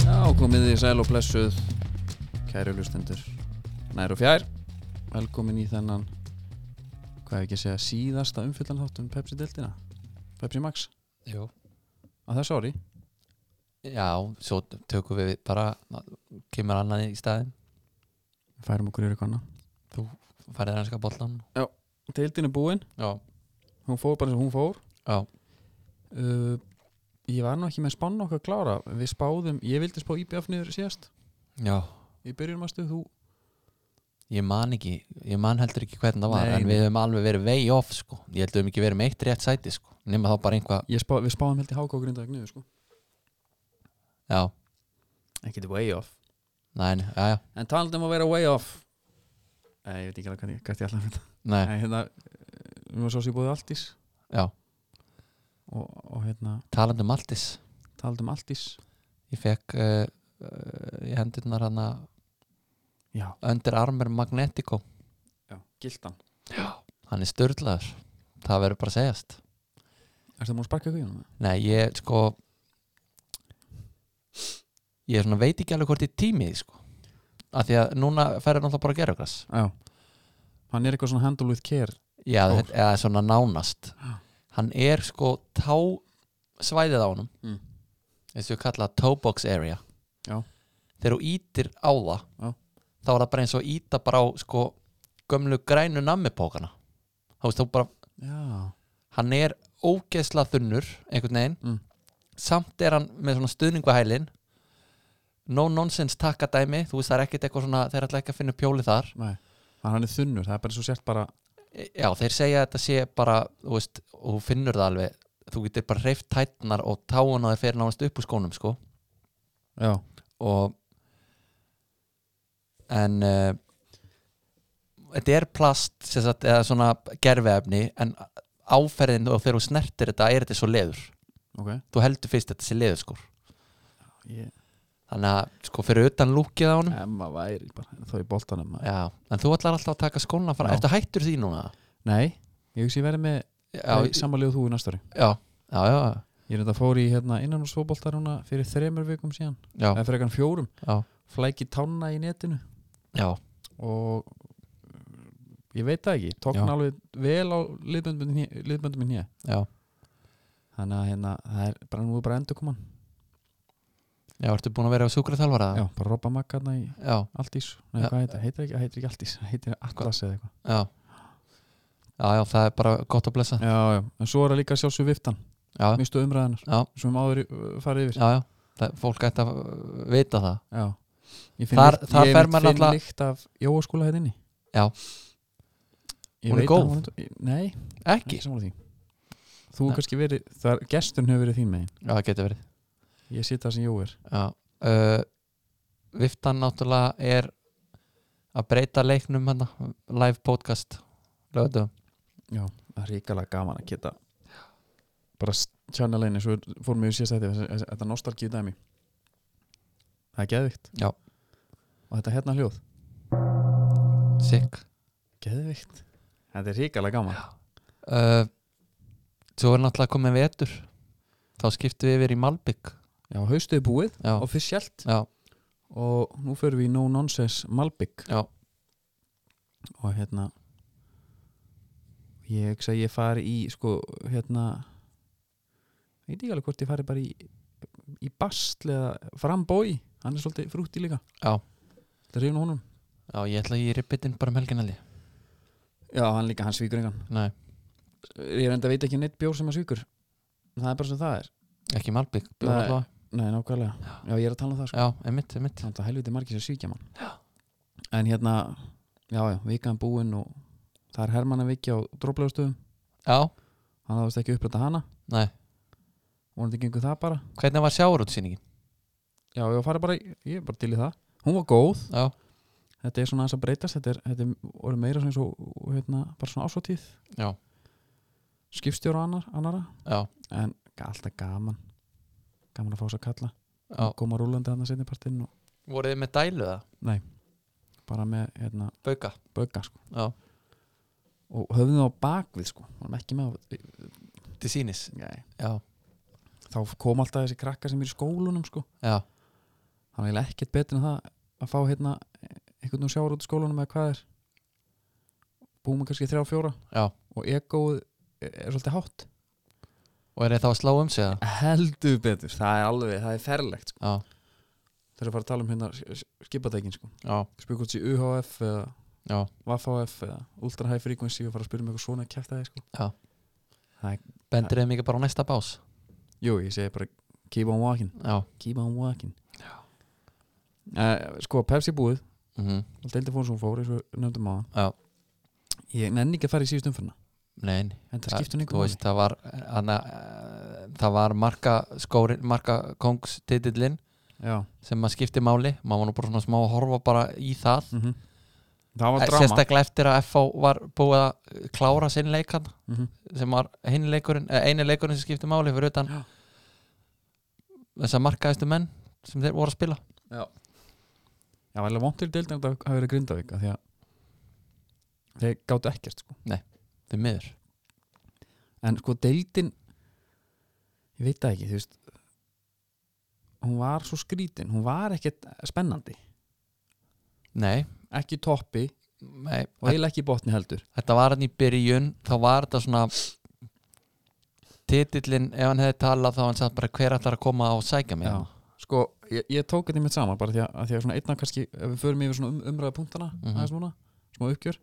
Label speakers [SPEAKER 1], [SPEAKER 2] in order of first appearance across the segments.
[SPEAKER 1] Verðið í sæl og blessuð Kæru hlustendur Nær og fjær Velkomin í þennan Hvað er ekki að segja síðasta umfyllanhátt um Pepsi-deltina Pepsi Max
[SPEAKER 2] Jú.
[SPEAKER 1] Að þessu ári
[SPEAKER 2] Já, svo tökum við bara kemur annað í staðin
[SPEAKER 1] Færum okkur yfir konna
[SPEAKER 2] færið hanska bollan
[SPEAKER 1] Deildin er búin
[SPEAKER 2] Já,
[SPEAKER 1] Hún fór bara sem hún fór
[SPEAKER 2] já,
[SPEAKER 1] uh, Ég var nú ekki með spann okkar klára Við spáðum Ég vildi spá IBF niður síðast
[SPEAKER 2] já
[SPEAKER 1] Í byrjunum að stuð þú
[SPEAKER 2] Ég man ekki, ég man heldur ekki hvernig það var
[SPEAKER 1] Nei,
[SPEAKER 2] en
[SPEAKER 1] nei.
[SPEAKER 2] við höfum alveg verið way off sko ég held við höfum ekki verið með eitt rétt sæti sko nema þá bara einhvað,
[SPEAKER 1] Ég spá, Við spáðum held í háka og grindaðeg niður sko
[SPEAKER 2] já,
[SPEAKER 1] Ekki þetta way off
[SPEAKER 2] næ, já, já
[SPEAKER 1] En talandi um að vera way off Eh, Ég veit ekki alveg hvað ég, hvað ég ætla að mynda
[SPEAKER 2] Nei,
[SPEAKER 1] Nei, hérna, eh, við varum svo sem ég búið Aldís
[SPEAKER 2] já,
[SPEAKER 1] og, og hérna,
[SPEAKER 2] talandi um Maltis
[SPEAKER 1] taldum Aldís
[SPEAKER 2] ég fekk uh, uh, í hendurnar hann að
[SPEAKER 1] Já,
[SPEAKER 2] Under Armour Magnetico
[SPEAKER 1] já, gildan
[SPEAKER 2] hann er störðlaður, það verður bara að segjast
[SPEAKER 1] Erstu það múin að sparka eitthvað í honum?
[SPEAKER 2] Nei, ég sko ég svona veit ekki alveg hvort ég tími því sko af því að núna færir náttúrulega bara að gera okkar
[SPEAKER 1] Já Hann er eitthvað svona handle with care
[SPEAKER 2] Já,
[SPEAKER 1] Ó.
[SPEAKER 2] þetta- eða svona nánast
[SPEAKER 1] Já.
[SPEAKER 2] hann er sko tá svæðið á honum
[SPEAKER 1] Mm.
[SPEAKER 2] eins og við kalla það toe box area
[SPEAKER 1] Já.
[SPEAKER 2] þegar þú ítir á það
[SPEAKER 1] Já.
[SPEAKER 2] þá er það bara eins og íta bara á sko gömlu grænu nammipókana þá veist þú bara
[SPEAKER 1] Já,
[SPEAKER 2] hann er ógeðsla þunnur einhvern veginn
[SPEAKER 1] Mm.
[SPEAKER 2] samt er hann með svona stuðningu á hælinn no nonsense takka dæmi þú veist það er ekkert eitthvað svona þeir ætla ekki að finna pjóli þar
[SPEAKER 1] nei Þannig hann er þunnur, það er bara svo sért bara
[SPEAKER 2] E- já þeir segja að þetta sé bara þú veist og þú finnur það alveg þú getur bara reyft tætnar og táun að þeir fyrir nánast upp úr skónum sko
[SPEAKER 1] Já,
[SPEAKER 2] og en uh, þetta er plast sem sagt, eða svona gerfiðefni en áferðin og þegar þú snertir þetta er þetta svo leður
[SPEAKER 1] ok
[SPEAKER 2] þú heldur fyrst þetta sé sko. leðurskór
[SPEAKER 1] ég...
[SPEAKER 2] þannig að sko fyrir utan lúkið á honum
[SPEAKER 1] Emma væri bara, þá í boltanum maður.
[SPEAKER 2] já, en þú ætlar alltaf að taka skóna fram
[SPEAKER 1] Já.
[SPEAKER 2] eftir hættur því núna
[SPEAKER 1] Nei, ég hugsi ég verið með
[SPEAKER 2] já, já,
[SPEAKER 1] samanlegu þú í næsta ári
[SPEAKER 2] já, já,
[SPEAKER 1] Ég er þetta fór í hérna innanúrsfóboltar húnna fyrir þremur vikum síðan
[SPEAKER 2] já,
[SPEAKER 1] eða fyrir eitthvað fjórum,
[SPEAKER 2] já,
[SPEAKER 1] flæki tánna í netinu
[SPEAKER 2] já,
[SPEAKER 1] og uh, ég veit það ekki tókn
[SPEAKER 2] Já.
[SPEAKER 1] alveg vel á liðböndum minn hér
[SPEAKER 2] já,
[SPEAKER 1] þannig að hérna, það er bara nú er bara endur koman
[SPEAKER 2] já, ertu búin að vera á sjúkra þjálfara?
[SPEAKER 1] já, bara robba makkarna í
[SPEAKER 2] já,
[SPEAKER 1] Aldís Nei,
[SPEAKER 2] Já.
[SPEAKER 1] hvað heitir, það? heitir ekki, það heitir ekki Aldís það heitir Atlas eða eitthvað
[SPEAKER 2] já já, já, það er bara gott að blessa já,
[SPEAKER 1] já, já, en svo er það líka sjálfsög viftan
[SPEAKER 2] já,
[SPEAKER 1] mistu umræðanar,
[SPEAKER 2] já,
[SPEAKER 1] sem við áður í- uh, farið yfir
[SPEAKER 2] já, já. Það, fólk ætti að uh, vita það
[SPEAKER 1] já. ég finn,
[SPEAKER 2] Þar-
[SPEAKER 1] lykt-
[SPEAKER 2] þar
[SPEAKER 1] ég
[SPEAKER 2] fer
[SPEAKER 1] finn
[SPEAKER 2] maður náttúrulega-
[SPEAKER 1] lykt af jóaskúla hérna inni
[SPEAKER 2] Já.
[SPEAKER 1] Ég
[SPEAKER 2] Hún er
[SPEAKER 1] veit að
[SPEAKER 2] góð.
[SPEAKER 1] hún er- Nei,
[SPEAKER 2] ekki,
[SPEAKER 1] ekki samanlega því Þú
[SPEAKER 2] Nei.
[SPEAKER 1] hefur kannski verið, þar, gesturinn hefur verið þín megin
[SPEAKER 2] já, það getur verið
[SPEAKER 1] Ég sit það sem Jó er
[SPEAKER 2] já, uh, viftan náttúrulega er að breyta leiknum hana, live podcast lögðum
[SPEAKER 1] Já, það er ríkalega gaman að geta bara tjánaleginni svo fórum við síðast þetta, þetta nostalgíu dæmi Það er geðvikt
[SPEAKER 2] Já.
[SPEAKER 1] Og þetta hérna hljóð
[SPEAKER 2] Sick
[SPEAKER 1] Geðvikt Þetta er ríkalega gaman
[SPEAKER 2] uh, Svo er náttúrulega komið vetur Þá skiptum við yfir í Malbygg
[SPEAKER 1] Já, haustuði búið,
[SPEAKER 2] Já,
[SPEAKER 1] offisjælt
[SPEAKER 2] já,
[SPEAKER 1] og nú förum við í No Nonsense Malbygg
[SPEAKER 2] já,
[SPEAKER 1] og hérna ég hugsa að ég fari í sko, hérna ég veit ekki alveg hvort ég fari bara í í basl eða frambói hann er svolítið frútti líka
[SPEAKER 2] Já.
[SPEAKER 1] Það reyfna honum
[SPEAKER 2] já Ég ætla í rippitin bara um helgin helgi
[SPEAKER 1] Já, hann líka, hann svíkur engan
[SPEAKER 2] Nei,
[SPEAKER 1] Ég reynda veit ekki neitt bjór sem hann svíkur Það er bara sem það er
[SPEAKER 2] ekki Malbygg bjór
[SPEAKER 1] Nei.
[SPEAKER 2] allavega.
[SPEAKER 1] Nei, nákvæmlega Já, ég er að tala um það sko
[SPEAKER 2] Já, einmitt, einmitt
[SPEAKER 1] Þannig að helviti margir sem svíkja mann Já En hérna, já, já, vikan búin og það er Hermann að vikja á droplegastöðum
[SPEAKER 2] Já,
[SPEAKER 1] Hann hafðist ekki uppræta hana
[SPEAKER 2] nei,
[SPEAKER 1] Vonandi gengur það bara
[SPEAKER 2] hvernig var sjáurútsýningin?
[SPEAKER 1] Já, ég var farið bara, í- ég er bara til í það Hún var góð,
[SPEAKER 2] Já,
[SPEAKER 1] þetta er svona aðeins að breytast Þetta er, þetta er orðið meira svona eins og hérna, bara svona ásóttíð
[SPEAKER 2] já,
[SPEAKER 1] skipstjóra annar, annara
[SPEAKER 2] já,
[SPEAKER 1] en ga- alltaf gaman gaman að fá svo að kalla
[SPEAKER 2] já
[SPEAKER 1] koma rúlandi hann að setja partinn og
[SPEAKER 2] Voruð þið með dælu það?
[SPEAKER 1] bara með hérna,
[SPEAKER 2] Bauka
[SPEAKER 1] bögga sko.
[SPEAKER 2] Já,
[SPEAKER 1] og höfðum það á bakvið sko. varum ekki með á,
[SPEAKER 2] til sínis
[SPEAKER 1] Nei.
[SPEAKER 2] Já,
[SPEAKER 1] þá kom alltaf þessi krakka sem er í skólunum sko.
[SPEAKER 2] já,
[SPEAKER 1] hann er eiginlega ekkert betur en það að fá hérna einhvern úr sjáur út í skólanum eða hvað er búum við kannski þrjá fjóra
[SPEAKER 2] Já.
[SPEAKER 1] og egoð er, er svolítið hátt
[SPEAKER 2] og er það að slá um sig það?
[SPEAKER 1] heldur betur, það er alveg, það er ferlegt sko.
[SPEAKER 2] Já,
[SPEAKER 1] þegar að fara að tala um hérna skipatækin sko.
[SPEAKER 2] já,
[SPEAKER 1] spyrir hvort sé UHF eða
[SPEAKER 2] já,
[SPEAKER 1] VHF eða Ultra High Frequency og fara að spyrja um eitthvað svona kæftæði sko.
[SPEAKER 2] já
[SPEAKER 1] Það er-
[SPEAKER 2] Bendir þeim ekki bara á næsta bás
[SPEAKER 1] jú, ég segi bara keep on walking
[SPEAKER 2] Já,
[SPEAKER 1] keep on walking uh, sko, Pepsi búið
[SPEAKER 2] mm
[SPEAKER 1] Deildi Fónsson fór, eins og við nefndum á
[SPEAKER 2] já,
[SPEAKER 1] það Ég nenni ekki að fara í síðust umfyrna
[SPEAKER 2] nein
[SPEAKER 1] En það skiptur
[SPEAKER 2] Þú
[SPEAKER 1] einhver máli
[SPEAKER 2] veist, það var hana, eh, það var marka skórin, marka kongstitillin
[SPEAKER 1] Já,
[SPEAKER 2] sem maður skipti máli, maður var nú bara svona smá að horfa bara í það Eh,
[SPEAKER 1] mhm Það var drama
[SPEAKER 2] sérstaklega eftir að FH var búið að klára sinn leikan
[SPEAKER 1] Mhm.
[SPEAKER 2] sem var hinn leikurinn, eh, eini leikurinn sem skipti máli fyrir utan
[SPEAKER 1] Já.
[SPEAKER 2] þess að markaðistu menn sem þeir voru að spila
[SPEAKER 1] Já, var alveg vont til deildin að það hafi verið Grindavík af Því að þeir gátu ekkert sko.
[SPEAKER 2] því miður
[SPEAKER 1] En sko deildin Ég veit það ekki, þú veist Hún var svo skrítin Hún var ekkert spennandi
[SPEAKER 2] Nei,
[SPEAKER 1] Ekki í toppi
[SPEAKER 2] nei
[SPEAKER 1] og eiginlega ekki í botni heldur
[SPEAKER 2] þetta var hann í byrjun þá var þetta svona titillin, ef hann hefði talað þá hann sagði bara hver ætlar að koma og sækja mig
[SPEAKER 1] Já. Sko, ég, ég tók þetta í mitt sama bara því að, að því að svona einna kannski ef við förum yfir svona um, umræða punktana
[SPEAKER 2] Mhm.
[SPEAKER 1] aðeins núna, smá uppgjör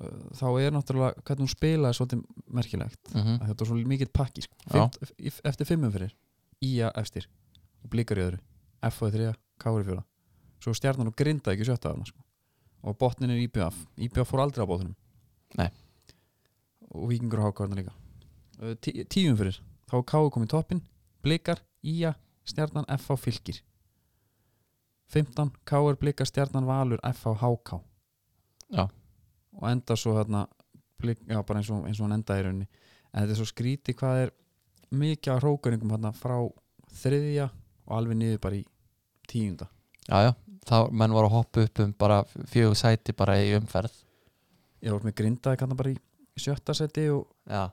[SPEAKER 1] uh, þá er náttúrulega hvernig hún spilaði svolítið merkilegt
[SPEAKER 2] mm
[SPEAKER 1] að þetta var svo mikill pakki sko.
[SPEAKER 2] Já.
[SPEAKER 1] Fimt, f- eftir fimmum fyrir, Ía eftir og Blikar í öðru, F og þriða Kári fjóra, svo stjarnan og grinda ekki sjötta þarna sko. og botnin er IBF IBF fór aldrei á botninum
[SPEAKER 2] Nei.
[SPEAKER 1] og Víkingur og Hákarna líka uh, tí, tíum fyrir, þá er Kári komið toppin Blikar, Ía Stjarnan FH Fylkir 15 KR Blika Stjarnan Valur FH HK
[SPEAKER 2] Já.
[SPEAKER 1] og enda svo hérna blik, já, bara eins og, eins og hann enda í rauninni en þetta er svo skríti hvað er mikið að hrókuringum hérna frá þriðja og alveg niður bara í tíunda
[SPEAKER 2] já, já, þá menn voru að hoppa upp um bara fjögur sæti bara í umferð
[SPEAKER 1] ég var með grindaði kannan bara í sjötta seti og
[SPEAKER 2] já,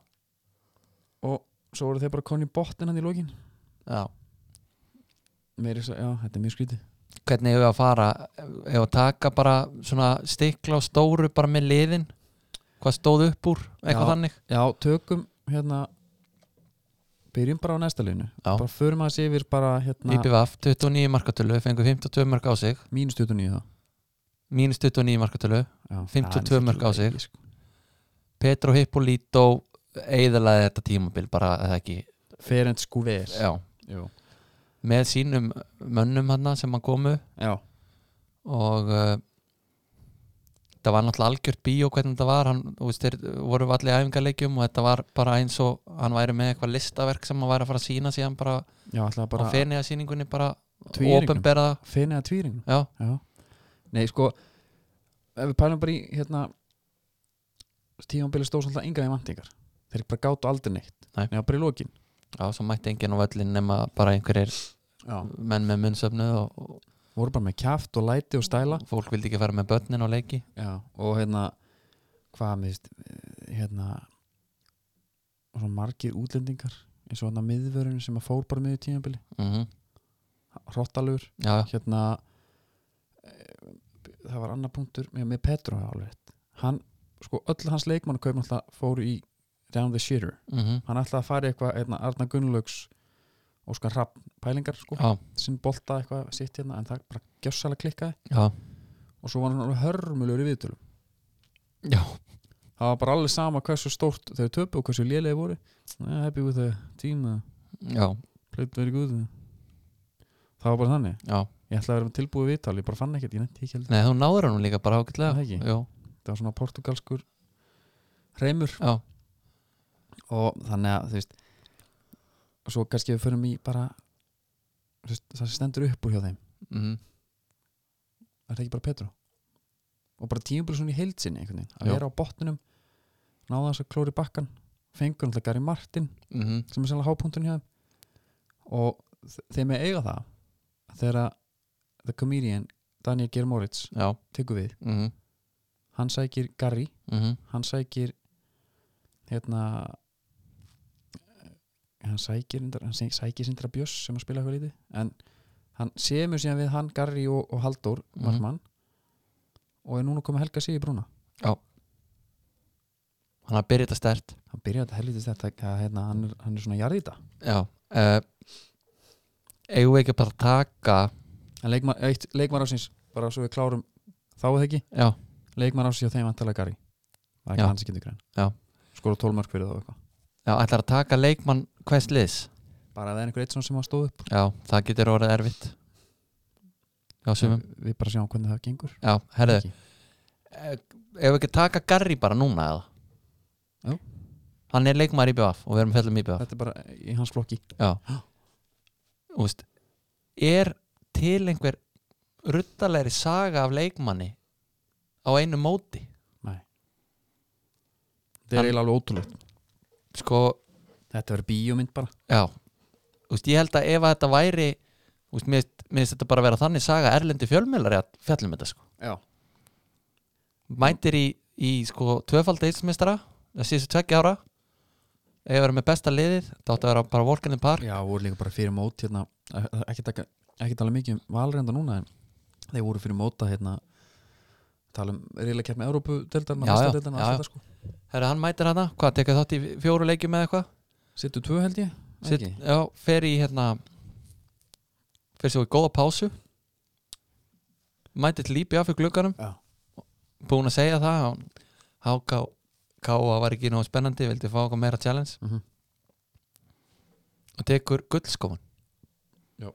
[SPEAKER 1] svo voru þeir bara konni í botnin hann í lokin
[SPEAKER 2] já
[SPEAKER 1] Meira, þess að- já, þetta er mjög skrítið
[SPEAKER 2] hvernig hefur að fara hefur að taka bara svona stikla og stóru bara með liðin hvað stóð upp úr, eitthvað
[SPEAKER 1] Já.
[SPEAKER 2] þannig
[SPEAKER 1] Já, tökum hérna byrjum bara á næsta liðinu
[SPEAKER 2] Já.
[SPEAKER 1] bara förum að sé yfir bara hérna
[SPEAKER 2] IPVF 29 markatölu, fengur 52 marka á sig
[SPEAKER 1] mínus 29 þá
[SPEAKER 2] mínus 29 markatölu,
[SPEAKER 1] Já,
[SPEAKER 2] 52
[SPEAKER 1] það er
[SPEAKER 2] mörk á
[SPEAKER 1] náttúrulega
[SPEAKER 2] sig.
[SPEAKER 1] ekki, sko.
[SPEAKER 2] Petro Hippolito eðalaði þetta tímabil bara eða ekki,
[SPEAKER 1] Ferenc Skúver
[SPEAKER 2] já
[SPEAKER 1] Jú.
[SPEAKER 2] með sínum mönnum hann sem hann komu
[SPEAKER 1] Já,
[SPEAKER 2] og uh, það var náttúrulega algjört bíó hvernig þetta var hann, þú veist, þeir voru allir í æfingarleikjum og þetta var bara eins og hann væri með eitthvað listaverk sem hann væri að fara að sína síðan bara,
[SPEAKER 1] já ætlaði bara
[SPEAKER 2] á fenniða síningunni bara
[SPEAKER 1] Tvíeyringnum.
[SPEAKER 2] ofinbera það
[SPEAKER 1] Fenið að tvíringnum
[SPEAKER 2] já,
[SPEAKER 1] Já Nei, sko Ef við pælum bara í hérna Tímanbili stóð svolítið enga í vantingar Þeir bara gátu aldrei neitt
[SPEAKER 2] Nei.
[SPEAKER 1] Nei, bara í lokin
[SPEAKER 2] já, svo mætti enginn á völlin nema bara einhverjir
[SPEAKER 1] Já
[SPEAKER 2] menn með munnsöfnu og,
[SPEAKER 1] Voru bara með kjaft og læti og stæla
[SPEAKER 2] og fólk vildi ekki fara með börnin á leiki
[SPEAKER 1] Já, og hérna Hvað miðst Hérna og Svo margir útlendingar eins og hann að miðvörun sem að fór bara miður tímanbili
[SPEAKER 2] mm
[SPEAKER 1] Hrottalugur
[SPEAKER 2] já, já,
[SPEAKER 1] hérna eh, það var annar punktur með, með Petro alveg rétt. hann, sko öll hans leikmann kaupin alltaf fóru í Down the Shitter
[SPEAKER 2] mm
[SPEAKER 1] hann ætlaði að fara í eitthvað hérna, Arna Gunnlaugs Óskar Rapp pælingar sko,
[SPEAKER 2] já,
[SPEAKER 1] sinn bolta eitthvað sitt hérna en það bara gjössalega klikkaði
[SPEAKER 2] já,
[SPEAKER 1] og svo var hann alveg hörmulur í viðtölum
[SPEAKER 2] já.
[SPEAKER 1] það var bara alveg sama hversu stórt þau töpu og hversu lélegi voru Eh, happy with the team uh,
[SPEAKER 2] já,
[SPEAKER 1] played very good það var bara þannig
[SPEAKER 2] já.
[SPEAKER 1] ég ætlaði að vera með tilbúið viðtal ég bara fann ekkert, ég nefndi ekki heldur
[SPEAKER 2] Nei, þú náður hann líka bara ágætlega
[SPEAKER 1] Það ekki?
[SPEAKER 2] já,
[SPEAKER 1] það var svona portugalskur reymur
[SPEAKER 2] já,
[SPEAKER 1] og þannig að þú veist svo kannski við förum í bara þú veist, það sem stendur upp úr hjá þeim
[SPEAKER 2] mm
[SPEAKER 1] það er ekki bara Petro og bara tímabur svona í heilsinni einhvern veginn að
[SPEAKER 2] Já.
[SPEAKER 1] vera á botnunum náða þess að klóri bakkan fengur náttúrulega Gary Martin
[SPEAKER 2] -hmm.
[SPEAKER 1] sem er sannlega hápunktun hjá þeim og þ- þeim er eiga það að þegar að the comedian Daniel Geir Moritz
[SPEAKER 2] já
[SPEAKER 1] tekur við
[SPEAKER 2] mm -hmm.
[SPEAKER 1] hann sækir Gary
[SPEAKER 2] mhm.
[SPEAKER 1] hann sækir hérna hann sækir, reyndar- hann sæ- sækir Sindra Björns sem að spila eitthvað lítið en hann semur síðan við hann, Garri og, og Halldór
[SPEAKER 2] Mhm.
[SPEAKER 1] Markmann og er núna komið Helga Sigur Brúna
[SPEAKER 2] hann að byrja þetta stert
[SPEAKER 1] hann byrjaði þetta helvitist þetta að, hérna, hann, er, hann er svona jarðita
[SPEAKER 2] já uh, eigum við ekki bara að taka
[SPEAKER 1] en leikmar, eitt, leikmar ásins, bara svo við klárum þá er það ekki,
[SPEAKER 2] já,
[SPEAKER 1] leikmar ásins hjá þeim antalega Garri það er
[SPEAKER 2] Já.
[SPEAKER 1] ekki hans ekki til
[SPEAKER 2] Já.
[SPEAKER 1] grein skora 12 mörg fyrir þá eitthvað
[SPEAKER 2] já ætlar að taka leikmann hvers liðs
[SPEAKER 1] bara að það er einhver eitt svona sem að stóð upp
[SPEAKER 2] já, það getur orðið erfitt já, sumum
[SPEAKER 1] við bara sjáum hvernig það gengur
[SPEAKER 2] já, herðu
[SPEAKER 1] Ekki.
[SPEAKER 2] Eh, ef við ekki taka Garri bara núna eða
[SPEAKER 1] Jú.
[SPEAKER 2] hann er leikmaður í BF og við erum fjöldum í BF
[SPEAKER 1] þetta er bara í hans flokki
[SPEAKER 2] Úst, er til einhver ruttalegri saga af leikmanni á einu móti
[SPEAKER 1] þetta er
[SPEAKER 2] Hann-
[SPEAKER 1] eiginlega alveg ótrúlegt
[SPEAKER 2] sko,
[SPEAKER 1] þetta verður bíómynd bara
[SPEAKER 2] já Úst, ég held að ef að þetta væri Úst, mér finnst- mér finnst þetta bara að vera þannig saga erlendi fjölmjölari að fjallum þetta sko
[SPEAKER 1] Já.
[SPEAKER 2] mætir í, í sko tvöfalda íslmistara það síðustu tveggja ára ef að vera með besta liðið þetta átti að vera bara walk in the park
[SPEAKER 1] Já, voru líka bara fyrir mót hérna, ekki, taka, ekki tala mikið um valrenda núna en þeir voru fyrir móta hérna, tala um reyla kjart með Európu-deldarna,
[SPEAKER 2] Já, já,
[SPEAKER 1] Vestardeldarna
[SPEAKER 2] já, já.
[SPEAKER 1] allt þetta, sko.
[SPEAKER 2] Herra, hann mætir hana, hvað, tekið þátt í fjóru leikjum eða eitthvað
[SPEAKER 1] Sittu tvö held ég
[SPEAKER 2] Sitt,
[SPEAKER 1] ekki?
[SPEAKER 2] já, fer í hérna fer svo í góða pásu mætir til lípi af fyrir glugganum
[SPEAKER 1] Já.
[SPEAKER 2] búin að segja það hann- háká, káa var ekki nógu spennandi vildi fá okkur meira challenge
[SPEAKER 1] Mhm.
[SPEAKER 2] og tekur gullskófan
[SPEAKER 1] Já.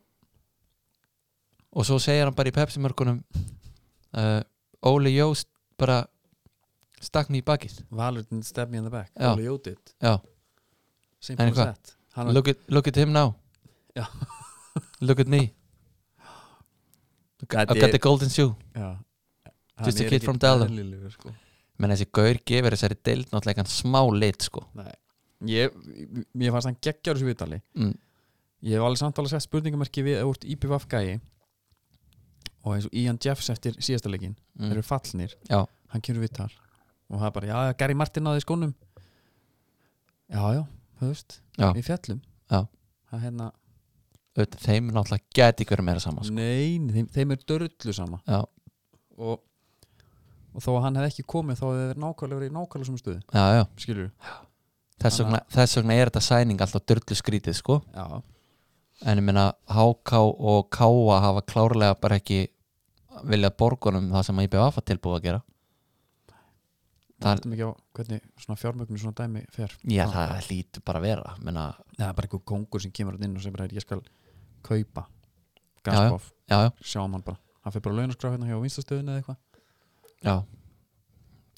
[SPEAKER 2] og svo segir hann bara í pepsimörkunum uh, Óli Jóst bara stakk mér í bakið
[SPEAKER 1] Valur didn't stab me in the back,
[SPEAKER 2] Já.
[SPEAKER 1] Ole Jó did
[SPEAKER 2] já
[SPEAKER 1] simple
[SPEAKER 2] En
[SPEAKER 1] as
[SPEAKER 2] hvað?
[SPEAKER 1] that Hann var-
[SPEAKER 2] look at, look at him now
[SPEAKER 1] Já.
[SPEAKER 2] look at me Look,
[SPEAKER 1] Þetta
[SPEAKER 2] I've got
[SPEAKER 1] er-
[SPEAKER 2] the golden shoe
[SPEAKER 1] Já. Hann
[SPEAKER 2] Just a
[SPEAKER 1] er
[SPEAKER 2] kid
[SPEAKER 1] ekki
[SPEAKER 2] from Dalham.
[SPEAKER 1] eðlilegur, sko.
[SPEAKER 2] menn þessi gaur gefur þessari deild náttúrulega engan smá lit sko
[SPEAKER 1] Nei. Ég, ég fannst hann geggjar þessu vitali
[SPEAKER 2] mm.
[SPEAKER 1] Ég hef alveg samtala sett spurningamarki við eða úr IPVF gæi og eins og Ian Jeffs eftir síðasta leikin mm.
[SPEAKER 2] Mm.
[SPEAKER 1] eru fallnir
[SPEAKER 2] Já.
[SPEAKER 1] hann kemur við þar og það er bara, já, Gary Martin á því skónum já, já, þú veist
[SPEAKER 2] Já.
[SPEAKER 1] við fjallum
[SPEAKER 2] Já.
[SPEAKER 1] það er hérna,
[SPEAKER 2] Auðvitað, þeim náttúrulega geti ykkur meira saman sko.
[SPEAKER 1] nein, þeim, þeim er dörrullu sama
[SPEAKER 2] já,
[SPEAKER 1] og, og þó að hann hefði ekki komið þá hefði þeir nákvæmlega verið í nákvæmlega sem stöðu
[SPEAKER 2] já, já.
[SPEAKER 1] skilur
[SPEAKER 2] Þess,
[SPEAKER 1] Þannig
[SPEAKER 2] vegna, þess vegna er þetta sæning alltaf dörlu skrítið sko
[SPEAKER 1] já,
[SPEAKER 2] en ég meina HK og KA hafa klárlega bara ekki viljað borgunum það sem IBF var tilbúið að gera
[SPEAKER 1] það
[SPEAKER 2] það,
[SPEAKER 1] er mikið á hvernig svona fjármögnu svona dæmi fer
[SPEAKER 2] já, það lítur bara að vera menna,
[SPEAKER 1] Nei, það er bara einhver kongur sem kemur þarna inn og sem bara, "Heyrðu, ég skal kaupa
[SPEAKER 2] Já,
[SPEAKER 1] Gaskoff,
[SPEAKER 2] já, já,
[SPEAKER 1] sjáum hann bara hann fyrir bara launaskrá hérna hjá vinstastöðinu eða eitthvað
[SPEAKER 2] já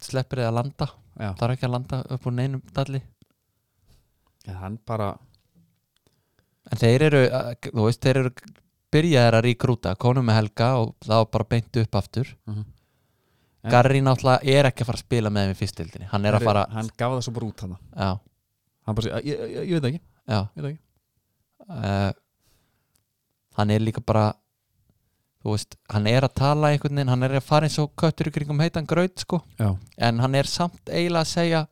[SPEAKER 2] sleppir þið að landa
[SPEAKER 1] já,
[SPEAKER 2] Það er ekki að landa upp úr neinum dalli
[SPEAKER 1] en hann bara
[SPEAKER 2] En þeir eru, uh, þú veist, þeir eru byrjaðir að ríkrúta, konum með helga og það var bara beint upp aftur
[SPEAKER 1] Mhm. En-
[SPEAKER 2] Garri náttúrulega er ekki að fara að spila með þeim í fyrstildinni, hann er að fara
[SPEAKER 1] hann gaf það svo bara út hann
[SPEAKER 2] Já,
[SPEAKER 1] hann bara, segir, ég, ég, ég veit það ekki,
[SPEAKER 2] já
[SPEAKER 1] ég veit það ekki.
[SPEAKER 2] uh, Hann er líka bara þú veist, hann er að tala einhvern veginn, hann er að fara eins og köttur í kringum heitan graut, sko,
[SPEAKER 1] Já.
[SPEAKER 2] en hann er samt eiginlega að segja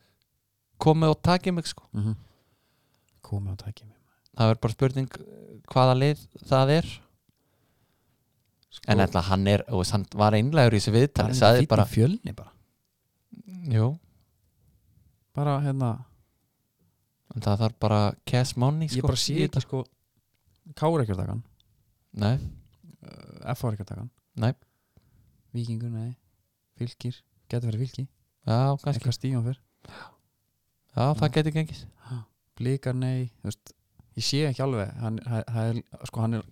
[SPEAKER 2] komið og takið mig, sko
[SPEAKER 1] Mm -hmm. komið og tækið mig
[SPEAKER 2] það er bara spurning eh, hvaða lið það er
[SPEAKER 1] sko,
[SPEAKER 2] En ætla, hann er, þú veist, hann var einlegur í þessu viðtali sagði
[SPEAKER 1] bara
[SPEAKER 2] bara,
[SPEAKER 1] fjölni bara
[SPEAKER 2] jú,
[SPEAKER 1] bara hérna,
[SPEAKER 2] en það þarf bara cash money, sko
[SPEAKER 1] ég bara sé
[SPEAKER 2] í
[SPEAKER 1] ekki sko Káur ekki að taka hann
[SPEAKER 2] Nei,
[SPEAKER 1] uh, FH er ekki að taka hann
[SPEAKER 2] Nei.
[SPEAKER 1] Víkingur, nei, fylgir getur verið fylgi,
[SPEAKER 2] já, kannski,
[SPEAKER 1] eitthvað stíðan fyrr
[SPEAKER 2] já, það getur gengið
[SPEAKER 1] blíkar, nei, þú veist ég sé ekki alveg, hann, hann, hann, sko, hann er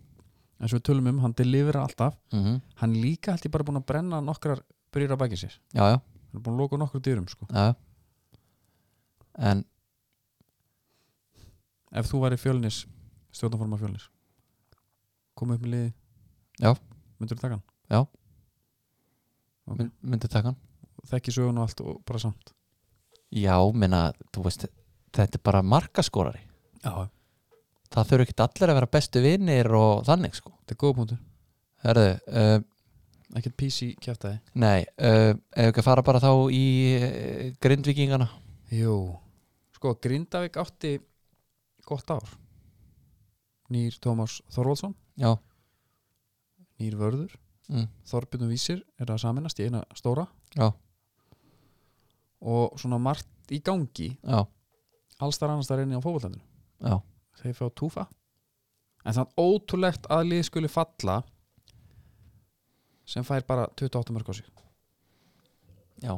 [SPEAKER 1] eins og við tölum um, hann delivera alltaf
[SPEAKER 2] mm
[SPEAKER 1] hann er líka held ég bara búin að brenna nokkrar byrjir á baki sér,
[SPEAKER 2] Já, já,
[SPEAKER 1] hann er búin að loka nokkru dyrum sko.
[SPEAKER 2] já En,
[SPEAKER 1] ef þú væri fjölnis stjórnforma fjölnis komið upp með liði
[SPEAKER 2] Já.
[SPEAKER 1] myndur þú taka hann?
[SPEAKER 2] Já.
[SPEAKER 1] Ok.
[SPEAKER 2] mynd, myndi taka hann
[SPEAKER 1] þekki sögun og allt og bara samt
[SPEAKER 2] Já, minna, þú veist þetta er bara markaskorari
[SPEAKER 1] já.
[SPEAKER 2] það þurfa ekki allir að vera bestu vinnir og þannig, sko
[SPEAKER 1] þetta er góða punktur,
[SPEAKER 2] Herðu, uh,
[SPEAKER 1] ekkert PC kjæftæði
[SPEAKER 2] nei uh, ef ekki að fara bara þá í uh, grindvíkingana
[SPEAKER 1] jú, sko Grindavík átti gott ár nýr Tómas Þorvaldsson
[SPEAKER 2] Já,
[SPEAKER 1] nýr vörður
[SPEAKER 2] mm.
[SPEAKER 1] Þorbjörn og Vísir er að saminast í eina stóra
[SPEAKER 2] Já.
[SPEAKER 1] og svona margt í gangi
[SPEAKER 2] já,
[SPEAKER 1] alls þar annars þar einni á fótbollandinu
[SPEAKER 2] já,
[SPEAKER 1] þeir fá túfa en þannig ótrúlegt að lið skuli falla sem fær bara 28 mörg á sig
[SPEAKER 2] já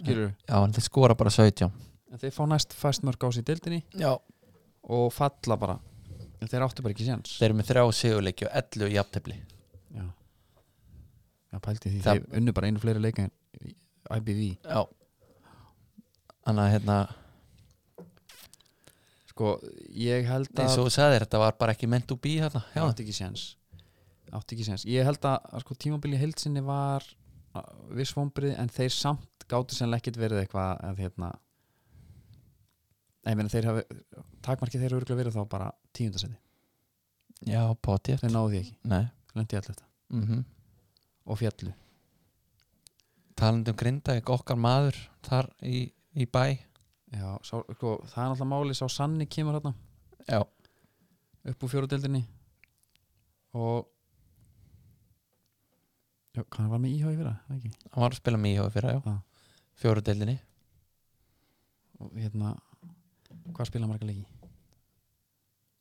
[SPEAKER 1] skilur
[SPEAKER 2] Já, en þeir skora bara 17
[SPEAKER 1] en þeir fá næst fæst mörg á sig í dildinni
[SPEAKER 2] Já
[SPEAKER 1] og falla bara en þeir áttu bara ekki séns
[SPEAKER 2] Þeir eru með þrjá sigurleiki og 11 jafntefli
[SPEAKER 1] já, já pælti því
[SPEAKER 2] Það-
[SPEAKER 1] þeir unnu bara einu fleiri leika en í IBV
[SPEAKER 2] Já Þannig að hérna,
[SPEAKER 1] sko, ég held að
[SPEAKER 2] eins og þú sagðir, þetta var bara ekki meant to be þarna Já,
[SPEAKER 1] átti ekki séns átti ekki séns, ég held að að sko, tímabili heilsinni var uh, viss vombrið en þeir samt gáttu sennilega ekkit verið eitthvað að hérna Nei, ég meina þeir hafi takmarkið þeir eru örgulega verið þá bara tíundasendi
[SPEAKER 2] já potið
[SPEAKER 1] þeir náðu því ekki,
[SPEAKER 2] Nei
[SPEAKER 1] lendi alltaf þetta
[SPEAKER 2] mm
[SPEAKER 1] og fjallu,
[SPEAKER 2] Talandi um Grindavík, okkar maður þar í, í bæ
[SPEAKER 1] já, sá, sko, það er alltaf máli sá Sanni kemur hérna
[SPEAKER 2] Já,
[SPEAKER 1] upp úr fjóruðeldinni og já, hvað hann var með íhá í fyrra, það ekki
[SPEAKER 2] hann var að spila með íhjóði fyrra, já
[SPEAKER 1] Já.
[SPEAKER 2] Fjóru deildinni,
[SPEAKER 1] og hérna, hvað spila marga leiki?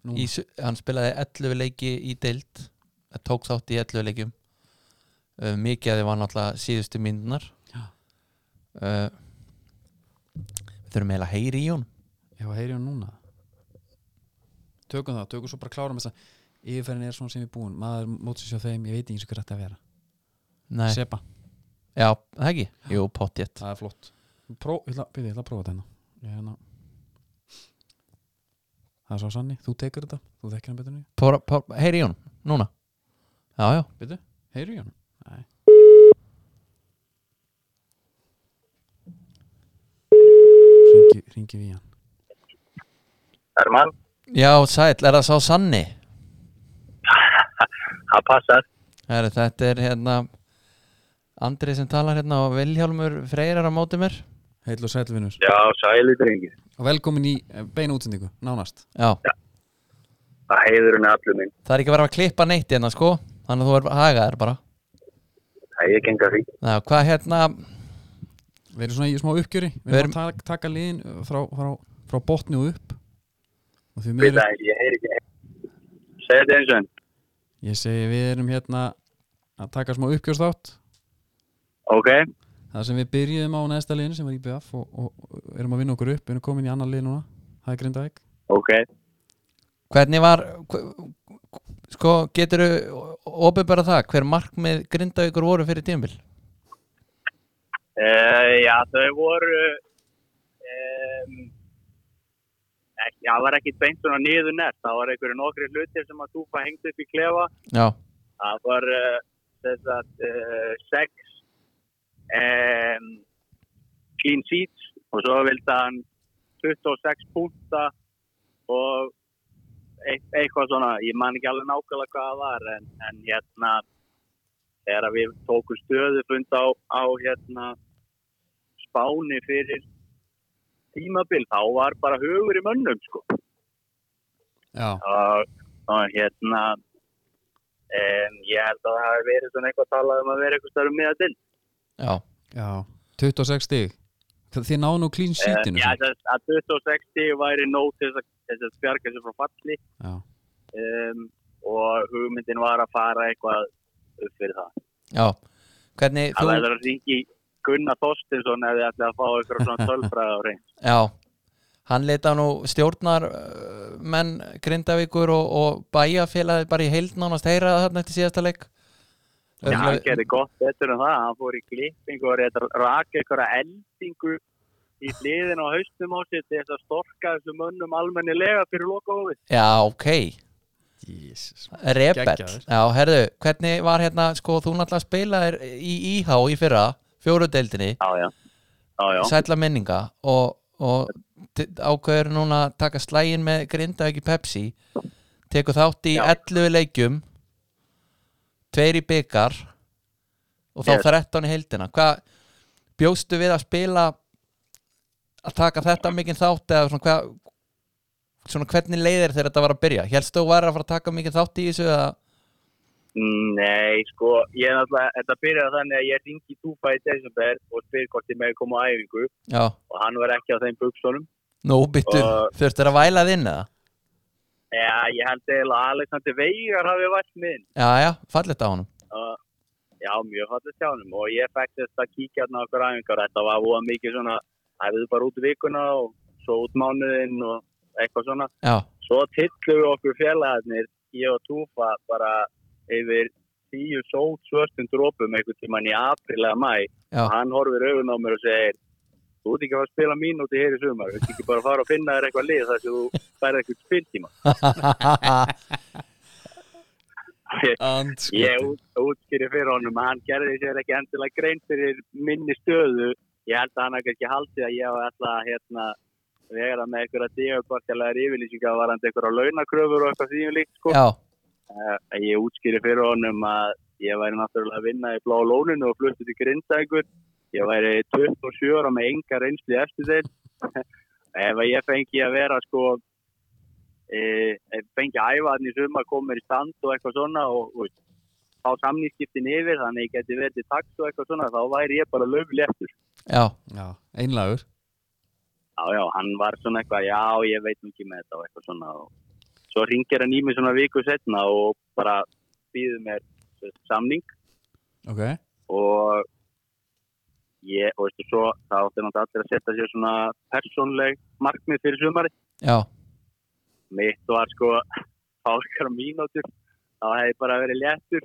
[SPEAKER 1] Nú,
[SPEAKER 2] í, su- hann spilaði 11 leiki í deild Það tók þátt í 11 leikjum uh, Mikið að þið var náttúrulega síðustu myndunar
[SPEAKER 1] Já.
[SPEAKER 2] uh, Við þurfum eiginlega að heyri í hún
[SPEAKER 1] Já, heyri hún núna Tökum það, tökum svo bara klárum þess að yfirferðin er svona sem við búin maður mótsins hjá þeim, ég veit ekki eins og hver þetta að vera
[SPEAKER 2] Nei,
[SPEAKER 1] Sepa,
[SPEAKER 2] já, það ekki Jú, potið
[SPEAKER 1] það er flott Pró, ég ætla, byrja, ég ætla að prófa þetta hérna. Ég hérna Það er svo sanni, þú tekur þetta þú þekkir hann betur en ég,
[SPEAKER 2] Heyri í hún, núna Já, já,
[SPEAKER 1] betur, heyri hún Nei Ringi, ringi við hann
[SPEAKER 3] Herman,
[SPEAKER 2] já, sæll, er það sá sanni?
[SPEAKER 3] það passar.
[SPEAKER 2] Heru, þetta er hérna Andrið sem talar hérna og Vilhjálmur Freyrar á móti mér
[SPEAKER 1] Heill og sælvinur
[SPEAKER 3] Já, sæli drengir.
[SPEAKER 1] og velkomin í eh, beina útsendingu, nánast
[SPEAKER 2] Já,
[SPEAKER 3] Það heiður henni allur minn.
[SPEAKER 2] það er ekki verið að klippa neitt hérna sko Þannig að þú er hagaðir bara
[SPEAKER 3] Það er ekki enga því.
[SPEAKER 2] Ná, Hvað hérna,
[SPEAKER 1] Við erum svona í smá uppgjöri Við
[SPEAKER 2] Við
[SPEAKER 1] erum að taka, taka liðin uh, frá, frá, frá botni og upp og því
[SPEAKER 3] Við
[SPEAKER 1] miður
[SPEAKER 3] það, ég heyr ekki. Segðu þetta eins og enn.
[SPEAKER 1] ég segi við erum hérna að taka smá uppgjörstátt
[SPEAKER 3] Ok,
[SPEAKER 1] það sem við byrjuðum á næsta liðinu sem var IBF og, og, og erum að vinna okkur upp við erum komin í annan lið núna, það er Grindavík
[SPEAKER 3] ok.
[SPEAKER 2] hvernig var hv- Sko, geturðu opið bara það, hver markmið grindavíkur voru fyrir tímabil?
[SPEAKER 3] Uh, já, þau voru... Um, ekki, það var ekkit beint svona niður nært. Það var einhverju nokkri hlutir sem að túpa hengt upp í klefa.
[SPEAKER 2] Já,
[SPEAKER 3] Það var uh, þess að uh, sex um, clean seats og svo vildi hann 26 púnta og eitt, eitthvað svona, ég man ekki alveg nákvæmlega hvað það var en, en hérna þegar við tókum stöðufund á, á hérna spáni fyrir tímabil þá var bara hugur í mönnum sko
[SPEAKER 1] Já,
[SPEAKER 3] og, og hérna um, ég held að það hafi verið svona eitthvað talað um að vera eitthvað starf með að til
[SPEAKER 2] já,
[SPEAKER 1] já 26 stig Þa- Þið náðu nú clean sheetinu
[SPEAKER 3] Eh, já,
[SPEAKER 1] samt.
[SPEAKER 3] þess, að 2060 væri nóg til þess að, til þess að bjarga sér frá falli
[SPEAKER 1] já.
[SPEAKER 3] um, og hugmyndin var að fara eitthvað upp fyrir það
[SPEAKER 2] já Hvernig
[SPEAKER 3] það
[SPEAKER 2] þú,
[SPEAKER 3] verður að ringi Gunnar Þorstinsson ef þið ætlaði að fá eitthvað svona tölfræð á reynd
[SPEAKER 2] já Hann leita nú stjórnar uh, menn Grindavíkur og, og bæjarfélagi bara í heild nánast heyraða þarna eftir síðasta leik
[SPEAKER 3] Já, hann gerði gott betur en það, hann fór í klippingu og reyndar rak einhverja eldingu í hliðin á haustum á sér til þess að storka þessum mönnum almennilega fyrir loka
[SPEAKER 2] Já, ok,
[SPEAKER 1] Jesus.
[SPEAKER 2] Rebet
[SPEAKER 1] Geggjaður.
[SPEAKER 2] Já, herðu, hvernig var hérna sko, þú náttúrulega spilaðir í IH í fyrra, fjóru deildinni
[SPEAKER 3] Já, já. Já, já.
[SPEAKER 2] sætla minninga og, og t- ákveður núna að taka slægin með grinda ekki Pepsi tekur þátt í
[SPEAKER 3] Já.
[SPEAKER 2] 11 leikjum tveir í byggar og þá
[SPEAKER 3] Yes.
[SPEAKER 2] 13 í heildina hvað bjóstu við að spila að taka þetta mikið þátt eða svona hvað svona hvernig leiðir þegar þetta var að byrja helstu þú væri að fara að taka mikið þátt í þessu eða
[SPEAKER 3] Nei, sko, ég er náttúrulega, þetta byrjaði þannig að ég ringi Dúfa í desember og spyr hvort ég með koma á æfingu
[SPEAKER 2] já,
[SPEAKER 3] og hann var ekki á þeim buksunum.
[SPEAKER 2] nú byttur
[SPEAKER 3] Og-
[SPEAKER 2] þurftur að væla þinn eða?
[SPEAKER 3] Já, ég held eiginlega að Alexander Veigar hafi vært minn.
[SPEAKER 2] Já, já, fallit á honum
[SPEAKER 3] Uh, já, mjög fallið sjánum og ég fekk þess að kíkja hann á okkur æfingar. Þetta var óa mikið svona, æfiðu bara út vikuna og svo út mánuðinn og eitthvað svona.
[SPEAKER 2] Já,
[SPEAKER 3] Svo tillum við okkur félagarnir, ég og Túfa, bara yfir tíu sót svörstum drópum einhvern tíman í april eða mæ.
[SPEAKER 2] Já.
[SPEAKER 3] Og hann horfir augun á mér og segir, þú ert ekki að fara að spila mínúti hér í sumar, þú ert ekki bara að fara að finna þér eitthvað lið þar sem þú færði eitthvað spiltíma. Ég
[SPEAKER 1] Andskoti
[SPEAKER 3] út, útskýri fyrir honum að hann gerði sér ekki endilega grein fyrir minni stöðu. Ég held að hann hafi ekki haldið að ég hafa alltaf hérna vera með einhverja díðakvartalega yfirlýsingar varandi einhverja launakröfur og eitthvað því um líkt sko.
[SPEAKER 2] já,
[SPEAKER 3] Eh, að ég útskýri fyrir honum að ég væri náttúrulega að vinna í blá lóninu og flutti til Grindavíkur. Ég væri 27 ára með enga reynsli eftir þeim. Ef að ég fengi að vera sko, e, fengi að æfa hann í suma, koma mér í stand og eitthvað svona og, og fá samlýskiptin yfir, þannig að ég geti verið til takt og eitthvað svona, þá væri ég bara löguleg eftir.
[SPEAKER 2] já,
[SPEAKER 1] Já, einlagur
[SPEAKER 3] Já, já, hann var svona eitthvað, já, ég veit nú ekki með þetta og eitthvað svona. Og svo ringir hann í mig svona viku setna og bara býður mér sem sagt, samning
[SPEAKER 1] Ok,
[SPEAKER 3] og ég, og veistu svo, þá átti náttúrulega allir að setja sér svona persónleg markmið fyrir sumari.
[SPEAKER 2] já
[SPEAKER 3] Mitt var sko fálkar mínútur, þá hefði ég bara verið léttur.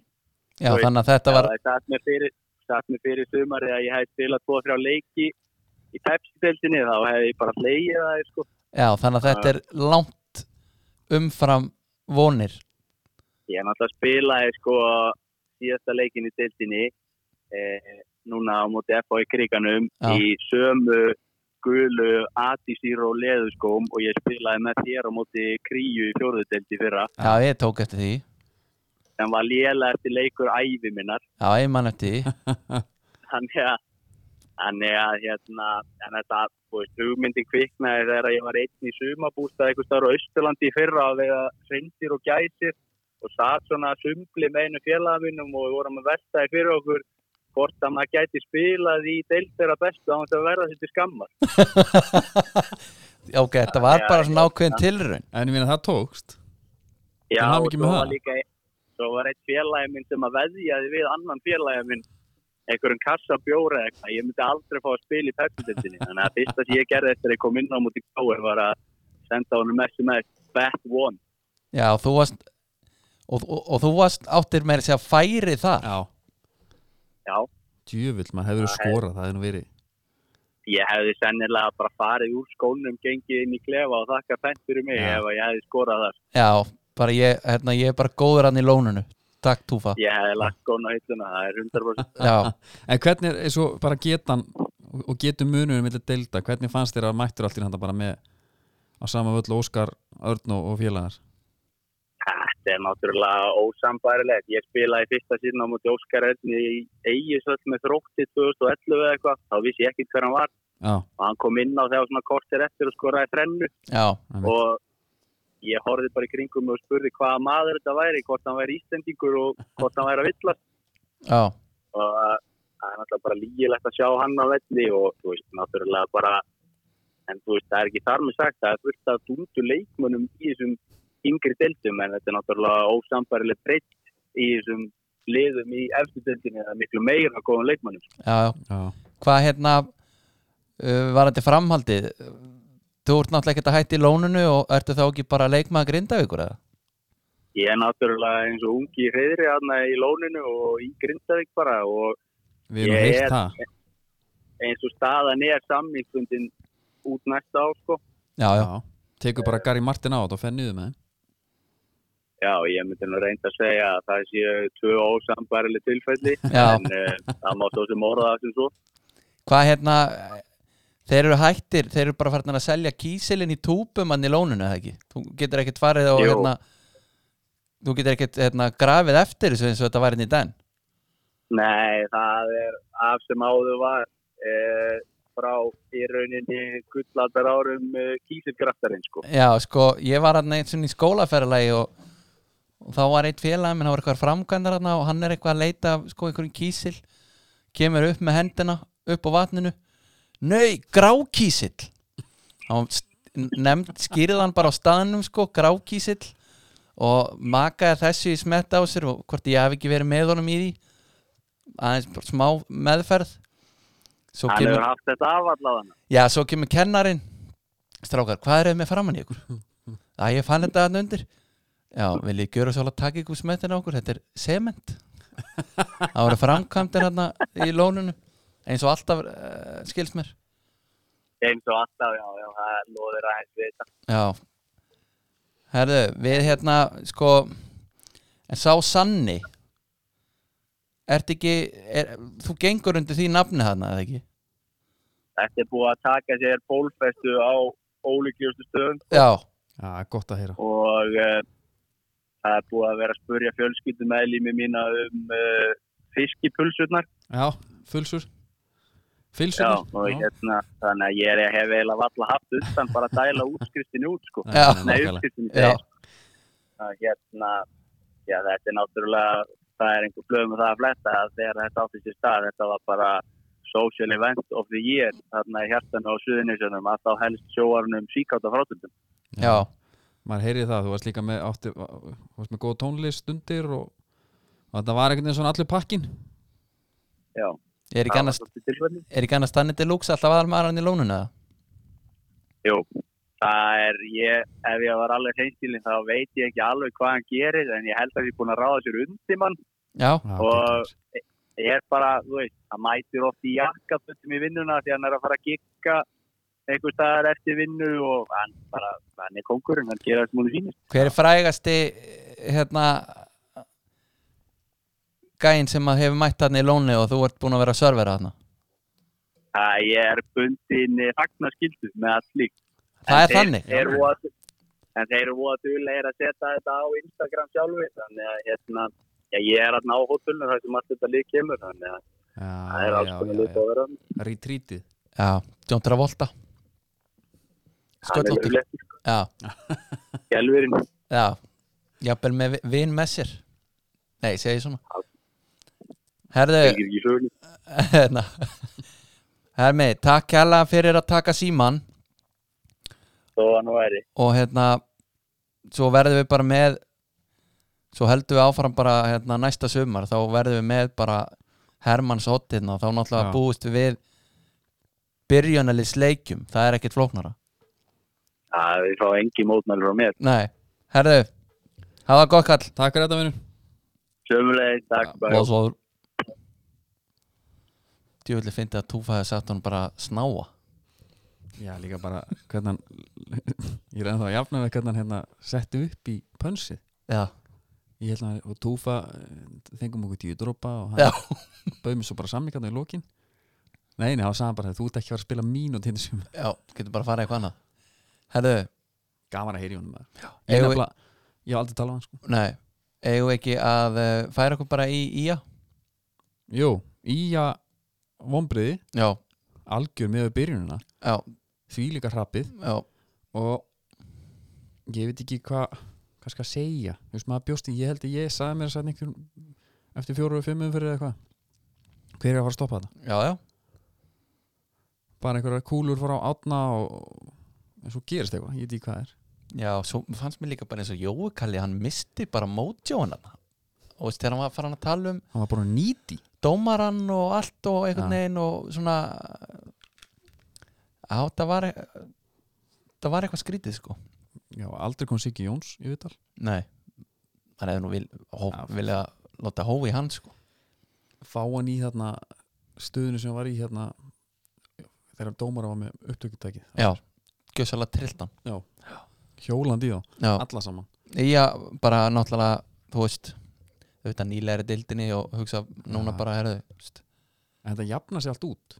[SPEAKER 2] Já,
[SPEAKER 3] Þú veist,
[SPEAKER 2] þannig að þetta var
[SPEAKER 3] Það hefði satt mér fyrir, satt mér fyrir sumari að ég hefði spilað tvo þrjá leiki í pepsi-deltinni, þá hefði ég bara hlegið að það, sko.
[SPEAKER 2] Já, þannig að þetta er langt umfram vonir
[SPEAKER 3] Ég náttúrulega spilaði sko síðasta leikin í deltinni, eh, núna á móti FH í kriganum,
[SPEAKER 2] Já.
[SPEAKER 3] í sömu gulu Adisýr og leðuskóm og ég spilaði með þér á móti kríu í fjóruðudeldi fyrra
[SPEAKER 2] Já, ég tók eftir því
[SPEAKER 3] sem var lélega eftir leikur ævi minnar
[SPEAKER 2] Já, ég man eftir því
[SPEAKER 3] þannig að þannig að hérna en þetta, þú veist, hugmyndin kviknaði þegar ég var einn í sumabústað eitthvað starf á Östurlandi í fyrra að vega hrindir og gæsir og satt svona að sumbli með einu félagaminum og við vorum að veltaði fyrir okkur hvort að maður gæti spilað í deildera bestu á hans að verða sér til skammar
[SPEAKER 2] Já, Ok, þetta var
[SPEAKER 3] Já,
[SPEAKER 2] bara svona ákveðin tilraun
[SPEAKER 1] en ég meina það tókst
[SPEAKER 3] Já,
[SPEAKER 1] Til
[SPEAKER 3] og
[SPEAKER 1] hamingju
[SPEAKER 3] svo
[SPEAKER 1] með
[SPEAKER 3] var
[SPEAKER 1] það.
[SPEAKER 3] líka svo var eitt félagi minn sem að veðjaði við annan félagi minn einhverjum kassa bjóra eitthvað, ég myndi aldrei fá að spila í pepsindindinni, þannig að fyrsta sem ég gerði eftir að ég kom inn á múti káir var að senda honum SMS bet one
[SPEAKER 2] Já, og þú varst og, og, og þú varst áttir meira að segja færi þar
[SPEAKER 1] Já,
[SPEAKER 3] já,
[SPEAKER 1] djöfull, maður hefur skorað það hefur nú verið
[SPEAKER 3] ég hefði sennilega bara farið úr skónum, gengið inn í klefa og þakka fenn fyrir mig
[SPEAKER 1] Já.
[SPEAKER 3] ef að ég hefði skorað það,
[SPEAKER 2] Já, bara ég, hérna, ég er bara góður hann í lóninu Takk, Túfa
[SPEAKER 3] ég hefði lagt skónu á hilluna, það er 100%
[SPEAKER 2] Já,
[SPEAKER 1] En hvernig er svo bara getan og- og getum munurinn millir delta hvernig fannst þér að mættur allt í handa bara með á sama völl Óskar, Örn og, og félagar
[SPEAKER 3] Þetta er náttúrulega ósambærilegt. Ég spilaði fyrsta síðan á móti Óskar Erni í Eigisöld með þrótti 2011 eða eitthvað. Þá vissi ég ekkert hver hann var.
[SPEAKER 1] Já,
[SPEAKER 3] Og hann kom inn á þegar svona kortir eftir og skoraði þrennu.
[SPEAKER 2] já,
[SPEAKER 1] Einmitt.
[SPEAKER 3] Og ég horfði bara í kringum mig og spurði hvaða maður þetta væri, hvort hann væri ístendingur og hvort hann væri að villast.
[SPEAKER 2] já
[SPEAKER 3] Og uh, það er náttúrulega bara lígilegt að sjá hann á velli og þú veist, náttúrulega bara, en þú veist, það er ekki þar með sagt, það er fullt af dundu leikmönnum í þessum yngri deildum, en þetta er náttúrulega ósambarileg breytt í þessum liðum í eftir deildinni, það er miklu meira að góðum leikmönnum. sko.
[SPEAKER 2] Já, já,
[SPEAKER 1] já,
[SPEAKER 2] hvað hérna uh, var þetta framhaldið þú ert náttúrulega ekkert að hætta í lóninu og ertu þá ekki bara leikmaða grindavíkur eða?
[SPEAKER 3] Ég er náttúrulega eins og ungi hreyðri aðna í lóninu og í Grindavík bara og
[SPEAKER 1] við erum
[SPEAKER 3] Ég
[SPEAKER 1] yeah, heilt
[SPEAKER 3] er-
[SPEAKER 1] það
[SPEAKER 3] eins og staðan er sammingsfundin út næsta ár, sko.
[SPEAKER 2] Já, já,
[SPEAKER 1] já. Tekur bara Gary Martin á þetta og fer niður með þeim
[SPEAKER 3] Já, ég myndi nú reynda að segja að það séu tvö ósambærileg tilfelli,
[SPEAKER 2] Já.
[SPEAKER 3] en uh, það má svo sem orða það sem svo.
[SPEAKER 2] hvað hérna eh, þeir eru hættir, þeir eru bara farin að selja kísilinn í túpum hann í lóninu eða ekki, þú getur ekkert farið og
[SPEAKER 3] Jú.
[SPEAKER 2] hérna þú getur ekkert hérna, grafið eftir þessu eins og þetta var hérna í den
[SPEAKER 3] Nei, það er af sem áður var uh, frá í rauninni gullaldar árum uh, kísilgraftarinn, sko.
[SPEAKER 2] Já, sko, ég var hann eins og í skólaferðalagi og, og þá var eitt félag minn, það var eitthvað framkvæmdar þarna og hann er eitthvað að leita af, sko einhverjum kísil kemur upp með hendina upp á vatninu Nei, grákísill hann nefnd, skýrði hann bara á staðnum sko, grákísill og makaði þessu í smetta á sér og hvort ég hef ekki verið með honum í því aðeins bara smá meðferð svo
[SPEAKER 3] Hann
[SPEAKER 2] kemur
[SPEAKER 3] hefur haft þetta af allavega.
[SPEAKER 2] Já, svo kemur kennarin Strákar, hvað er þið með framann í ykkur? Æ, ég fann þetta hann undir Já, vil ég gjöra svo að taka ykkur smetin á okkur Þetta er sement Það voru framkvæmdir hann í lónunum eins og alltaf uh, skils mér
[SPEAKER 3] Eins og alltaf, já, já, það loður aðeins við þetta.
[SPEAKER 2] Já Herðu, við hérna sko en sá Sanni Ert ekki er, þú gengur undir því nafni þarna eða ekki?
[SPEAKER 3] Þetta er búið að taka sér bólfestu á ólíkjustu stöðum
[SPEAKER 2] Já,
[SPEAKER 1] Já, gott að heyra
[SPEAKER 3] og uh, það er búið að vera að spurja fjölskyldum meðlými mína um uh, fiskipulsurnar.
[SPEAKER 1] Já, fylsur
[SPEAKER 3] Já,
[SPEAKER 1] Fylsur
[SPEAKER 3] og hérna, þannig að ég er- hef eiginlega valla haft undan bara að dæla útskriftinu út, sko.
[SPEAKER 2] Já.
[SPEAKER 3] Nei,
[SPEAKER 1] nákvæmlega.
[SPEAKER 3] uppskriftinu.
[SPEAKER 2] já,
[SPEAKER 3] að hérna, já þetta er náttúrulega, það er einhver blöðum og það að fletta að þegar þetta átti sér stað, þetta var bara social event of the year, þarna í hjartanu á Suðunisjónum, að þá helst sjóarunum um síkátt á frátundum.
[SPEAKER 2] já,
[SPEAKER 1] maður heyrið það, þú varst líka með, átti, þú varst með góð tónlist stundir og, og þetta var einhvern veginn svona allur pakkin
[SPEAKER 3] Já,
[SPEAKER 2] ég er ekki annars
[SPEAKER 3] tilfellin.
[SPEAKER 2] Er ekki annars Danny Deluxe alltaf aðal maður hann í lónuna? eða?
[SPEAKER 3] Jú, það er ég, ef ég var alveg hreinskilin þá veit ég ekki alveg hvað hann gerir, en ég held að ég er búin að ráða sér undir mann
[SPEAKER 2] Já,
[SPEAKER 1] Já,
[SPEAKER 3] Og-
[SPEAKER 1] geggjað.
[SPEAKER 3] ég er bara, þú veist, hann mætir oft í jakkafutum í vinnuna því hann er að fara að gikka einhver staðar eftir vinnu og hann bara, hann er kongurinn, hann gerir það sem hún sýnir.
[SPEAKER 2] hver er frægasti eh, hérna gæinn sem að hefur mætt hann í lónu og þú ert búin að vera að servera hann
[SPEAKER 3] Það ég er bundin fagnarskildu með allt líkt.
[SPEAKER 2] Það
[SPEAKER 3] En
[SPEAKER 2] er
[SPEAKER 3] þeir
[SPEAKER 2] þannig?
[SPEAKER 3] eru voða- En þeir eru voða duglegir að setja þetta á Instagram sjálfi, þannig að hérna, já, ég er að ná hóttunum þar sem allt þetta lík kemur, þannig að það er
[SPEAKER 1] Já,
[SPEAKER 3] alls
[SPEAKER 1] já,
[SPEAKER 3] konar
[SPEAKER 1] já,
[SPEAKER 3] líka að vera.
[SPEAKER 1] já. Retreatið
[SPEAKER 2] Já, John Travolta
[SPEAKER 3] Hann er
[SPEAKER 2] Sköllóttur
[SPEAKER 3] löglegur,
[SPEAKER 2] Já,
[SPEAKER 3] gelfurinn.
[SPEAKER 2] já Jafnvel með vi- vin með sér Nei, segi svona
[SPEAKER 3] Það
[SPEAKER 2] Herðu,
[SPEAKER 3] er ekki sögni.
[SPEAKER 2] hérna Hermi, takk kjærlega fyrir að taka síman
[SPEAKER 3] Þó að nú er ég.
[SPEAKER 2] og hérna svo verðum við bara með svo heldum við áfram bara hérna, næsta sumar þá verðum við með bara Hermanns Ottinn og þá náttúrulega
[SPEAKER 1] Já.
[SPEAKER 2] búist við við byrjunalins leikjum, það er ekkert flóknara
[SPEAKER 3] Það er þá engi mótmæli frá mér.
[SPEAKER 2] Nei, herðu hafa gott kall
[SPEAKER 1] Takk fyrir þetta vinur
[SPEAKER 3] Sömulegis, takk. bæ.
[SPEAKER 2] Blásóður Djúvillig fyndi að Túfa hefði sagt hún bara snáa
[SPEAKER 1] Já, líka bara hvernig hann ég er ennþá að jafna með hvernig hann hérna setti upp í pönsið
[SPEAKER 2] Já,
[SPEAKER 1] ég held að hann, og Túfa eh, þengum okkur tíu dropa og
[SPEAKER 2] já,
[SPEAKER 1] hann bauð mér svo bara samlingarna í lokin Nei, nei, þá sagði hann bara þú ert ekki að fara að spila mínút hins um
[SPEAKER 2] já, getur bara að fara eitthvað annað Herðu,
[SPEAKER 1] gaman að heyri honum maður. ég,
[SPEAKER 2] eigum við-
[SPEAKER 1] nefnilega- ég hef aldrei talað um hann sko
[SPEAKER 2] nei eigum við ekki að eh, færa okkur bara í ía?
[SPEAKER 1] Jú, í að vombriði
[SPEAKER 2] Já,
[SPEAKER 1] algjör með byrjunina
[SPEAKER 2] já,
[SPEAKER 1] því líka hrappið
[SPEAKER 2] já
[SPEAKER 1] og ég veit ekki hvað hvað skal segja, þú veist maður bjósti ég held að ég sagði mér að sagði einhver eftir fjóru og fimmu fyrir eitthvað hver er að fara að stoppa þetta?
[SPEAKER 2] Já, já,
[SPEAKER 1] Bara einhverjar kúlur fara á átna og en svo gerist eitthvað, ég veit ekki hvað er
[SPEAKER 2] já, svo fannst mér líka bara eins og Jói Kalli, hann misti bara mótjónan og veist, þegar hann var farin að tala um
[SPEAKER 1] hann var bara nýti
[SPEAKER 2] dómarann og allt og einhvern
[SPEAKER 1] Já.
[SPEAKER 2] veginn og svona á, það var e, það var eitthvað skrítið sko
[SPEAKER 1] Já, aldrei kom Siggi Jóns í viðtal
[SPEAKER 2] nei, hann hefði nú vil, hó,
[SPEAKER 1] Já.
[SPEAKER 2] vilja láta hói hann sko
[SPEAKER 1] fá hann í þarna stöðinu sem hann var í hérna þegar dómara var með upptökutækið
[SPEAKER 2] já, gjössalega trillt hann
[SPEAKER 1] hjólandi í þá,
[SPEAKER 2] já,
[SPEAKER 1] alla saman
[SPEAKER 2] já, bara náttúrulega þú veist, auðvitað nýlegri dildinni og hugsa núna
[SPEAKER 1] Já.
[SPEAKER 2] bara herðu, þú veist,
[SPEAKER 1] en þetta jafna sig allt út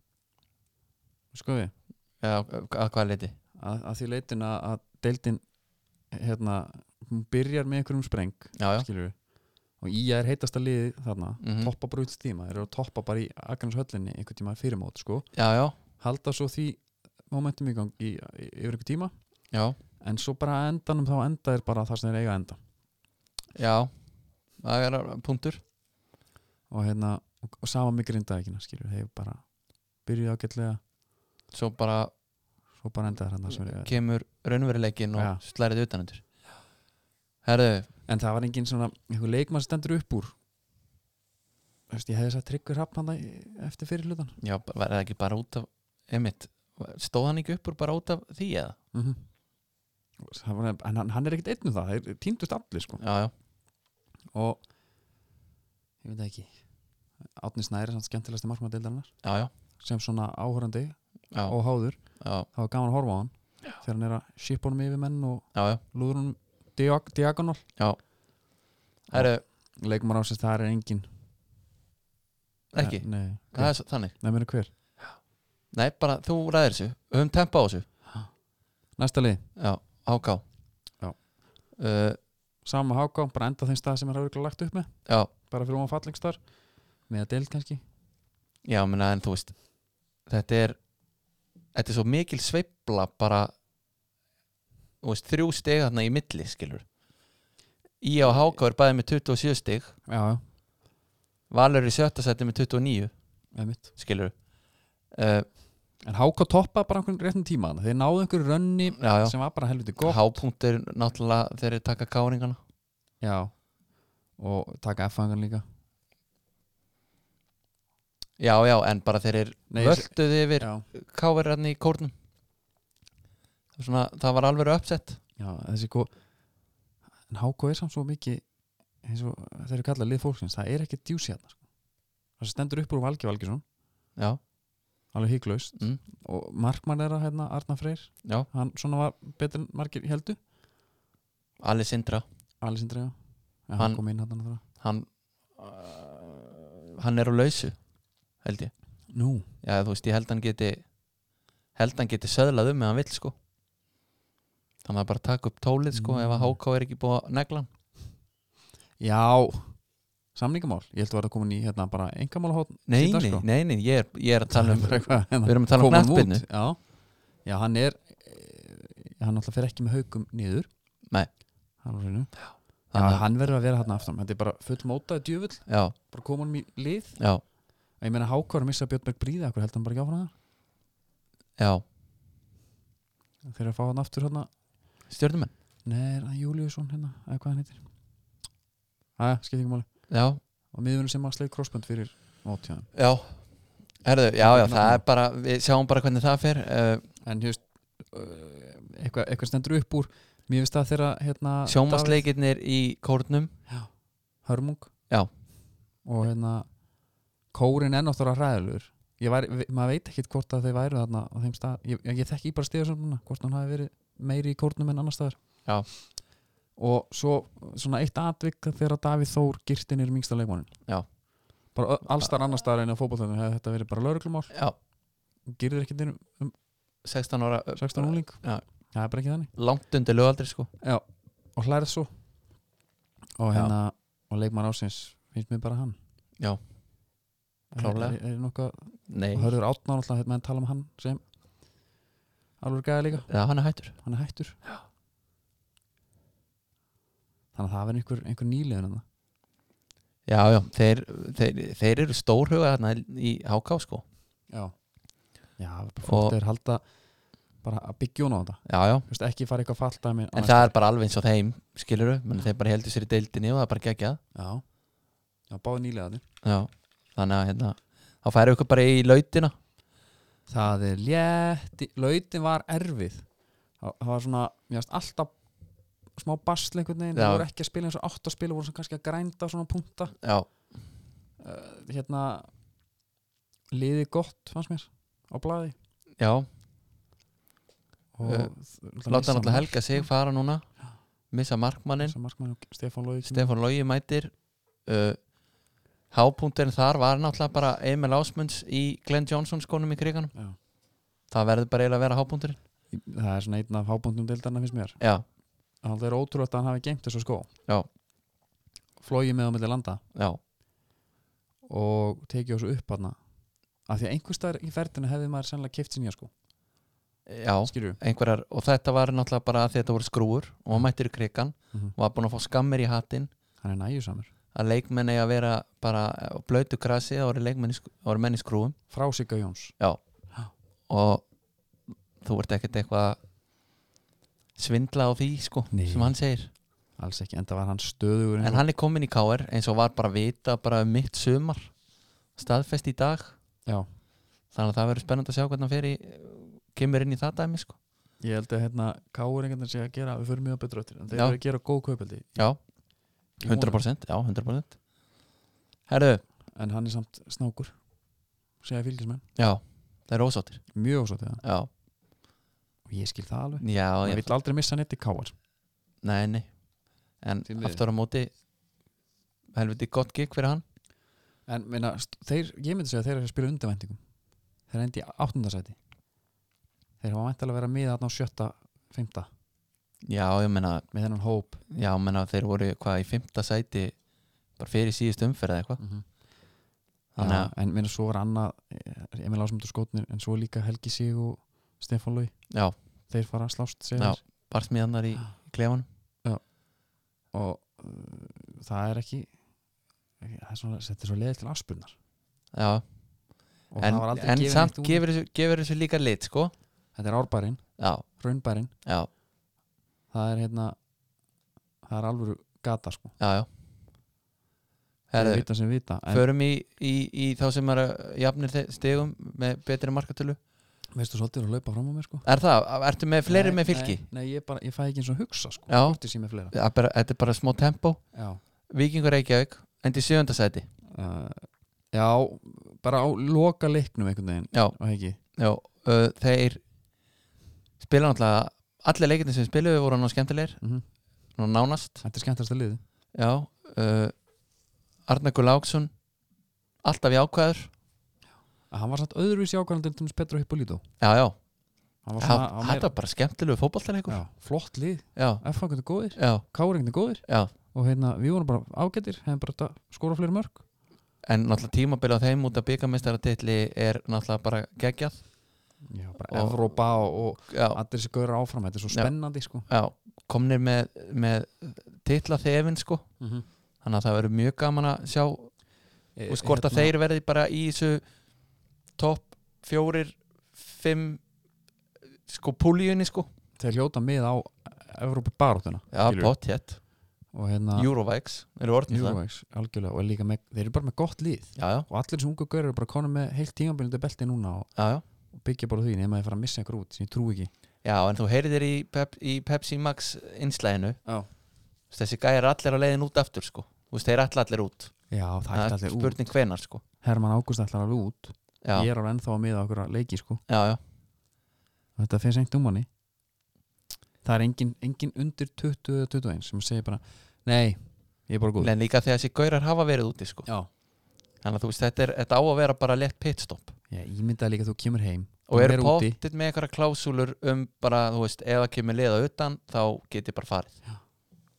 [SPEAKER 1] skoði
[SPEAKER 2] já, að hvað leiti
[SPEAKER 1] að, að því leitin að, að deildin hérna, hún byrjar með einhverjum spreng
[SPEAKER 2] já, já,
[SPEAKER 1] skilur við og ía er heitasta liði þarna
[SPEAKER 2] Mhm.
[SPEAKER 1] toppa bara út tíma, þeir eru að toppa bara í Akranes höllinni einhvern tíma fyrir mót sko
[SPEAKER 2] já, já,
[SPEAKER 1] halda svo því momentum í gang í, í, yfir einhver tíma
[SPEAKER 2] já.
[SPEAKER 1] en svo bara að endanum þá enda er bara það sem þeir eiga að enda
[SPEAKER 2] Já, það er punktur
[SPEAKER 1] og hérna, og, og sama með grindavíkina skilur, þeir bara byrjuði ágætlega
[SPEAKER 2] Svo bara
[SPEAKER 1] svo bara endaði hann það sem er
[SPEAKER 2] kemur raunveruleikin
[SPEAKER 1] Já.
[SPEAKER 2] og slærið utanundir Herðu,
[SPEAKER 1] en það var engin svona, einhver leikmann stendur upp úr Þú veist, ég hefði sagt tryggur hafn hann eftir fyrir hlutan
[SPEAKER 2] já, var það ekki bara út af einmitt, stóð hann ekki upp úr bara út af því eða?
[SPEAKER 1] mm -hmm. en hann, hann er ekkert einn um það þeir týndust allir sko
[SPEAKER 2] Já, já,
[SPEAKER 1] og ég veit það ekki Átni Snæri, sann skemmtilegasti markmaður deildarinnar
[SPEAKER 2] já, já,
[SPEAKER 1] sem svona áhorandi
[SPEAKER 2] já,
[SPEAKER 1] og háður
[SPEAKER 2] já,
[SPEAKER 1] það var gaman að horfa á hann þegar hann er að shipa honum yfir menn og
[SPEAKER 2] já, já.
[SPEAKER 1] lúður honum diag diagonal
[SPEAKER 2] Herðu,
[SPEAKER 1] leikumar ásins það er engin
[SPEAKER 2] ekki,
[SPEAKER 1] nei, nei,
[SPEAKER 2] það
[SPEAKER 1] hver,
[SPEAKER 2] er svo, þannig
[SPEAKER 1] nei meina hver
[SPEAKER 2] Nei, bara þú ræðir þessu, höfum tempa á þessu
[SPEAKER 1] næsta lið,
[SPEAKER 2] Já, háká
[SPEAKER 1] Já.
[SPEAKER 2] uh,
[SPEAKER 1] sama háká, bara enda á þeim stað sem hann hefur lagt upp með,
[SPEAKER 2] já,
[SPEAKER 1] bara fyrir um að fallingstar með að deild kannski
[SPEAKER 2] já, menna, en þú veist Þetta er Þetta er svo mikil sveifla bara þú veist, þrjú stig þarna í milli, skilur Í á háká er bæði með 27 stig
[SPEAKER 1] já, já,
[SPEAKER 2] Valur er í sjötta seti með 29
[SPEAKER 1] eða mitt
[SPEAKER 2] skilur uh,
[SPEAKER 1] en háká toppa bara einhvern réttum tíma þarna. þeir náðu einhverju rönni
[SPEAKER 2] Já, já
[SPEAKER 1] sem var bara helviti gott
[SPEAKER 2] Hápunkt er náttúrulega þegar þeir taka káringana
[SPEAKER 1] já, og taka F-fangan líka
[SPEAKER 2] Já, já, en bara þeir er
[SPEAKER 1] Nei,
[SPEAKER 2] völduð yfir
[SPEAKER 1] já,
[SPEAKER 2] káverðarni í kórnum Það var svona, það var alveg uppsett
[SPEAKER 1] já, þessi sko en háká er samt svo mikið eins og þeir eru kallað lið fólksins það er ekki djúsi hérna sko. það sem stendur upp úr Valgi Valgisson
[SPEAKER 2] Já,
[SPEAKER 1] alveg hygglaust
[SPEAKER 2] Mm.
[SPEAKER 1] og markmann er að hérna Arna Freyr
[SPEAKER 2] já,
[SPEAKER 1] hann svona var betur en margir heldu
[SPEAKER 2] Alice Indra
[SPEAKER 1] Alessandra, já,
[SPEAKER 2] Hann-
[SPEAKER 1] hann kom inn hann þarna.
[SPEAKER 2] hann uh, hann er á lausu held ég,
[SPEAKER 1] nú,
[SPEAKER 2] já þú veist ég held hann geti held hann geti söðlað um ef hann vill sko þannig að bara taka upp tólið sko
[SPEAKER 1] Mm.
[SPEAKER 2] ef að HK er ekki búið að negla hann
[SPEAKER 1] já samningamál, ég held að vera komin í hérna bara engamálahótt
[SPEAKER 2] nei,
[SPEAKER 1] Sýnda,
[SPEAKER 2] nei,
[SPEAKER 1] sko.
[SPEAKER 2] nei, nei, ég er, ég er að tala um
[SPEAKER 1] við
[SPEAKER 2] við erum að tala um knattbyrnu
[SPEAKER 1] hérna. já. já, hann er eh, hann alltaf fer ekki með haukum niður
[SPEAKER 2] Nei.
[SPEAKER 1] hann, var hreinu. já,
[SPEAKER 2] Þannig að-
[SPEAKER 1] hann verður að vera hann aftan þetta er bara full mótaði djöfull
[SPEAKER 2] já,
[SPEAKER 1] bara koma hann í lið
[SPEAKER 2] já,
[SPEAKER 1] ég meina hákvar að missa Björnberg Bríða okkur held hann bara ekki áfram
[SPEAKER 2] já,
[SPEAKER 1] það þegar að fá hann aftur hérna
[SPEAKER 2] stjórnumenn
[SPEAKER 1] Nei, er það Júliusson hérna, eða hvað hann heitir Æja, skipt ekki máli
[SPEAKER 2] já,
[SPEAKER 1] Og miðvunum sem að sleið crossbund fyrir mótjáðum
[SPEAKER 2] já, herðu, já, já það er bara, við sjáum bara hvernig það fer uh,
[SPEAKER 1] En þú veist, uh, eitthvað, eitthvað stendur upp úr Mér finnst það þeirra hérna
[SPEAKER 2] Ah, sjómasleikirnir í kórnum
[SPEAKER 1] Davíð Hörmung
[SPEAKER 2] Já.
[SPEAKER 1] Og hérna Kórin enn áttur að ræðlur Ég væri, vi- maður veit ekkit hvort að þeir væru þarna á þeim stað Ég, ég þekki bara stiða svona Hvort hann hafi verið meiri í kórnum en annar staðar
[SPEAKER 2] Já.
[SPEAKER 1] Og svo svona eitt atvik þegar Davíð Þór girtin er mingsta leikmannin
[SPEAKER 2] Já.
[SPEAKER 1] Bara allstar annar staðar en á fótbolltöndum hefði þetta verið bara lauruglumál
[SPEAKER 2] já,
[SPEAKER 1] Girðir ekkit inn um
[SPEAKER 2] 16 ára
[SPEAKER 1] 16 úling
[SPEAKER 2] Já.
[SPEAKER 1] Það er bara ekki þannig
[SPEAKER 2] langt undir lögaldri sko
[SPEAKER 1] Já. Og hlærið svo Og
[SPEAKER 2] Já.
[SPEAKER 1] hérna Og leikmann ásins finnst mér bara hann
[SPEAKER 2] Já. Klárlega.
[SPEAKER 1] Er, er, er nokka
[SPEAKER 2] nei,
[SPEAKER 1] og hörður átnar alltaf hérna menn tala um hann sem alveg gæði líka,
[SPEAKER 2] Já, hann er hættur
[SPEAKER 1] hann er hættur Já. þannig að það verður einhver, einhver nýliðun en
[SPEAKER 2] Já, já, þeir, þeir, þeir eru stórhuga þarna í HK sko
[SPEAKER 1] Já, Já bara
[SPEAKER 2] Og-
[SPEAKER 1] fólk er halda bara að byggja hún á þetta
[SPEAKER 2] Já, já,
[SPEAKER 1] Þú veist, ekki fara eitthvað falldæmi
[SPEAKER 2] en það er bara alveg eins og þeim skiluru, menn þeir bara heldur sér í deildinni og það er bara geggjað
[SPEAKER 1] Já, Já báði nýliðan
[SPEAKER 2] Já, þannig að hérna þá færu ykkur bara í lautina
[SPEAKER 1] Það er létti, lautin var erfið það það var svona, mér varst alltaf smá basl einhvern veginn,
[SPEAKER 2] Já.
[SPEAKER 1] það voru ekki að spila eins og átt að spila voru svona kannski að grænda á svona punta
[SPEAKER 2] Já,
[SPEAKER 1] uh, hérna liði gott fannst mér á blaði
[SPEAKER 2] já,
[SPEAKER 1] og
[SPEAKER 2] Eh, láta hann alltaf helga sig fara núna missa markmannin,
[SPEAKER 1] markmann og Stefán Lói kemur.
[SPEAKER 2] Stefán Lógi mætir uh, Hápunkturinn þar var náttúrulega bara Emil Ásmunds í Glenn Johnson skónum í kriganum
[SPEAKER 1] Já.
[SPEAKER 2] Það verður bara eiginlega að vera hápunkturinn
[SPEAKER 1] það er svona einn af hábúndum deildarna finnst mér
[SPEAKER 2] Já,
[SPEAKER 1] það er ótrúlegt að hann hafi geimt þessu skó
[SPEAKER 2] Já.
[SPEAKER 1] flóið með á milli landa
[SPEAKER 2] já,
[SPEAKER 1] og tekið þessu upp hann af því að einhvers staðar í ferðinu hefði maður sennilega keift sér nýja skó
[SPEAKER 2] já
[SPEAKER 1] skilju
[SPEAKER 2] einhverjar, og þetta var náttúrulega bara að þetta voru skrúur og hann mættir í krikan
[SPEAKER 1] Mhm.
[SPEAKER 2] og var búin að fá skammir í hattinn
[SPEAKER 1] hann er nægjusamur
[SPEAKER 2] að leikmenn eiga að vera bara á blöytu grasi og eru leikmenn í sk- það voru menn í skrúum
[SPEAKER 1] frá Sigga Jóns
[SPEAKER 2] og þú ert ekkert eitthvað að svindla á því sko,
[SPEAKER 1] Nei.
[SPEAKER 2] sem hann segir
[SPEAKER 1] alls ekki, enda var hann stöðugur eins
[SPEAKER 2] en
[SPEAKER 1] og-
[SPEAKER 2] hann er komin í KR eins og var bara að vita bara um mitt sumar staðfest í dag
[SPEAKER 1] Já.
[SPEAKER 2] þannig að það verður spennandi að sjá hvernig hann fer í kemur inn í það dæmi sko
[SPEAKER 1] ég held að hérna Káur einhvern veginn sé að gera við förum mjög betur öttir en þeir
[SPEAKER 2] Já.
[SPEAKER 1] eru að gera góð kaupeldi
[SPEAKER 2] já,
[SPEAKER 1] Ég vona
[SPEAKER 2] 100% já, 100% herðu,
[SPEAKER 1] það. en hann er samt snákur segja fylgismenn,
[SPEAKER 2] já, það er ósáttir
[SPEAKER 1] mjög ósátt við hann
[SPEAKER 2] já,
[SPEAKER 1] og ég skil það alveg,
[SPEAKER 2] já,
[SPEAKER 1] hann
[SPEAKER 2] já
[SPEAKER 1] vill aldrei missa neitt í Káur
[SPEAKER 2] Nei, nei En
[SPEAKER 1] Því miður.
[SPEAKER 2] aftur á móti Helviti gott gig fyrir hann
[SPEAKER 1] en minna, st- þeir, ég myndi segja að þeir eru að spila undirvæntingum þeir endi í áttundasæti þeir hafa mæntalega að vera miða þarna á sjötta, fymta
[SPEAKER 2] Já, ég meina,
[SPEAKER 1] með þennan hóp
[SPEAKER 2] já, ég meina þeir voru hvað í fimmta sæti bara fyrir síðust umferð eða eitthvað
[SPEAKER 1] mm -hmm.
[SPEAKER 2] Þannig að-
[SPEAKER 1] en minna svo er annað eh, Emil Ásmundur skotnir en svo líka Helgi Sig og Stefán Lói
[SPEAKER 2] Já,
[SPEAKER 1] þeir fara að slást segja
[SPEAKER 2] Já.
[SPEAKER 1] þeir.
[SPEAKER 2] barsmiðanar í klefanum
[SPEAKER 1] og uh, það er ekki ekki- það er svona, þetta er svo leiðið til afspurnar
[SPEAKER 2] Já,
[SPEAKER 1] og
[SPEAKER 2] en,
[SPEAKER 1] það var aldrei
[SPEAKER 2] en
[SPEAKER 1] gefið
[SPEAKER 2] samt
[SPEAKER 1] neitt út.
[SPEAKER 2] gefur þessu, gefur þessu líka lit, sko
[SPEAKER 1] þetta er árbærin,
[SPEAKER 2] Já,
[SPEAKER 1] raunbærin
[SPEAKER 2] já,
[SPEAKER 1] það er hérna það er alvöru gata sko
[SPEAKER 2] já, já
[SPEAKER 1] Þeir
[SPEAKER 2] Herðu,
[SPEAKER 1] vita sem vita en
[SPEAKER 2] förum í, í, í þá sem er jafnir þe- stigum með betri markatölu
[SPEAKER 1] veistu svolítið er að laupa fram á mér sko
[SPEAKER 2] Er það, ertu með fleiri
[SPEAKER 1] Nei,
[SPEAKER 2] með fylki?
[SPEAKER 1] nei, nei, ég, bara, ég fæ ekki eins og hugsa sko
[SPEAKER 2] Já.
[SPEAKER 1] hvort ég sé með fleira
[SPEAKER 2] Það er bara- Þetta er bara smá tempo
[SPEAKER 1] já.
[SPEAKER 2] Víkingur Reykjavík, endi sjöfunda sæti
[SPEAKER 1] Uh, já, bara á loka leiknum einhvern veginn
[SPEAKER 2] Já,
[SPEAKER 1] og ekki
[SPEAKER 2] já uh, þeir spila náttúrulega allir leikirnir sem spiluðu voru ná skemmtilegir
[SPEAKER 1] Mhm.
[SPEAKER 2] ná nánast
[SPEAKER 1] þetta er skemmtast að liði
[SPEAKER 2] já, uh, Arnar Guláksson alltaf jákvæður
[SPEAKER 1] hann var samt öðruvísi ákvæmlega til dæmis Petro Hippolito
[SPEAKER 2] já, já,
[SPEAKER 1] hann var
[SPEAKER 2] já
[SPEAKER 1] svona hann var
[SPEAKER 2] þetta var bara skemmtilegu fótballtalegur já,
[SPEAKER 1] já, flott lið,
[SPEAKER 2] já,
[SPEAKER 1] F-fangunni góðir
[SPEAKER 2] já,
[SPEAKER 1] Káringinni góðir og hérna, við vorum bara ágættir hefum bara átt að skora fleiri mörg
[SPEAKER 2] en náttúrulega tímabilið á þeim út af byggamestaratilli er náttúrulega bara geggjað
[SPEAKER 1] Já, bara
[SPEAKER 2] Og-
[SPEAKER 1] Evrópa og,
[SPEAKER 2] já,
[SPEAKER 1] og allir þessi gauður áfram þetta er svo
[SPEAKER 2] Já.
[SPEAKER 1] spennandi sko
[SPEAKER 2] já, komnir með, með titla þefin sko
[SPEAKER 1] Mhm.
[SPEAKER 2] þannig að það verður mjög gaman að sjá
[SPEAKER 1] e,
[SPEAKER 2] og skort að þeir verði bara í þessu topp fjórir fimm sko púlíunni sko
[SPEAKER 1] þeir hljóta mið á Evrópa baróttuna
[SPEAKER 2] já,
[SPEAKER 1] Skilur.
[SPEAKER 2] pott hétt,
[SPEAKER 1] og hérna
[SPEAKER 2] Eurovax eru orðnir það
[SPEAKER 1] Eurovægs, algjörlega og er líka með, þeir eru bara með gott lið
[SPEAKER 2] já, já,
[SPEAKER 1] og allir þessi ungu gauður eru bara konum með heilt tímanbyrjandi belti núna og,
[SPEAKER 2] já, já,
[SPEAKER 1] og byggja bara á því nema þeir fara að missa einhver út sem ég trú ekki
[SPEAKER 2] já, en þú heyrið þér í, pep, í Pepsi Max einslæðinu
[SPEAKER 1] Já.
[SPEAKER 2] þessi gæjar allir á leiðin út aftur sko Þú veist, þeir ætla allir út
[SPEAKER 1] Já, það er allir út
[SPEAKER 2] spurning hvenar sko
[SPEAKER 1] Herman Ágúst ætlar alveg út
[SPEAKER 2] já,
[SPEAKER 1] ég er alveg ennþá að miða okkur að leiki sko
[SPEAKER 2] já, já,
[SPEAKER 1] þetta finnst engt um hann það er engin, engin undir 20 eða 21 sem segir bara nei, ég er bara góð
[SPEAKER 2] en líka þegar þessi gæjar hafa verið úti sko
[SPEAKER 1] já.
[SPEAKER 2] þannig að þú veist, þetta, er, þetta á að vera bara lett pitstop
[SPEAKER 1] ég ímyndaði líka að þú kemur heim
[SPEAKER 2] og
[SPEAKER 1] Þú
[SPEAKER 2] eru
[SPEAKER 1] er úti.
[SPEAKER 2] pottit með einhverja klásúlur um bara, þú veist, ef það kemur liða utan þá get ég bara farið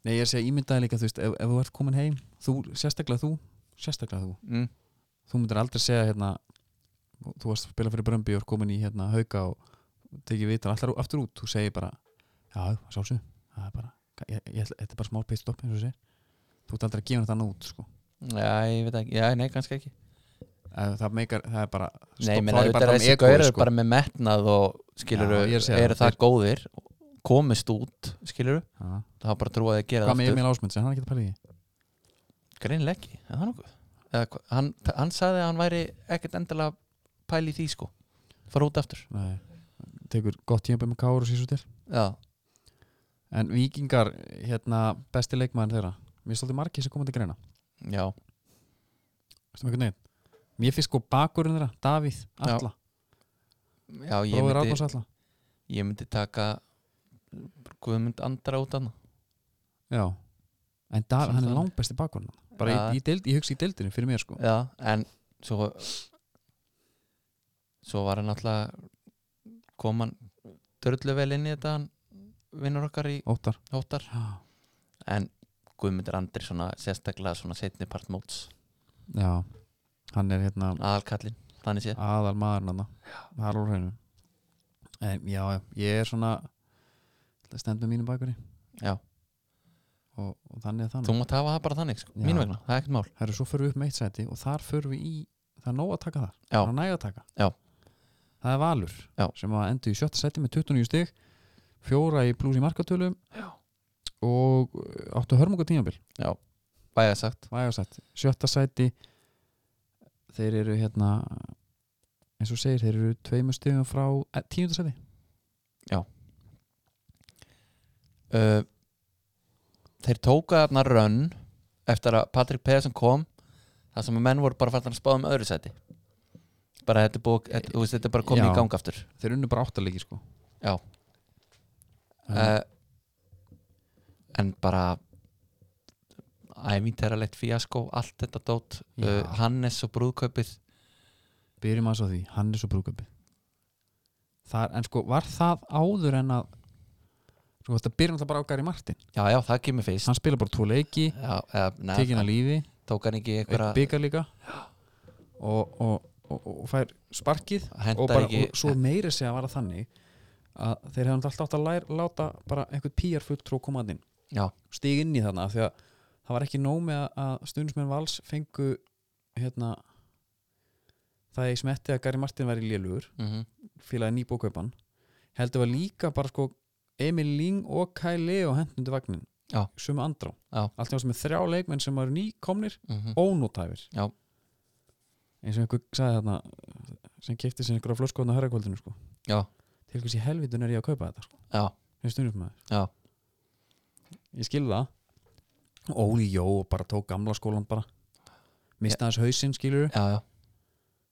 [SPEAKER 1] nei, ég segi ímyndaði líka, þú veist, ef, ef þú ert komin heim þú, sérstaklega þú, sérstaklega þú
[SPEAKER 2] mm.
[SPEAKER 1] þú myndir aldrei segja hérna þú varst að spila fyrir Brömbi og er komin í hérna hauka og tekið vitan allar ú- aftur út þú segir bara, já, sjálfsög það er bara, ég, ég, ætla- þetta er bara smá pitstop eins og þú segir, þú ert aldrei að gefa þetta annað út sko.
[SPEAKER 2] Já, ég veit ekki, já, nei, kannski ekki
[SPEAKER 1] Ef það, meikar, það er bara
[SPEAKER 2] Nei, menn
[SPEAKER 1] þá er
[SPEAKER 2] að
[SPEAKER 1] ég bara
[SPEAKER 2] þetta
[SPEAKER 1] að
[SPEAKER 2] er
[SPEAKER 1] tala um
[SPEAKER 2] þessi
[SPEAKER 1] egóið,
[SPEAKER 2] gaur eru
[SPEAKER 1] sko.
[SPEAKER 2] bara með metnað og skiluru,
[SPEAKER 1] Já, ég er að segja
[SPEAKER 2] eru
[SPEAKER 1] það,
[SPEAKER 2] það góðir komist út, skiluru
[SPEAKER 1] Já.
[SPEAKER 2] það er bara að trúa að þið gera
[SPEAKER 1] Hvað
[SPEAKER 2] það
[SPEAKER 1] með
[SPEAKER 2] aftur
[SPEAKER 1] Emil Ásmunds, er hann ekki að pæla í því?
[SPEAKER 2] Greinilega ekki, er það nokkuð Eða, hva- hann, hann sagði að hann væri ekkert endilega pæli í því, sko fara út aftur
[SPEAKER 1] Nei, tekur gott tíma með Káur og sísu til
[SPEAKER 2] Já,
[SPEAKER 1] En vikingar, hérna, besti leikmaður þeirra Mér er svolítið margir sem koma til greina
[SPEAKER 2] já,
[SPEAKER 1] Veistu maður hvernig? Mér finnst sko bakurinn þeirra, Davíð, Alla
[SPEAKER 2] já ég,
[SPEAKER 1] Bróður
[SPEAKER 2] myndi,
[SPEAKER 1] Arnars Alla
[SPEAKER 2] ég myndi taka Guðmund Andra út annað
[SPEAKER 1] Já En Davíð, hann er
[SPEAKER 2] Samstæðan.
[SPEAKER 1] langbesti bakurinn Bara
[SPEAKER 2] Ja.
[SPEAKER 1] í, í deild, ég hugsa í deildinu fyrir mér sko
[SPEAKER 2] Já, en svo svo var hann alltaf kom hann dörlu vel inn í þetta hann vinnur okkar í
[SPEAKER 1] Óttar
[SPEAKER 2] hóttar
[SPEAKER 1] Já,
[SPEAKER 2] en Guðmundur Andri svona sérstaklega svona setni part móts
[SPEAKER 1] Já. hann er hérna
[SPEAKER 2] aðalkallinn, þannig sé
[SPEAKER 1] aðal maðurinn hann Það er úr hreinu en, Já, já, ég er svona Það stendur mínu bakuri
[SPEAKER 2] Já.
[SPEAKER 1] og, og þannig að þannig
[SPEAKER 2] þú mátt hafa það bara þannig, sko,
[SPEAKER 1] Já.
[SPEAKER 2] mín vegna, það er ekkert mál
[SPEAKER 1] Herru, svo förum við upp með eitt sæti og þar förum við í það er nóg að taka þar,
[SPEAKER 2] Já.
[SPEAKER 1] það er næg að taka
[SPEAKER 2] Já.
[SPEAKER 1] það er Valur
[SPEAKER 2] Já.
[SPEAKER 1] sem að endur í sjötta sæti með 29 stig fjóra í pluss í markatölum
[SPEAKER 2] Já.
[SPEAKER 1] og uh, áttu hörmunga tímabil
[SPEAKER 2] bæja sagt,
[SPEAKER 1] vægasætt, sjötta sæti þeir eru hérna eins og þú segir, þeir eru tveimur stigum frá eh, tíunda sæti
[SPEAKER 2] uh, þeir tóka þarna rönn eftir að Patrik Pedersen kom það sem að menn voru bara fælt að spáða um öðru sæti bara þetta er búið, þetta, þú veist, þetta er bara
[SPEAKER 1] Já.
[SPEAKER 2] komið í gang aftur
[SPEAKER 1] þeir unnu bara áttalegi sko
[SPEAKER 2] Já.
[SPEAKER 1] uh,
[SPEAKER 2] uh, en bara ævintæralegt fíaskó allt þetta dót
[SPEAKER 1] Já.
[SPEAKER 2] uh, Hannes og brúðkaupið
[SPEAKER 1] byrjum aðeins á því, Hannes og brúðkaupi þar, en sko, var það áður en að sko, þetta byrjum það bara á Gary Martin
[SPEAKER 2] já já það kemur fyrst
[SPEAKER 1] hann spila bara tvo leiki,
[SPEAKER 2] já, eða,
[SPEAKER 1] tekin
[SPEAKER 2] neð,
[SPEAKER 1] að lífi
[SPEAKER 2] tók hann ekki
[SPEAKER 1] eitt
[SPEAKER 2] einhverja
[SPEAKER 1] byggar líka og, og, og, og fær sparkið og,
[SPEAKER 2] hendar
[SPEAKER 1] bara,
[SPEAKER 2] ekki
[SPEAKER 1] og svo meiri sig að vara þannig að þeir hefum alltaf átt að læra, láta bara einhvern PR fulltrú komaðinn
[SPEAKER 2] já,
[SPEAKER 1] stig inn í þarna af því að það var ekki nóg með að- að stundismenn vals fengu hérna það ég smetti að Gary Martin væri lélugur
[SPEAKER 2] mm
[SPEAKER 1] félagi nýbókaupan heldur var líka bara sko Emil Ling og Kai Leo hendundi vagnin
[SPEAKER 2] Já.
[SPEAKER 1] sömu andrá
[SPEAKER 2] Já. Mm.
[SPEAKER 1] allt í ásum með þrjá leikmenn sem eru nýkomnir
[SPEAKER 2] mhm.
[SPEAKER 1] ónótæfir
[SPEAKER 2] Já.
[SPEAKER 1] eins og einhver sagði þarna sem kefti sér einhverja flöskóðna hörrakvöldinu sko.
[SPEAKER 2] Já.
[SPEAKER 1] til hvers í helvitun er ég að kaupa þetta sko.
[SPEAKER 2] já,
[SPEAKER 1] Mér stundum maður
[SPEAKER 2] Já.
[SPEAKER 1] Ég skil það Óli Jó og bara tók gamla skólan bara Mista hans hausinn skilur
[SPEAKER 2] já, já,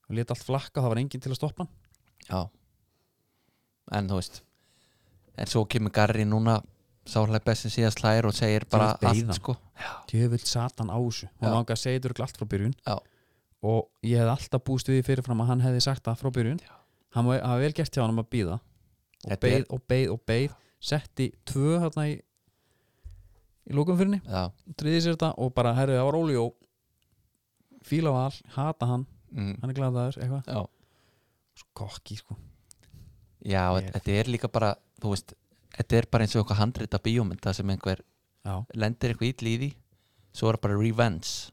[SPEAKER 1] og lét allt flakka, það var enginn til að stoppa hann
[SPEAKER 2] já en þú veist en svo kemur Garri núna sárlega best sem síðast hlær og segir bara
[SPEAKER 1] veist, beið
[SPEAKER 2] allt
[SPEAKER 1] hann.
[SPEAKER 2] sko
[SPEAKER 1] Tjöfull satan á þessu Hún
[SPEAKER 2] Já.
[SPEAKER 1] langaði að segja þetta örugglega allt frá byrjun
[SPEAKER 2] Já.
[SPEAKER 1] Og ég hefði alltaf búist við því fyrirfram að hann hefði sagt það frá byrjun
[SPEAKER 2] Já.
[SPEAKER 1] Hann var- hann var vel gert hjá hann um að býða og
[SPEAKER 2] Þetta
[SPEAKER 1] beið
[SPEAKER 2] er-
[SPEAKER 1] og beið og beið setti tvö hérna í í lókumfyrinni,
[SPEAKER 2] já,
[SPEAKER 1] triði sér þetta og bara herrið á Óli Jó fíla val, hata hann
[SPEAKER 2] mm,
[SPEAKER 1] hann er gladaður, eitthvað
[SPEAKER 2] já
[SPEAKER 1] svo kokki sko
[SPEAKER 2] Já,
[SPEAKER 1] Ég-
[SPEAKER 2] þetta er líka bara, þú veist þetta er bara eins og eitthvað handrita bíómynd það sem einhver
[SPEAKER 1] já,
[SPEAKER 2] lendir eitthvað ítl í því svo er bara revenge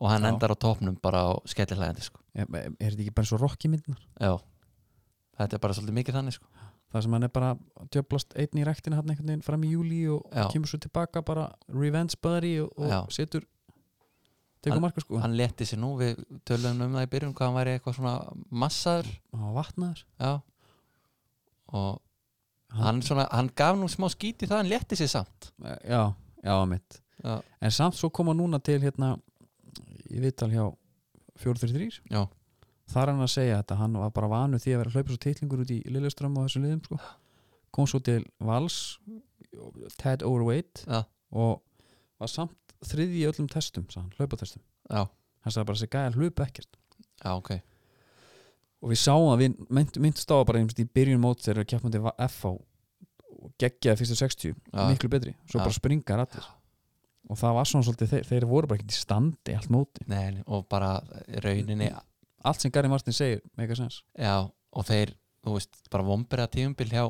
[SPEAKER 2] og hann
[SPEAKER 1] Já.
[SPEAKER 2] endar á topnum bara á skellilegandi sko.
[SPEAKER 1] er, er þetta ekki bara eins og Rocky myndnar
[SPEAKER 2] Já, þetta er bara svolítið mikið þannig sko.
[SPEAKER 1] það sem hann er bara að djöflast einn í rektina hann einhvern veginn fram í júli og
[SPEAKER 2] Já.
[SPEAKER 1] kemur svo tilbaka bara revenge buddy og,
[SPEAKER 2] Já.
[SPEAKER 1] og setur tekur marka sko hann,
[SPEAKER 2] Hann leti sér nú, við töluðum um það í byrjun hvað hann væri eitthvað svona massaður
[SPEAKER 1] var vatnaður
[SPEAKER 2] Já og
[SPEAKER 1] Hann-
[SPEAKER 2] hann, svona, hann gaf nú smá skíti það, hann leti sér samt
[SPEAKER 1] já, já mitt
[SPEAKER 2] Já.
[SPEAKER 1] en samt svo koma núna til hérna í viðtal hjá 433
[SPEAKER 2] Já.
[SPEAKER 1] þar er hann að segja þetta hann var bara vanu því að vera hlaupið svo titlingur út í Lilleström og þessum liðum sko kom svo til Vals Ted Overweight
[SPEAKER 2] Já,
[SPEAKER 1] og var samt þriði í öllum testum, sagðan, hlaupatestum
[SPEAKER 2] já,
[SPEAKER 1] hann sagði bara þessi gæja hlaupa ekkert
[SPEAKER 2] já, ok
[SPEAKER 1] og við sáum að við mynd, myndst á það bara einhvern í byrjun mót þegar við keppandi FH og geggjaði fyrstu 60
[SPEAKER 2] Já.
[SPEAKER 1] miklu betri, svo
[SPEAKER 2] Já.
[SPEAKER 1] bara springar allir og það var svona svolítið, þeir, þeir voru bara ekkert í standi allt móti,
[SPEAKER 2] Nei, og bara rauninni
[SPEAKER 1] allt sem Gary Martin segir make a sense,
[SPEAKER 2] Já, og þeir, þú veist, bara vombera tíumbil hjá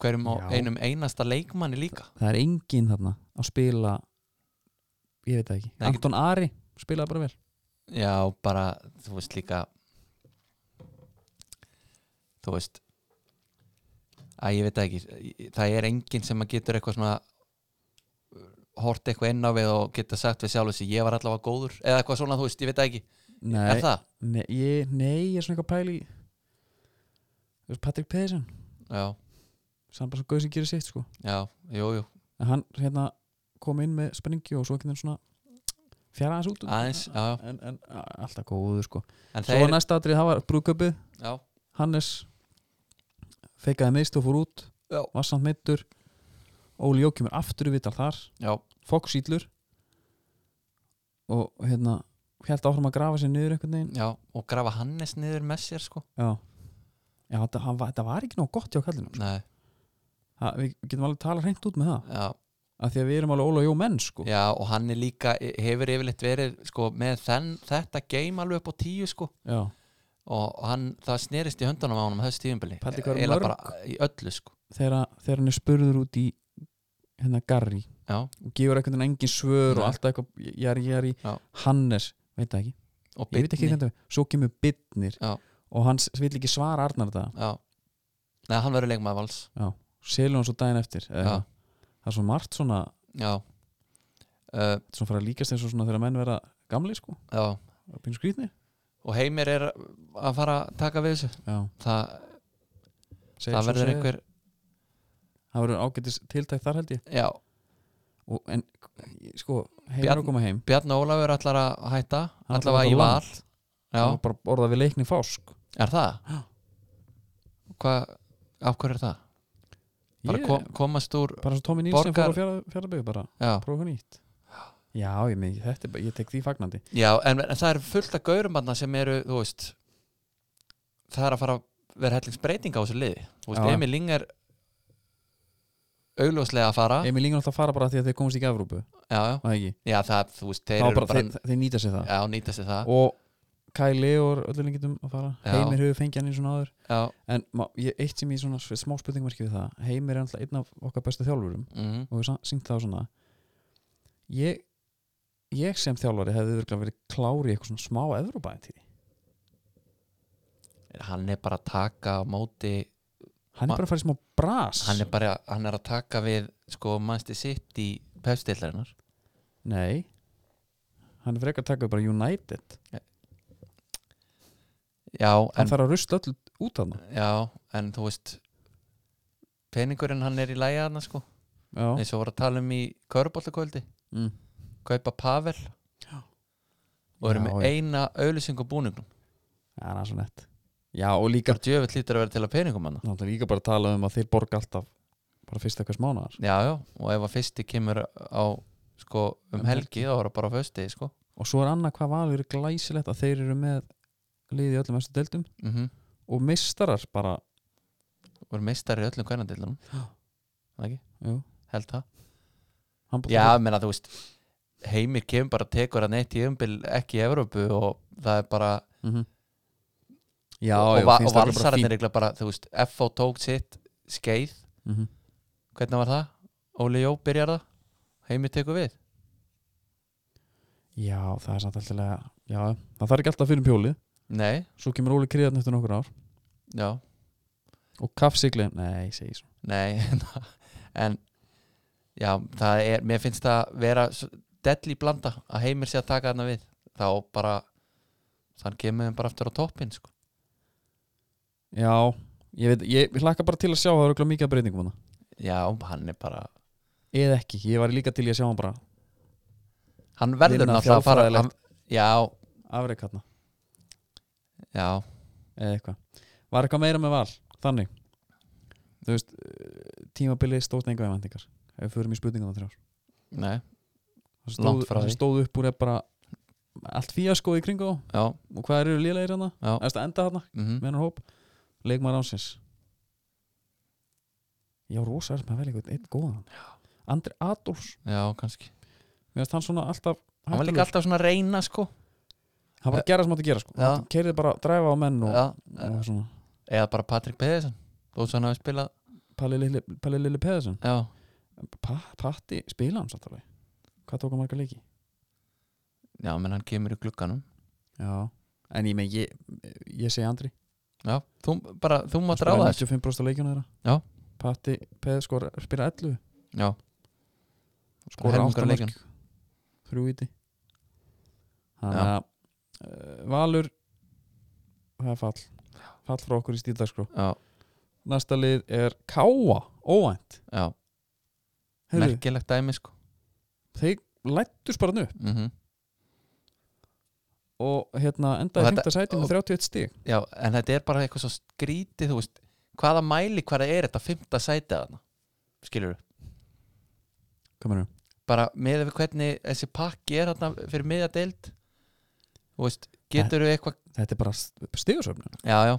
[SPEAKER 2] hverjum og
[SPEAKER 1] Já.
[SPEAKER 2] einum einasta leikmanni líka
[SPEAKER 1] það er engin þarna að spila ég veit það ekki,
[SPEAKER 2] Nei, ekki-
[SPEAKER 1] Anton Ari spilaði bara vel,
[SPEAKER 2] Já, bara, þú veist líka þú veist að ég veit það ekki, það er enginn sem að getur eitthvað svona uh, hort eitthvað inn á við og geta sagt við sjálf þessi, ég var allavega góður eða eitthvað svona, þú veist, ég veit það ekki,
[SPEAKER 1] nei,
[SPEAKER 2] er það?
[SPEAKER 1] nei, ég, nei ég er svona eitthvað pæli Patrick Pedersen
[SPEAKER 2] Já,
[SPEAKER 1] sem bara svo gauð sem gerir sitt sko
[SPEAKER 2] já, jú, jú
[SPEAKER 1] en hann hérna kom inn með springju og svo ekki þannig svona fjara aðeins út úr.
[SPEAKER 2] aðeins, já, já,
[SPEAKER 1] en, en a- alltaf góðu sko
[SPEAKER 2] en
[SPEAKER 1] svo
[SPEAKER 2] það
[SPEAKER 1] var
[SPEAKER 2] er
[SPEAKER 1] næsta atrið, það var brúðköpið
[SPEAKER 2] já,
[SPEAKER 1] Hannes feikaði meðst og fór út
[SPEAKER 2] Já.
[SPEAKER 1] var samt meittur Óli Jó kemur aftur í vital þar
[SPEAKER 2] já,
[SPEAKER 1] Fox ítlur og hérna held áfram að grafa sér niður einhvern veginn
[SPEAKER 2] já og grafa Hannes niður með sér, sko
[SPEAKER 1] já, já þetta, hann, var- þetta var ekki nóg gott hjá kallinu
[SPEAKER 2] Nei,
[SPEAKER 1] það, við getum alveg tala hreint út með það
[SPEAKER 2] já,
[SPEAKER 1] af því að við erum alveg Óli Jó menn sko
[SPEAKER 2] Já, og hann er líka, e, hefur yfirleitt verið sko, með þenn, þetta game alveg upp á tíu sko,
[SPEAKER 1] Já.
[SPEAKER 2] og hann, það snerist í höndunum á honum á þessu tíumbili,
[SPEAKER 1] Pældi hvað eru mörg?
[SPEAKER 2] bara í öllu sko.
[SPEAKER 1] þegar, þegar hann er spurður út í hérna Garri
[SPEAKER 2] já,
[SPEAKER 1] og gefur einhvern veginn engin svör og
[SPEAKER 2] Nei.
[SPEAKER 1] alltaf eitthvað, ég ég er, ég er í
[SPEAKER 2] Já.
[SPEAKER 1] Hannes, veit það ekki,
[SPEAKER 2] og
[SPEAKER 1] ég veit ekki
[SPEAKER 2] Birni.
[SPEAKER 1] hvernig það svo kemur bytnir
[SPEAKER 2] Já.
[SPEAKER 1] og hann s- vill ekki svara Arnar þetta
[SPEAKER 2] já, neða, hann verður leikmaður vals
[SPEAKER 1] selur hann svo daginn eftir eða
[SPEAKER 2] Já.
[SPEAKER 1] eitthvað. það er svo margt svona,
[SPEAKER 2] já uh,
[SPEAKER 1] þetta er svona fara að líkast eins og svona þegar menn vera gamli sko,
[SPEAKER 2] já,
[SPEAKER 1] að byrja skrýtni
[SPEAKER 2] og Heimir er að fara að taka við þessu
[SPEAKER 1] Já,
[SPEAKER 2] það,
[SPEAKER 1] segir
[SPEAKER 2] það
[SPEAKER 1] svo
[SPEAKER 2] verður
[SPEAKER 1] segir.
[SPEAKER 2] einhver
[SPEAKER 1] það verður ágætis tiltækt þar held ég
[SPEAKER 2] já,
[SPEAKER 1] og, en sko, heim er
[SPEAKER 2] Bjarn-
[SPEAKER 1] að koma heim
[SPEAKER 2] Bjarni Ólafur ætlar að hætta
[SPEAKER 1] Hann ætlar að
[SPEAKER 2] allavega
[SPEAKER 1] fara
[SPEAKER 2] í
[SPEAKER 1] á land.
[SPEAKER 2] val já,
[SPEAKER 1] hann var bara orðað við leikni fásk
[SPEAKER 2] er það?
[SPEAKER 1] Já.
[SPEAKER 2] hvað, af hverju er það? bara
[SPEAKER 1] Ég-
[SPEAKER 2] kom, komast úr
[SPEAKER 1] bara svo Tommy Nilsen fór
[SPEAKER 2] Borgar-
[SPEAKER 1] á fjara, fjarlabögu bara
[SPEAKER 2] já,
[SPEAKER 1] prófa nýtt já, ég, meni, þetta, er bara- ég tek því fagnandi
[SPEAKER 2] já en, en það er fullt af gaurumanna sem eru, þú veist það er að fara að vera hellingsbreyting á þessu liði þú veist,
[SPEAKER 1] Já.
[SPEAKER 2] Emil Ling er augljóslega að fara
[SPEAKER 1] Emil Ingram átti að fara bara því að þeir komast ekki að Evrópu
[SPEAKER 2] já, já,
[SPEAKER 1] var það ekki?
[SPEAKER 2] já, það, þú veist, þeir
[SPEAKER 1] Þá
[SPEAKER 2] eru
[SPEAKER 1] bara,
[SPEAKER 2] bara,
[SPEAKER 1] þeir, þeir nýta sér það
[SPEAKER 2] já, nýtast þið það
[SPEAKER 1] og Kæli og öllum getum að fara
[SPEAKER 2] Já.
[SPEAKER 1] Heimir hefur fengið hann eins og náður
[SPEAKER 2] já,
[SPEAKER 1] en ma- ég, eitt sem ég svona s- smá spurningmarki við það Heimir er alltaf einn af okkar bestu þjálfurum
[SPEAKER 2] mhm
[SPEAKER 1] og við syngt það svona ég, ég sem þjálfari hefði örugglega verið klári í eitthvað svona smá Evrópa til
[SPEAKER 2] hann er bara að taka á móti
[SPEAKER 1] hann
[SPEAKER 2] Ma-
[SPEAKER 1] er bara að fara í smá bras
[SPEAKER 2] hann er bara hann er að taka við sko mannstu sitt í pefstillarinnar
[SPEAKER 1] nei hann er frekar að taka bara United
[SPEAKER 2] já
[SPEAKER 1] hann
[SPEAKER 2] en,
[SPEAKER 1] þarf að rusla öll út hann
[SPEAKER 2] já, en þú veist peningurinn hann er í lægi hann sko
[SPEAKER 1] já,
[SPEAKER 2] eins og voru að tala um í köruboltakvöldi
[SPEAKER 1] mm.
[SPEAKER 2] kaupa Pavel
[SPEAKER 1] Já.
[SPEAKER 2] og eru
[SPEAKER 1] Já,
[SPEAKER 2] með
[SPEAKER 1] já.
[SPEAKER 2] eina auðlýsing og búningnum
[SPEAKER 1] já hann er svo nett já og líka
[SPEAKER 2] bara djöfitt lítur að vera til að peningum hann
[SPEAKER 1] Náttúrulega líka bara að tala um að þeir borga alltaf bara fyrst eitthvað smánaðar
[SPEAKER 2] já, já, og ef að fyrsti kemur á sko um
[SPEAKER 1] Um helgi.
[SPEAKER 2] helgi þá er það bara á fösti sko
[SPEAKER 1] og svo er annað hvað valur er glæsilegt að þeir eru með liði í öllum mestu deildum
[SPEAKER 2] mhm
[SPEAKER 1] og mistarar bara
[SPEAKER 2] og eru meistari í öllum kvænandillunum
[SPEAKER 1] Já.
[SPEAKER 2] það ekki,
[SPEAKER 1] jú,
[SPEAKER 2] held það
[SPEAKER 1] handbolta-
[SPEAKER 2] Já, ég meina þú veist Heimir kemur bara og tekur hann eitt í umbil ekki í Evrópu og það er bara
[SPEAKER 1] Mhm. já,
[SPEAKER 2] og,
[SPEAKER 1] já,
[SPEAKER 2] va
[SPEAKER 1] finnst
[SPEAKER 2] og
[SPEAKER 1] það bara
[SPEAKER 2] valsararnir
[SPEAKER 1] fínt.
[SPEAKER 2] er eiginlega bara, þú veist, FO tók sitt skeið,
[SPEAKER 1] Mhm.
[SPEAKER 2] hvernig var það? Óli Jó byrjar það, Heimir tekur við
[SPEAKER 1] já, það er samt alltaf já, það þarf ekki alltaf fyrir um pjólið
[SPEAKER 2] Nei,
[SPEAKER 1] svo kemur Óli Kriðarn eftir nokkur ár
[SPEAKER 2] já,
[SPEAKER 1] og kaffsiglin, nei, ég segi svo
[SPEAKER 2] nei en já, það er, mér finnst það vera svo- delli blanda að Heimir sé að taka þarna við þá bara þann kemur þeim bara aftur á toppin sko.
[SPEAKER 1] já, ég veit, ég, ég hlakka bara til að sjá það eru örugglega mikið af breytingum hana
[SPEAKER 2] Já, hann er bara
[SPEAKER 1] eða ekki, ég var líka til í að sjá hann bara
[SPEAKER 2] hann verður
[SPEAKER 1] Vinna
[SPEAKER 2] náttúrulega að fara
[SPEAKER 1] þjálffræðilegt.
[SPEAKER 2] hann, Já,
[SPEAKER 1] afreik hann
[SPEAKER 2] já
[SPEAKER 1] eða eitthvað var eitthvað meira með val, þannig þú veist, eh, tímabilið stóðst enga einvendingar ef við förum í spurninguna þrjár
[SPEAKER 2] Nei,
[SPEAKER 1] það
[SPEAKER 2] Langt
[SPEAKER 1] stóð,
[SPEAKER 2] frá
[SPEAKER 1] það
[SPEAKER 2] því.
[SPEAKER 1] sem stóð upp úr er bara allt fíasko í kringu þá
[SPEAKER 2] já,
[SPEAKER 1] og hvað eru lélegir hérna? hana,
[SPEAKER 2] já
[SPEAKER 1] eða þetta enda hana
[SPEAKER 2] mm
[SPEAKER 1] með hennar hóp, leikmaður ánsins já, rosa er sem að velja eitthvað eitt góðan Andri Adolfs,
[SPEAKER 2] Já, kannski
[SPEAKER 1] mér finnst hann svona alltaf
[SPEAKER 2] Hann var líka
[SPEAKER 1] hættulegur.
[SPEAKER 2] alltaf svona að reyna sko
[SPEAKER 1] hann bara gera sem hann átti að gera sko.
[SPEAKER 2] Já.
[SPEAKER 1] hann keiriði bara að dræfa á menn og,
[SPEAKER 2] já,
[SPEAKER 1] og svona,
[SPEAKER 2] Eða bara Patrik Pedersen Þú svo hann hafi spilað
[SPEAKER 1] Palli Lilli, Palli Lilli Peðarsson
[SPEAKER 2] Já,
[SPEAKER 1] pa, Patti spila hann satt alveg hvað tók hann marga leiki
[SPEAKER 2] já, menn hann kemur í glugganum
[SPEAKER 1] já. en ég, men, ég, ég segi Andri
[SPEAKER 2] Já, þú bara, þú mátt ráða þessu
[SPEAKER 1] 95% leikjana þeirra
[SPEAKER 2] Já.
[SPEAKER 1] Patti Peð skora, spila 11
[SPEAKER 2] Já,
[SPEAKER 1] skora 8
[SPEAKER 2] helmingur af
[SPEAKER 1] mörg
[SPEAKER 2] leikjunum.
[SPEAKER 1] þrjú íti þannig að uh, Valur það er fall fall frá okkur í stíðdagskró
[SPEAKER 2] já,
[SPEAKER 1] næsta lið er Káa óvænt
[SPEAKER 2] já
[SPEAKER 1] Heyrðu,
[SPEAKER 2] Merkilegt dæmi sko
[SPEAKER 1] þeir lættust bara nú
[SPEAKER 2] mm
[SPEAKER 1] og hérna endaði
[SPEAKER 2] Og þetta-
[SPEAKER 1] 5. sæti með 31 stíg
[SPEAKER 2] Já, en þetta er bara eitthvað svo skrítið Þú veist, hvaða mæli, hvaða er þetta Fymta sætið þarna Skilur
[SPEAKER 1] kominu
[SPEAKER 2] bara með við hvernig þessi pakki er hérna fyrir miðja deild þú veist, getur við eitthvað
[SPEAKER 1] þetta er bara stíðasöfnun
[SPEAKER 2] já, já,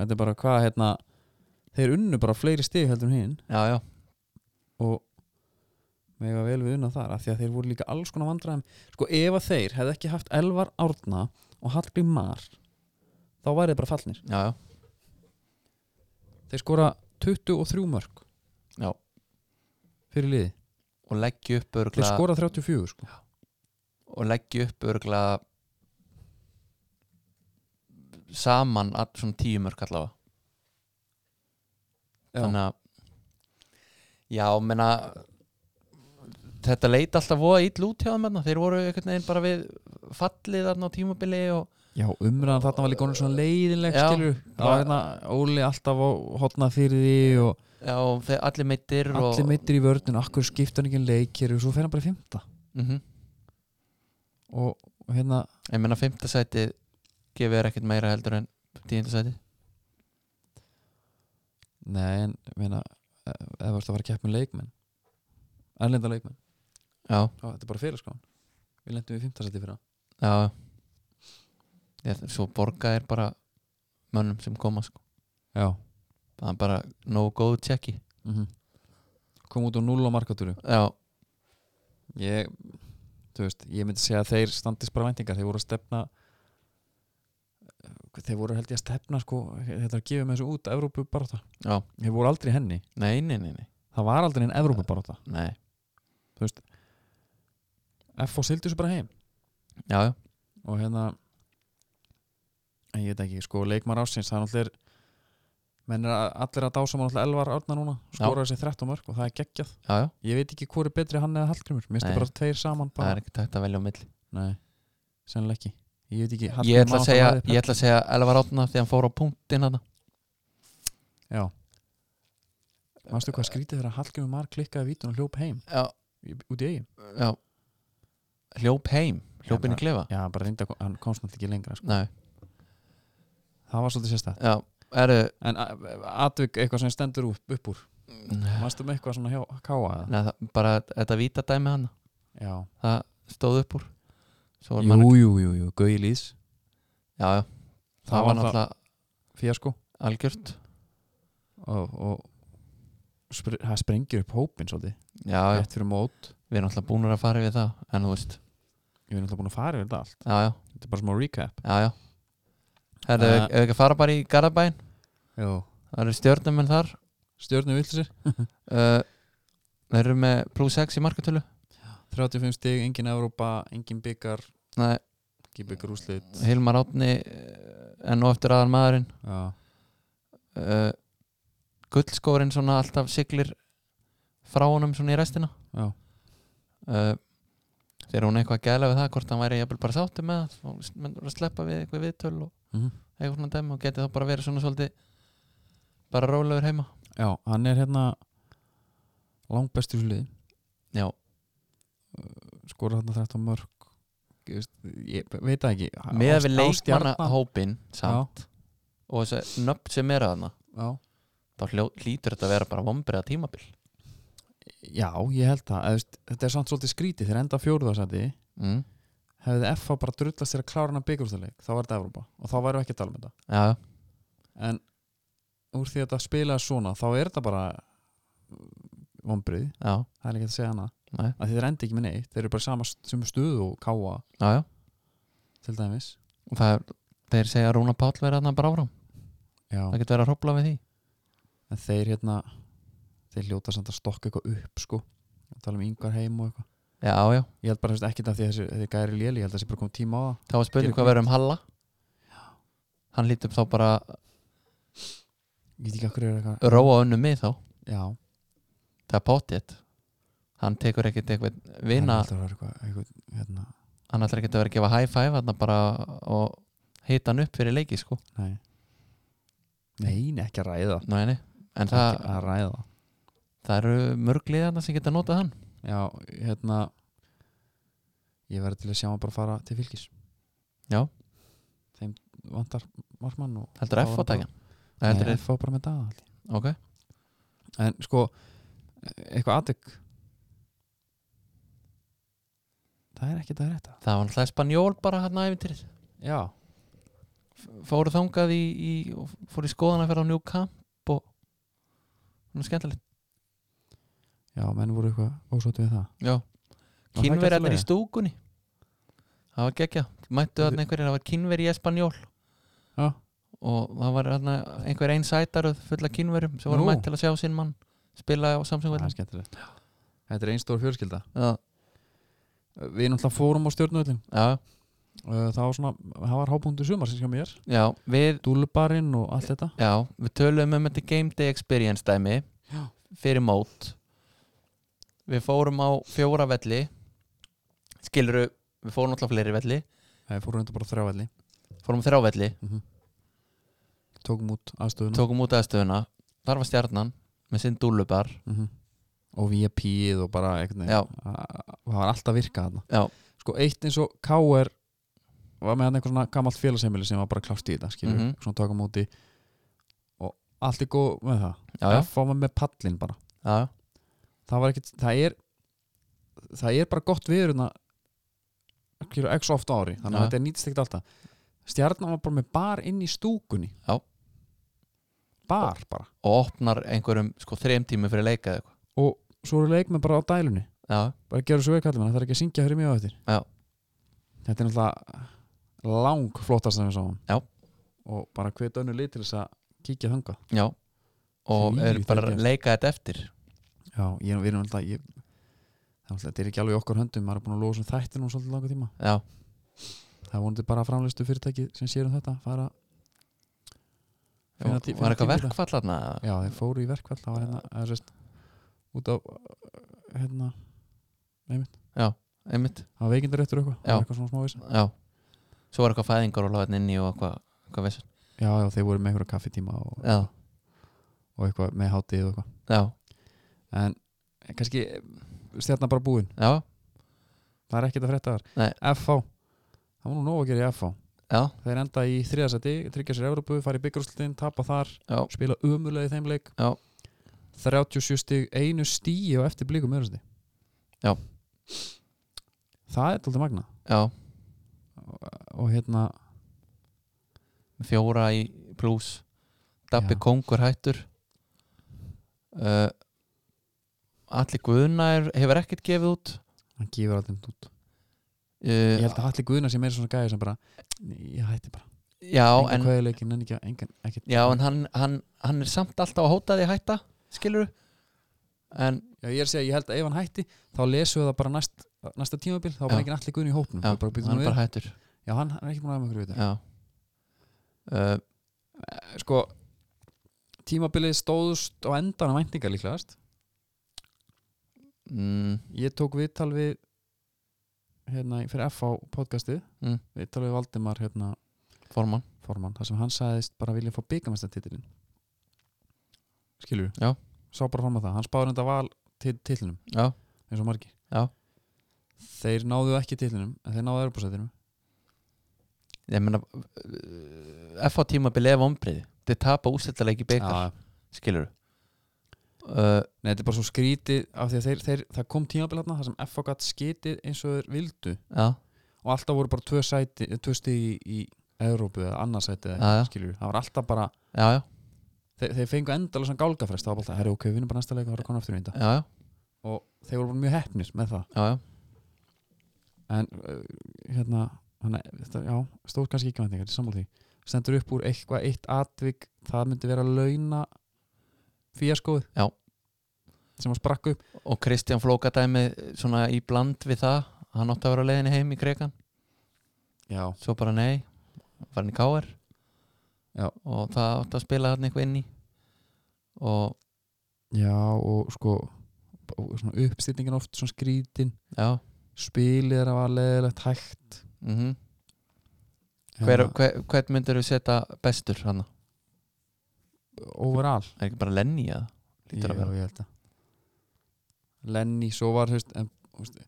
[SPEAKER 1] þetta er bara hvað hérna þeir unnu bara fleiri stig heldur en hinn
[SPEAKER 2] já, já,
[SPEAKER 1] og mega vel við unna þar af því að þeir voru líka alls konar vandræðum sko ef að þeir hefði ekki haft Elvar Árna og Hallgrí Mar þá væri þeir bara fallnir
[SPEAKER 2] já, já,
[SPEAKER 1] þeir skora 23 mörg
[SPEAKER 2] Já.
[SPEAKER 1] fyrir liði
[SPEAKER 2] og leggja upp
[SPEAKER 1] Þeir
[SPEAKER 2] örgla
[SPEAKER 1] skora 34 sko
[SPEAKER 2] og leggja upp örgla saman all, svona tíu mörg allavega
[SPEAKER 1] Já.
[SPEAKER 2] þannig að já, menna þetta leit alltaf voða ill út hjá þeim þarna. þeir voru einhvern veginn bara við fallið þarna á tímabili og
[SPEAKER 1] Já, umræðan þarna var líka orðin svona leiðinleg
[SPEAKER 2] Já.
[SPEAKER 1] skilur Það var hérna Óli alltaf á hotna fyrir því og
[SPEAKER 2] já, og þeir allir meittir og,
[SPEAKER 1] allir meittir í vörðinu Akkur skipta hann ekki leikir og svo fer hann bara í fymta
[SPEAKER 2] Mhm.
[SPEAKER 1] og og hérna,
[SPEAKER 2] ég menna fymta sæti gefið er ekkert meira heldur en tíunda sæti
[SPEAKER 1] nei en ég meina, eh, ef þú ert að fara að keppa með leikmenn erlenda leikmenn,
[SPEAKER 2] já,
[SPEAKER 1] já, þetta er bara fyrir sko Við lendum í fymtasætti fyrir það
[SPEAKER 2] já ég, svo borga er bara mönnum sem koma sko
[SPEAKER 1] Já,
[SPEAKER 2] það er bara no go checki
[SPEAKER 1] mm kom út á 0 á markatúru
[SPEAKER 2] já,
[SPEAKER 1] ég, þú veist, ég myndi segja að þeir standist bara væntingar, þeir voru að stefna e, þeir voru held ég að stefna sko, þetta er að gefa með þessu út Evrópu baróta,
[SPEAKER 2] já,
[SPEAKER 1] þeir voru aldrei í henni
[SPEAKER 2] nei, nei, nei, nei,
[SPEAKER 1] það var aldrei en Evrópu baróta
[SPEAKER 2] nei.
[SPEAKER 1] F og sildi þessu bara heim
[SPEAKER 2] já, já,
[SPEAKER 1] og hérna en ég veit ekki, sko, leikmar ásins það er náttúrulega menn er að- allir að dása maður náttúrulega Elvar Árna núna skora þessi 13 mörg og það er geggjað
[SPEAKER 2] já, já
[SPEAKER 1] ég veit ekki hvori betri hann eða Hallgrimur, minnst
[SPEAKER 2] Nei.
[SPEAKER 1] bara tveir saman
[SPEAKER 2] það er
[SPEAKER 1] bara,
[SPEAKER 2] ekkert hægt að velja á milli
[SPEAKER 1] nei, sennilega ekki ég veit ekki,
[SPEAKER 2] ég
[SPEAKER 1] Hallgrímur
[SPEAKER 2] ætla
[SPEAKER 1] man
[SPEAKER 2] að segja,
[SPEAKER 1] alltaf lagði
[SPEAKER 2] ég ætla að segja Elvar Átna þegar hann fór á punktin hana
[SPEAKER 1] Já Manstu hvað skrítið þegar Hallgrimur Mar klikkaði vítun og hljóp heim
[SPEAKER 2] já,
[SPEAKER 1] í- út í eigin?
[SPEAKER 2] já Hérna. hljóp heim,
[SPEAKER 1] Já,
[SPEAKER 2] hljóp inn í klefa
[SPEAKER 1] Já, hann bara reyndi að kom- hann komst náttúrulega ekki lengra sko.
[SPEAKER 2] nei,
[SPEAKER 1] Það var svolítið sérstæð
[SPEAKER 2] já, eru
[SPEAKER 1] En atvik eitthvað sem stendur upp, upp úr Manstu með eitthvað svona hjá káa eða?
[SPEAKER 2] Nei, það, bara þetta víta dæmi hann
[SPEAKER 1] Já
[SPEAKER 2] það stóð upp úr Svo var
[SPEAKER 1] Jú,
[SPEAKER 2] mann-
[SPEAKER 1] jú, jú, jú, Gauji Lýðs
[SPEAKER 2] já, já, það, var náttúrulega
[SPEAKER 1] fjasko
[SPEAKER 2] algjört
[SPEAKER 1] og, og spr það sprengir upp hópin svolítið
[SPEAKER 2] já, já,
[SPEAKER 1] Rétt fyrir mót
[SPEAKER 2] við erum alltaf búinur að fara við það en þú veist,
[SPEAKER 1] Ég er náttúrulega búin að fara yfir þetta allt
[SPEAKER 2] já, já,
[SPEAKER 1] Þetta er bara smá recap
[SPEAKER 2] já, já. Herðu,
[SPEAKER 1] Eh.
[SPEAKER 2] ef við ekki að fara bara í Garabæn
[SPEAKER 1] Jó
[SPEAKER 2] það eru stjórnumenn þar
[SPEAKER 1] Stjörnum villisir
[SPEAKER 2] uh, þeir eru með plus 6 í markatölu
[SPEAKER 1] 35 stig, engin Evrópa, engin byggar
[SPEAKER 2] Nei,
[SPEAKER 1] Ekki byggar úslit
[SPEAKER 2] Hilmar Átni uh, enn og eftir aðal maðurinn
[SPEAKER 1] Já
[SPEAKER 2] uh, gullskórin svona alltaf siglir frá honum svona í restina
[SPEAKER 1] Já.
[SPEAKER 2] uh, þegar hún eitthvað að gæla við það hvort hann væri jafnvel bara sáttu með það og menn voru að sleppa við eitthvað viðtöl og
[SPEAKER 1] Mhm.
[SPEAKER 2] eitthvað svona dæmi og geti þá bara verið svona svolítið bara rólegur heima
[SPEAKER 1] Já, hann er hérna langbestur í liði,
[SPEAKER 2] já,
[SPEAKER 1] skora þarna 13 mörg ég veit það ekki á-
[SPEAKER 2] með
[SPEAKER 1] á-
[SPEAKER 2] við
[SPEAKER 1] á
[SPEAKER 2] leikmanna
[SPEAKER 1] Stjarnan-
[SPEAKER 2] hópin samt, og þessi nöfn sem er að hana
[SPEAKER 1] já,
[SPEAKER 2] þá hljó, lítur þetta að vera bara vombriða tímabil
[SPEAKER 1] já, ég held það eða, þú veist, þetta er samt svolítið skrítið þegar enda fjóruðarsæti
[SPEAKER 2] mm.
[SPEAKER 1] hefði FH bara drullast sér að klára hann að byggurstaleik þá var þetta Evrópa og þá væru ekki að tala um þetta
[SPEAKER 2] já,
[SPEAKER 1] en úr því að þetta spilaði svona þá er þetta bara vombrið,
[SPEAKER 2] já,
[SPEAKER 1] það er ekki að segja hana
[SPEAKER 2] Nei.
[SPEAKER 1] að þeir enda ekki með neitt, þeir eru bara í sama sem stuðu og káa
[SPEAKER 2] já, já.
[SPEAKER 1] til dæmis
[SPEAKER 2] Og Það, er- þeir segja að Rúna Páll verið hann bara áram
[SPEAKER 1] já.
[SPEAKER 2] það getur verið að hrópla við því
[SPEAKER 1] en þeir hérna þeir hljóta samt að stokka eitthvað upp sko að tala um yngvar heim og eitthvað
[SPEAKER 2] Já, já,
[SPEAKER 1] ég held bara þú veist, ekkert af því að þessi, þessi gæri léli ég held að þessi bara kom tíma á það
[SPEAKER 2] þá var spurning
[SPEAKER 1] Gerum
[SPEAKER 2] hvað verður um Halla Hann lítur þá bara
[SPEAKER 1] ég veit ekki okkur er eitthvað
[SPEAKER 2] róa önnu mið þá
[SPEAKER 1] já
[SPEAKER 2] Það er potið Hann tekur ekkert eitthvað
[SPEAKER 1] hann
[SPEAKER 2] vina
[SPEAKER 1] heldur að vera eitthvað, eitthvað hérna
[SPEAKER 2] Hann ætlar ekkert að vera að gefa high five hann bara og hita hann upp fyrir leiki sko
[SPEAKER 1] nei nei, nei, ekki að ræða
[SPEAKER 2] Nei, nei En það,
[SPEAKER 1] ekki að ræða
[SPEAKER 2] það eru mörg liðana sem geta notað hann
[SPEAKER 1] já, hérna ég verði til að sjá hann bara fara til fylgis
[SPEAKER 2] Já.
[SPEAKER 1] þeim vantar markmann og
[SPEAKER 2] Heldur
[SPEAKER 1] Þá
[SPEAKER 2] F á
[SPEAKER 1] er hann
[SPEAKER 2] tækjan Nei, heldur
[SPEAKER 1] Nei,
[SPEAKER 2] F,
[SPEAKER 1] F á bara með daga held ég.
[SPEAKER 2] ok
[SPEAKER 1] en sko eitthvað aðtök það er ekki það rétta
[SPEAKER 2] Það var alltaf spanjól bara hann æfintýrið
[SPEAKER 1] já,
[SPEAKER 2] Fóru þangað í, í og fóru í skoðan að á New Camp og Nú skemmtilegt
[SPEAKER 1] já, menn voru eitthvað ósótt við það
[SPEAKER 2] Já
[SPEAKER 1] það ekki allt í
[SPEAKER 2] Kínverjarnir
[SPEAKER 1] lagi?
[SPEAKER 2] í stúkunni Það var gekkja Mættu þarna einhverjir, það var kínverji í Espanjól
[SPEAKER 1] já,
[SPEAKER 2] og það var þarna einhver einn sætaröð fulla kínverjum sem voru
[SPEAKER 1] Nú.
[SPEAKER 2] mætt til að sjá sinn mann spila á Samsung
[SPEAKER 1] það
[SPEAKER 2] velli
[SPEAKER 1] er skemmtilegt Þetta er einn stór fjörskilda
[SPEAKER 2] já,
[SPEAKER 1] Við náttúrulega fórum á stjórnvöldin
[SPEAKER 2] já,
[SPEAKER 1] Það var svona, það var hábúndu sumar sem hjá mér
[SPEAKER 2] já við,
[SPEAKER 1] Dúlubarinn og allt þetta
[SPEAKER 2] já, við töluðum um þetta game day experience dæmi
[SPEAKER 1] Já.
[SPEAKER 2] fyrir mót við fórum á fjóra velli skiluru, við fórum alltaf fleiri velli
[SPEAKER 1] Það fórum þetta bara þrjávelli
[SPEAKER 2] fórum á þrjá velli,
[SPEAKER 1] Tókum út aðstöðuna
[SPEAKER 2] tókum út aðstöðuna þar var stjarnan með sinn dúlubar
[SPEAKER 1] mm Og VIP-ið og bara einhvern
[SPEAKER 2] Já.
[SPEAKER 1] veginn Að- Það var alltaf virkað þarna
[SPEAKER 2] já,
[SPEAKER 1] sko eitt eins og KR var með hann einhver svona gamalt félagsheimili sem var bara klárt í þetta skilur,
[SPEAKER 2] Mhm.
[SPEAKER 1] svona taka á móti og allt er góð með það
[SPEAKER 2] já, já,
[SPEAKER 1] F var með pallin bara
[SPEAKER 2] já,
[SPEAKER 1] það var ekkit, það er það er bara gott viður hérna, skilur, x oft á ári þannig að
[SPEAKER 2] Já.
[SPEAKER 1] þetta er nýtist ekkert alltaf stjarnan var bara með bar inn í stúkunni
[SPEAKER 2] Já.
[SPEAKER 1] bar bara
[SPEAKER 2] og opnar einhverjum sko þrejum tími fyrir leika eða eitthvað
[SPEAKER 1] og svo eru leikmenn bara á dælunni
[SPEAKER 2] já,
[SPEAKER 1] bara gerðu svo veikallum, það er ekki að syngja fyrir mjög eftir
[SPEAKER 2] Já.
[SPEAKER 1] þetta er náttúrulega lang flottast sem við sáum
[SPEAKER 2] Já.
[SPEAKER 1] og bara hvet önnu lið til þess að kíkja þangað
[SPEAKER 2] já og
[SPEAKER 1] Þvílíkt
[SPEAKER 2] er bara
[SPEAKER 1] að
[SPEAKER 2] að
[SPEAKER 1] gerast.
[SPEAKER 2] leika þetta eftir
[SPEAKER 1] já, ég, við erum alltaf ég, það er náttúrulega- þetta er ekki alveg í okkar höndum maður er búin að losa um þætti nú svolítið langa tíma
[SPEAKER 2] já,
[SPEAKER 1] það er vonandi bara framlistu fyrirtæki sem sér um þetta fara Finna
[SPEAKER 2] var
[SPEAKER 1] tí- finna
[SPEAKER 2] eitthvað
[SPEAKER 1] tíma í þetta.
[SPEAKER 2] verkfall þarna eða?
[SPEAKER 1] já, þeir fóru í verkvall það var hérna eða, sérst, út á hérna
[SPEAKER 2] einmitt,
[SPEAKER 1] á veikindaréttur eitthvað það
[SPEAKER 2] Já.
[SPEAKER 1] var eitthvað svona smá vesen.
[SPEAKER 2] já svo var eitthvað fæðingar og láðin inni og eitthvað, eitthvað vissum,
[SPEAKER 1] já, já, þeir voru með einhverja kaffitíma og,
[SPEAKER 2] já,
[SPEAKER 1] og eitthvað með hátíð og eitthvað
[SPEAKER 2] já,
[SPEAKER 1] en kannski stjarnan bara búin
[SPEAKER 2] já
[SPEAKER 1] það er ekkert að frétta
[SPEAKER 2] Nei.
[SPEAKER 1] þar FH, það var nú nóg að gera í FH
[SPEAKER 2] já,
[SPEAKER 1] þeir enda í þriðasæti, tryggja sér Evropu fara í byggjurúslutin, tapa þar,
[SPEAKER 2] já,
[SPEAKER 1] spila umulegi þeim leik
[SPEAKER 2] Já.
[SPEAKER 1] 37 stig, einu stíi og eftir blíkum öðrusti
[SPEAKER 2] Já.
[SPEAKER 1] það er tóldi magna
[SPEAKER 2] já
[SPEAKER 1] og hérna,
[SPEAKER 2] fjóra í pluss Dabbi
[SPEAKER 1] Já.
[SPEAKER 2] Kongur hættur uh, Alli Guðnær hefur ekkert gefið út
[SPEAKER 1] hann gefur aldrei neitt út ég
[SPEAKER 2] uh,
[SPEAKER 1] held að allir guðna sem er svona gæði sem bara, ég hætti bara
[SPEAKER 2] já,
[SPEAKER 1] engan
[SPEAKER 2] en,
[SPEAKER 1] kveðileikin, en ekki, engan, ekkert
[SPEAKER 2] já, en hann, hann, hann er samt alltaf að hóta því að hætta skilur en
[SPEAKER 1] Já, ég er að segja, ég held að ef hann hætti þá lesum við það bara næst, næsta tímabil þá er bara
[SPEAKER 2] Já.
[SPEAKER 1] ekki allir guðin í hópnum
[SPEAKER 2] já,
[SPEAKER 1] Við bara býtum
[SPEAKER 2] hann
[SPEAKER 1] nú
[SPEAKER 2] er
[SPEAKER 1] við.
[SPEAKER 2] bara hættur
[SPEAKER 1] Já, hann, hann er ekki múin að hafa með okkur við þetta
[SPEAKER 2] já. Uh,
[SPEAKER 1] sko tímabilið stóðust á endan á væntingar líklegast
[SPEAKER 2] mm,
[SPEAKER 1] ég tók viðtal við hérna í- fyrir FH podcastið
[SPEAKER 2] Mm.
[SPEAKER 1] viðtal við Valdimar hérna
[SPEAKER 2] formann
[SPEAKER 1] formann, þar sem hann sagðist bara vilja fá byggamestatitilin skilur
[SPEAKER 2] Já.
[SPEAKER 1] sá bara fram á það, hann spáður þetta val til titlinum
[SPEAKER 2] já,
[SPEAKER 1] eins og margir
[SPEAKER 2] Já.
[SPEAKER 1] þeir náðu ekki titlinum en þeir náðu erbúrsætinu
[SPEAKER 2] ég meina uh, F á tímabili er vombriði þeir tapa úsættilega ekki byggar skilur uh,
[SPEAKER 1] Nei, þetta er bara svo skrítið af því að þeir, þeir, það kom tímabil hérna þar sem FH gatt skitið eins og þeir vildu
[SPEAKER 2] já,
[SPEAKER 1] og alltaf voru bara tvö, sæti, eh, tvö stig í, í Európu eða annarsæti eða
[SPEAKER 2] Já, já.
[SPEAKER 1] eitthvað, skilur við. það var alltaf bara,
[SPEAKER 2] já, já,
[SPEAKER 1] þeir, þeir fengu endala svona gálgafrest, það var bara alltaf, herri ok, við vinnum bara næsta leik og það var að koma aftur í þetta
[SPEAKER 2] já, já,
[SPEAKER 1] og þeir voru bara mjög hefnir með það
[SPEAKER 2] já, já.
[SPEAKER 1] en uh, hérna, hana, þetta, já, stóð kannski ekki vendingar, sammála því, stendur upp úr eitthvað eitt atvik, það myndi vera launa fíaskóð
[SPEAKER 2] Já.
[SPEAKER 1] sem að sprakka upp
[SPEAKER 2] og Kristján Flóka dæmi svona í bland við það hann átti að vera á leiðinni heim í Krekan
[SPEAKER 1] já,
[SPEAKER 2] svo bara nei, var hann í K.R.
[SPEAKER 1] Já.
[SPEAKER 2] og það átti að spila hann eitthvað inn í og
[SPEAKER 1] já og sko og svona uppstillingin oft svona skrítin
[SPEAKER 2] já
[SPEAKER 1] spilið er að var leðilegt hægt hérna,
[SPEAKER 2] mm hver, hver, hvern myndir við setja bestur hann
[SPEAKER 1] overall
[SPEAKER 2] er ekki bara Lenny eða Lítur að
[SPEAKER 1] Já, ég held að Lenny, svo var hefst, en, hefst,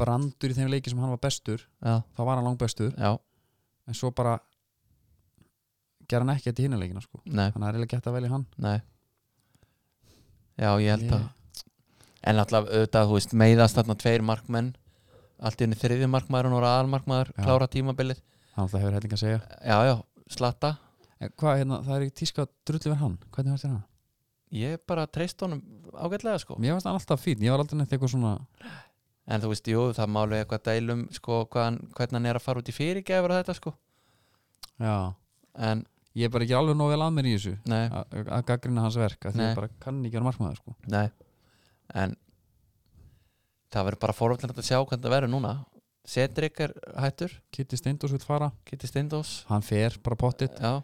[SPEAKER 1] brandur í þeim leiki sem hann var bestur
[SPEAKER 2] já,
[SPEAKER 1] þá var hann langbestur,
[SPEAKER 2] já,
[SPEAKER 1] en svo bara gera hann ekki þetta í hinna leikina sko.
[SPEAKER 2] nei,
[SPEAKER 1] þannig að það er eiginlega gett að velja hann
[SPEAKER 2] nei já, ég held
[SPEAKER 1] Ég-
[SPEAKER 2] að en alltaf auðvitað, þú veist, meiðast þarna tveir markmenn allt í henni þriði markmaður og aðalmarkmaður,
[SPEAKER 1] Já.
[SPEAKER 2] klára tímabilið
[SPEAKER 1] hann alltaf hefur helling að segja
[SPEAKER 2] já, já, slatta
[SPEAKER 1] en, hvað, hérna, það er í tíska að drullu verið hann hvernig var þetta hann?
[SPEAKER 2] ég bara treyst honum ágætlega sko
[SPEAKER 1] Mér varst hann alltaf fín, ég var aldrei neitt eitthvað svona
[SPEAKER 2] en þú veist, jú, það málu eitthvað dælum sko, hvaðan, hvernig hann er að fara út í fyrirgefur og þetta sko,
[SPEAKER 1] já,
[SPEAKER 2] en
[SPEAKER 1] ég er bara ekki alveg nóg vel að mér í þessu
[SPEAKER 2] nei,
[SPEAKER 1] að að gaggrina hans verk að því
[SPEAKER 2] Nei.
[SPEAKER 1] ég bara kann ekki vera markmaður sko.
[SPEAKER 2] nei en það verður bara forvöldilegt að sjá hvernig það verður núna Cedric er hættur,
[SPEAKER 1] Kitty Steindós vil fara
[SPEAKER 2] Kitty Steindós
[SPEAKER 1] hann fer bara pottitt
[SPEAKER 2] já,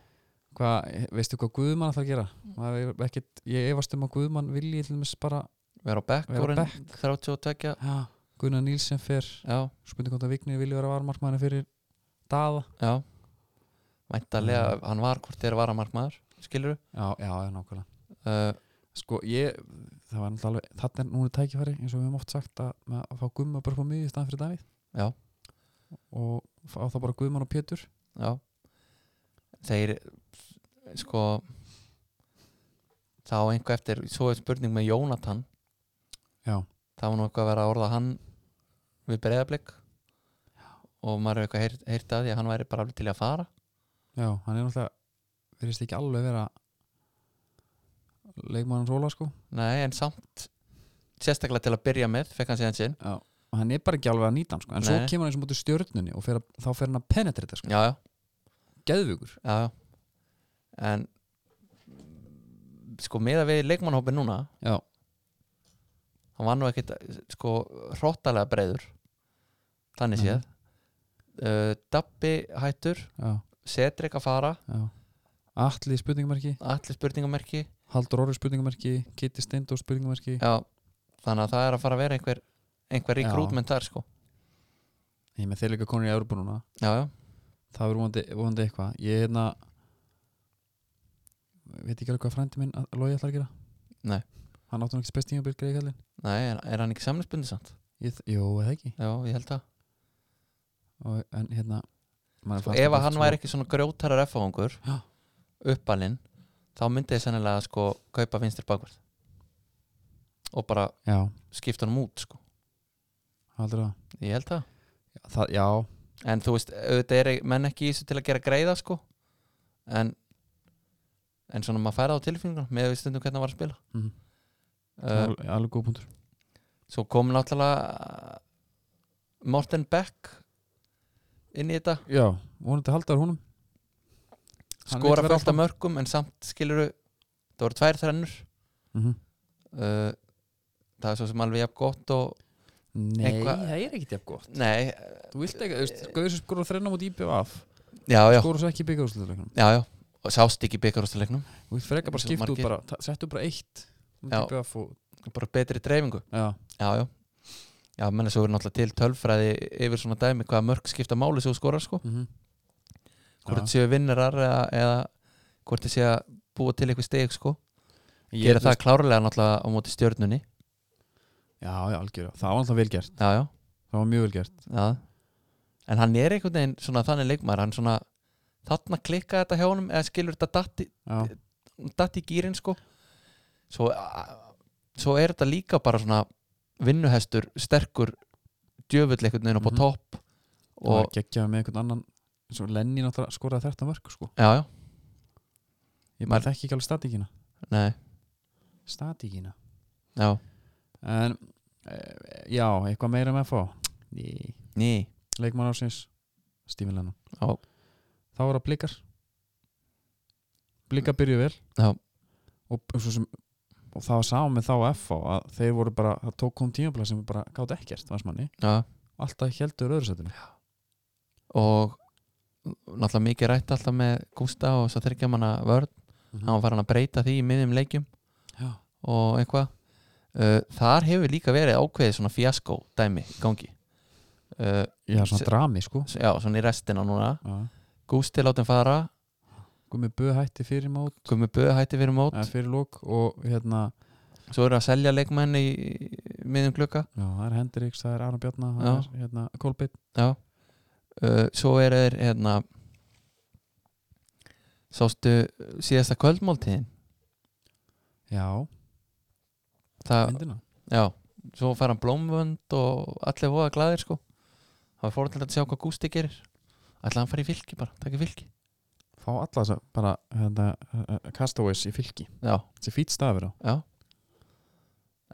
[SPEAKER 1] hvað, veistu hvað Guðmann ætlar að gera Maður er ekkit, ég efast um að Guðmann vilji til dæmis bara
[SPEAKER 2] vera á bekk
[SPEAKER 1] Vera á
[SPEAKER 2] orðinn 32,
[SPEAKER 1] ja, Gunnar Nílsen fer
[SPEAKER 2] já,
[SPEAKER 1] spurning hvort að Vignir vilji vera varmarkmaðurinn fyrir Daða
[SPEAKER 2] já væntalega,
[SPEAKER 1] Mm.
[SPEAKER 2] hann var hvort þér var að markmaður skilur
[SPEAKER 1] já, já, já, nákvæmlega
[SPEAKER 2] uh,
[SPEAKER 1] sko, ég, það var náttúrulega alveg þetta er núna tækifæri, eins og við höfum oft sagt að, með að fá Guðmann bara upp á miðið í staðan fyrir Davíð
[SPEAKER 2] Já.
[SPEAKER 1] og fá þá bara Guðmann og Pétur
[SPEAKER 2] já þeir sko þá einhver eftir, svo er spurning með Jónatan
[SPEAKER 1] já,
[SPEAKER 2] það var nú eitthvað að vera að orða hann við breyðablík og maður hefur eitthvað heyrt að því að hann væri bara alveg til í að fara
[SPEAKER 1] já, hann er náttúrulega verðist ekki alveg vera leikmann róla sko
[SPEAKER 2] Nei, en samt sérstaklega til að byrja með, fekk hann síðan sinn
[SPEAKER 1] já. og hann er bara ekki alveg að nýta hann sko en svo
[SPEAKER 2] Nei.
[SPEAKER 1] kemur hann eins og mútið stjörnunni og fer að, þá fer hann að penetrita sko,
[SPEAKER 2] já, já,
[SPEAKER 1] geðvíkur
[SPEAKER 2] já, já en sko meða við leikmannhópin núna
[SPEAKER 1] já,
[SPEAKER 2] hann var nú ekkit sko hróttalega breyður þannig séð uh, Dabbi hættur,
[SPEAKER 1] já,
[SPEAKER 2] Cedric að fara
[SPEAKER 1] já Atli spurningamarki,
[SPEAKER 2] allir spurningamerki
[SPEAKER 1] Haldur Orri spurningamarki Kitty Steindó spurningamarki
[SPEAKER 2] já, þannig að það er að fara að vera einhver einhver
[SPEAKER 1] Já.
[SPEAKER 2] rekrútment þar sko
[SPEAKER 1] ég með þeir líka konur í Európa núna
[SPEAKER 2] já, já,
[SPEAKER 1] það verður vonandi, vonandi eitthvað ég hérna veit ekki alveg hvað frændi minn að logi ætlar að gera
[SPEAKER 2] Nei.
[SPEAKER 1] hann áttu nokkið spestinga byrg greikallin
[SPEAKER 2] nei, er, er hann ekki samlisbundið samt?
[SPEAKER 1] jú, eða ekki
[SPEAKER 2] já, ég held það
[SPEAKER 1] og, en hérna maður
[SPEAKER 2] sko,
[SPEAKER 1] fannst
[SPEAKER 2] ef
[SPEAKER 1] þetta
[SPEAKER 2] að hann
[SPEAKER 1] svo-
[SPEAKER 2] væri ekki svona grjótarar F-fóðungur
[SPEAKER 1] Já.
[SPEAKER 2] uppalinn þá myndi ég sennilega sko kaupa vinstir bakvörð og bara
[SPEAKER 1] já,
[SPEAKER 2] skipta honum út sko
[SPEAKER 1] heldur það.
[SPEAKER 2] ég held það
[SPEAKER 1] það já,
[SPEAKER 2] en þú veist, auðvitað er menn ekki í þessu til að gera greiða sko en en svona maður færa á tilfinningunum með við stundum hvernig hann var að spila
[SPEAKER 1] Mhm.
[SPEAKER 2] uh,
[SPEAKER 1] alveg, alveg góð punktur
[SPEAKER 2] svo kom náttúrulega uh, Morten Beck inn í þetta
[SPEAKER 1] já, vonandi haldar húnum Hann vill
[SPEAKER 2] skora
[SPEAKER 1] vera
[SPEAKER 2] fullt af
[SPEAKER 1] áfram.
[SPEAKER 2] mörgum en samt skiluru það voru tvær þrennur
[SPEAKER 1] mm
[SPEAKER 2] uh, það er svo sem alveg jafn gott og
[SPEAKER 1] nei,
[SPEAKER 2] Eitthvað-
[SPEAKER 1] það er ekki jafn gott
[SPEAKER 2] nei, uh,
[SPEAKER 1] þú vilt ekki, þú veist, Gauður sem skorur þrenna mútið íbjöf af
[SPEAKER 2] já, já,
[SPEAKER 1] skorur svo ekki byggjáðsleiknum
[SPEAKER 2] sko, já, já og sást ekki byggarústuleiknum
[SPEAKER 1] þú vilt freka bara
[SPEAKER 2] Svo
[SPEAKER 1] skipta út
[SPEAKER 2] margir.
[SPEAKER 1] bara, ta- settu bara eitt
[SPEAKER 2] Já.
[SPEAKER 1] mútið íbjöf af og,
[SPEAKER 2] bara betri dreifingu
[SPEAKER 1] já,
[SPEAKER 2] já, já, já, menn þessu verður náttúrulega til tölfræði yfir svona dæmi hvaða mörg skipta máli sem þú skorar sko
[SPEAKER 1] mhm
[SPEAKER 2] hvort
[SPEAKER 1] Já.
[SPEAKER 2] þetta séu vinnarar eða, eða hvort þetta séu að búa til eitthvað steg sko
[SPEAKER 1] Ég-
[SPEAKER 2] gera
[SPEAKER 1] þú
[SPEAKER 2] það klárlega náttúrulega á móti stjörnunni
[SPEAKER 1] Já, já, algjörða, það var alltaf vel gert
[SPEAKER 2] já, já,
[SPEAKER 1] Það var mjög vel gert
[SPEAKER 2] já en hann er einhvern veginn svona þannig leikmaður hann svona þarna klikka þetta hjá honum eða skilur þetta datti
[SPEAKER 1] Já,
[SPEAKER 2] datt í gýrin sko svo, svo er þetta líka bara svona vinnuhestur sterkur djöfull einhvern veginn upp á
[SPEAKER 1] Mhm.
[SPEAKER 2] topp
[SPEAKER 1] og
[SPEAKER 2] og
[SPEAKER 1] geggjaði með einhvern annan eins og Lenny náttúrulega skoraði þetta mörg sko.
[SPEAKER 2] já, já,
[SPEAKER 1] Ég
[SPEAKER 2] Maður-
[SPEAKER 1] bara þekki ekki alveg statíkina
[SPEAKER 2] nei,
[SPEAKER 1] Statíkina
[SPEAKER 2] já,
[SPEAKER 1] En, e, já, eitthvað meira um með að fá Ný
[SPEAKER 2] ný
[SPEAKER 1] Leikmann ásins, Stífin Lennon
[SPEAKER 2] Já.
[SPEAKER 1] Þá er það blikar Blikar byrjuð vel
[SPEAKER 2] Já.
[SPEAKER 1] og, og, svo sem, og það var sá með þá og FH að þeir voru bara, það tók kom tímabla sem bara gátt ekkert, varst manni
[SPEAKER 2] já.
[SPEAKER 1] Alltaf heldur öðru setinu
[SPEAKER 2] og náttúrulega mikið rætt alltaf með Gústa og svo þyrkja manna vörn hann var farin að breyta því í miðjum leikjum
[SPEAKER 1] Já,
[SPEAKER 2] og eitthvað uh, þar hefur líka verið ákveðið svona fjaskó dæmi í gangi uh,
[SPEAKER 1] já svona
[SPEAKER 2] Se-
[SPEAKER 1] drami sko
[SPEAKER 2] já, svona í restina núna
[SPEAKER 1] Já.
[SPEAKER 2] Gústi látum fara,
[SPEAKER 1] Gumi Bö hætti fyrir mót
[SPEAKER 2] Gummi Böð hætti fyrir mót
[SPEAKER 1] eða fyrir lók og hérna
[SPEAKER 2] svo eru að selja leikmenn í miðjum glukka
[SPEAKER 1] já, það er Hendriks, það er Arnur Bjarnar það
[SPEAKER 2] Já.
[SPEAKER 1] er, hérna, Kolbeinn
[SPEAKER 2] já. Uh, svo er þeir hérna sástu síðasta kvöldmáltíðin
[SPEAKER 1] já,
[SPEAKER 2] það,
[SPEAKER 1] myndina
[SPEAKER 2] já, svo fær hann blómvönd og allir voða glæðir sko það var fórhaldilegt að sjá hvað Gústi gerir ætlaði hann fara í fylki bara, takk í fylki
[SPEAKER 1] fá alla þess að bara hérna, uh, Castaways í fylki
[SPEAKER 2] já,
[SPEAKER 1] þessi fýtt stafir á
[SPEAKER 2] já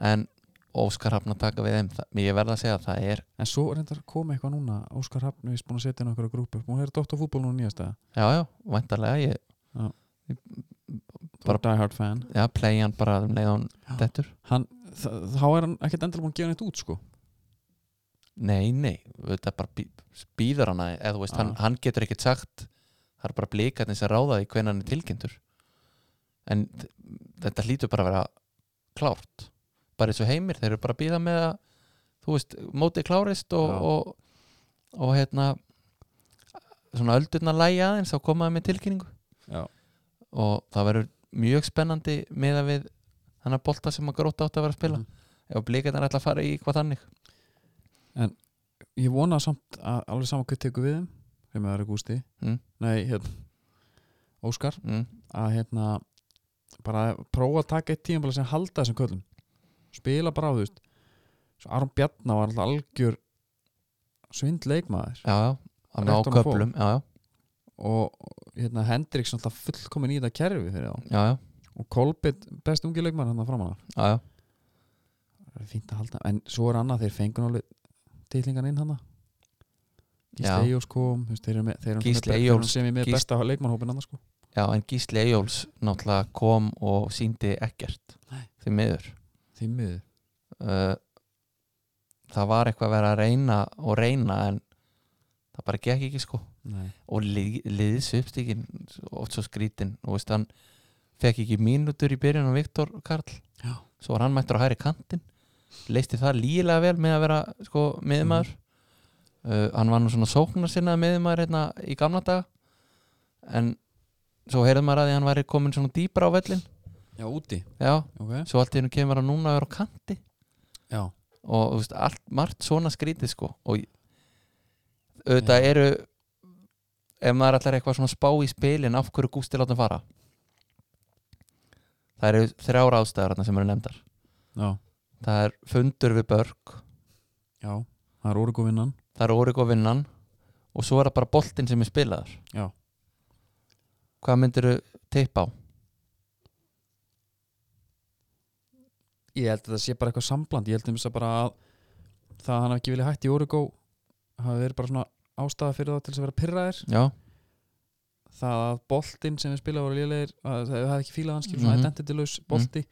[SPEAKER 2] en Óskar hafna taka við þeim það, ég verð að segja að það er
[SPEAKER 1] en svo reyndar kom eitthvað núna Óskar Hafnvís búin að setja inn okkur á grúpu hún er dótt á fútból núna nýjasta
[SPEAKER 2] já, já, væntarlega ég,
[SPEAKER 1] Já.
[SPEAKER 2] ég
[SPEAKER 1] bara
[SPEAKER 2] Bara-
[SPEAKER 1] die hard fan
[SPEAKER 2] já, play hann bara um leiðan
[SPEAKER 1] Já.
[SPEAKER 2] dettur
[SPEAKER 1] hann, þa- þá er hann ekkert endilega búin að gefa neitt út sko
[SPEAKER 2] Nei, nei, þetta er bara bí- býður hana eða þú veist, hann,
[SPEAKER 1] Ah.
[SPEAKER 2] hann getur ekkert sagt það er bara blikarnir sem ráða í hvernig hann er tilkynntur en þ- þetta hlýtur bara að vera klárt bara eins og heimir, þeir eru bara að býða með að þú veist, mótið klárist og,
[SPEAKER 1] Já.
[SPEAKER 2] og, og hérna svona öldurna lægi aðeins þá komaði með tilkynningu
[SPEAKER 1] Já.
[SPEAKER 2] og það verður mjög spennandi með að við hann að bolta sem að gróta átt að vera að
[SPEAKER 1] Mhm.
[SPEAKER 2] spila ef blikarnir ætla að fara í hvað þannig
[SPEAKER 1] ég vona samt að alveg sama hvað tekur við þeim þeim að það er gústi
[SPEAKER 2] Mm.
[SPEAKER 1] nei, hérna, Óskar
[SPEAKER 2] mm.
[SPEAKER 1] að hérna bara prófa að taka eitt tíma sem halda þessum köllum spila bara á þú veist svo Aron Bjarnar var alltaf algjör svindleikmaður
[SPEAKER 2] Já, já, hann á
[SPEAKER 1] Rétt honum
[SPEAKER 2] köflum já, já,
[SPEAKER 1] og hérna Hendriks alltaf fullkomin í þetta kerfi fyrir þá
[SPEAKER 2] já, já,
[SPEAKER 1] og Kolbett, best ungi leikmaður hann að framanna
[SPEAKER 2] já, já.
[SPEAKER 1] það er fínt að halda, en svo er annað þeir fengur alveg titlingan inn hann
[SPEAKER 2] Já.
[SPEAKER 1] Gísli Eyjóls kom, þú veist, þeir eru með, þeir eru
[SPEAKER 2] Gísli
[SPEAKER 1] með,
[SPEAKER 2] Eyjólfs-
[SPEAKER 1] sem er með
[SPEAKER 2] Gísli-
[SPEAKER 1] besta leikmannhópin annars sko
[SPEAKER 2] já en Gísli Eyjóls náttúrulega kom og síndi ekkert
[SPEAKER 1] Nei.
[SPEAKER 2] því miður
[SPEAKER 1] því miður
[SPEAKER 2] uh, það var eitthvað að vera að reyna og reyna en það bara gekk ekki sko
[SPEAKER 1] Nei.
[SPEAKER 2] og lið, liðs uppstíkin oft svo skrítin og veist hann fekk ekki mínútur í byrjun á Viktor Karl
[SPEAKER 1] Já.
[SPEAKER 2] svo var hann mættur á hæri kantinn leisti það lígilega vel með að vera sko miðumæður uh, hann var nú svona sóknarsinnað miðumæður hérna í gamla daga en svo heyrðum maður að því að hann væri komin svona dýpra á vellin
[SPEAKER 1] já, úti,
[SPEAKER 2] já,
[SPEAKER 1] ok
[SPEAKER 2] svo allt í hennu kemur hann núna að vera á kanti
[SPEAKER 1] já,
[SPEAKER 2] og þú veist, allt, margt svona skrítið sko og ég- auðvitað eru ef maður allar eitthvað svona spá í spilin af hverju Gústi látum fara það eru þrjár ástæðar þarna sem eru nefndar
[SPEAKER 1] já,
[SPEAKER 2] það er fundur við Börg
[SPEAKER 1] já það er orguvinnan
[SPEAKER 2] það er Origo vinnan og svo er það bara boltinn sem er spilaður
[SPEAKER 1] Já.
[SPEAKER 2] hvað myndirðu teipa á?
[SPEAKER 1] ég held að það sé bara eitthvað sambland ég held um þess að bara að það að hann hafi ekki vilja hætti í Origo hafi verið bara svona ástæða fyrir þá til þess að vera pyrraðir
[SPEAKER 2] Já,
[SPEAKER 1] það að boltinn sem við spila voru lélegir að það hefði ekki fílað hanskip mm
[SPEAKER 2] Mhm.
[SPEAKER 1] svona identitylaus bolti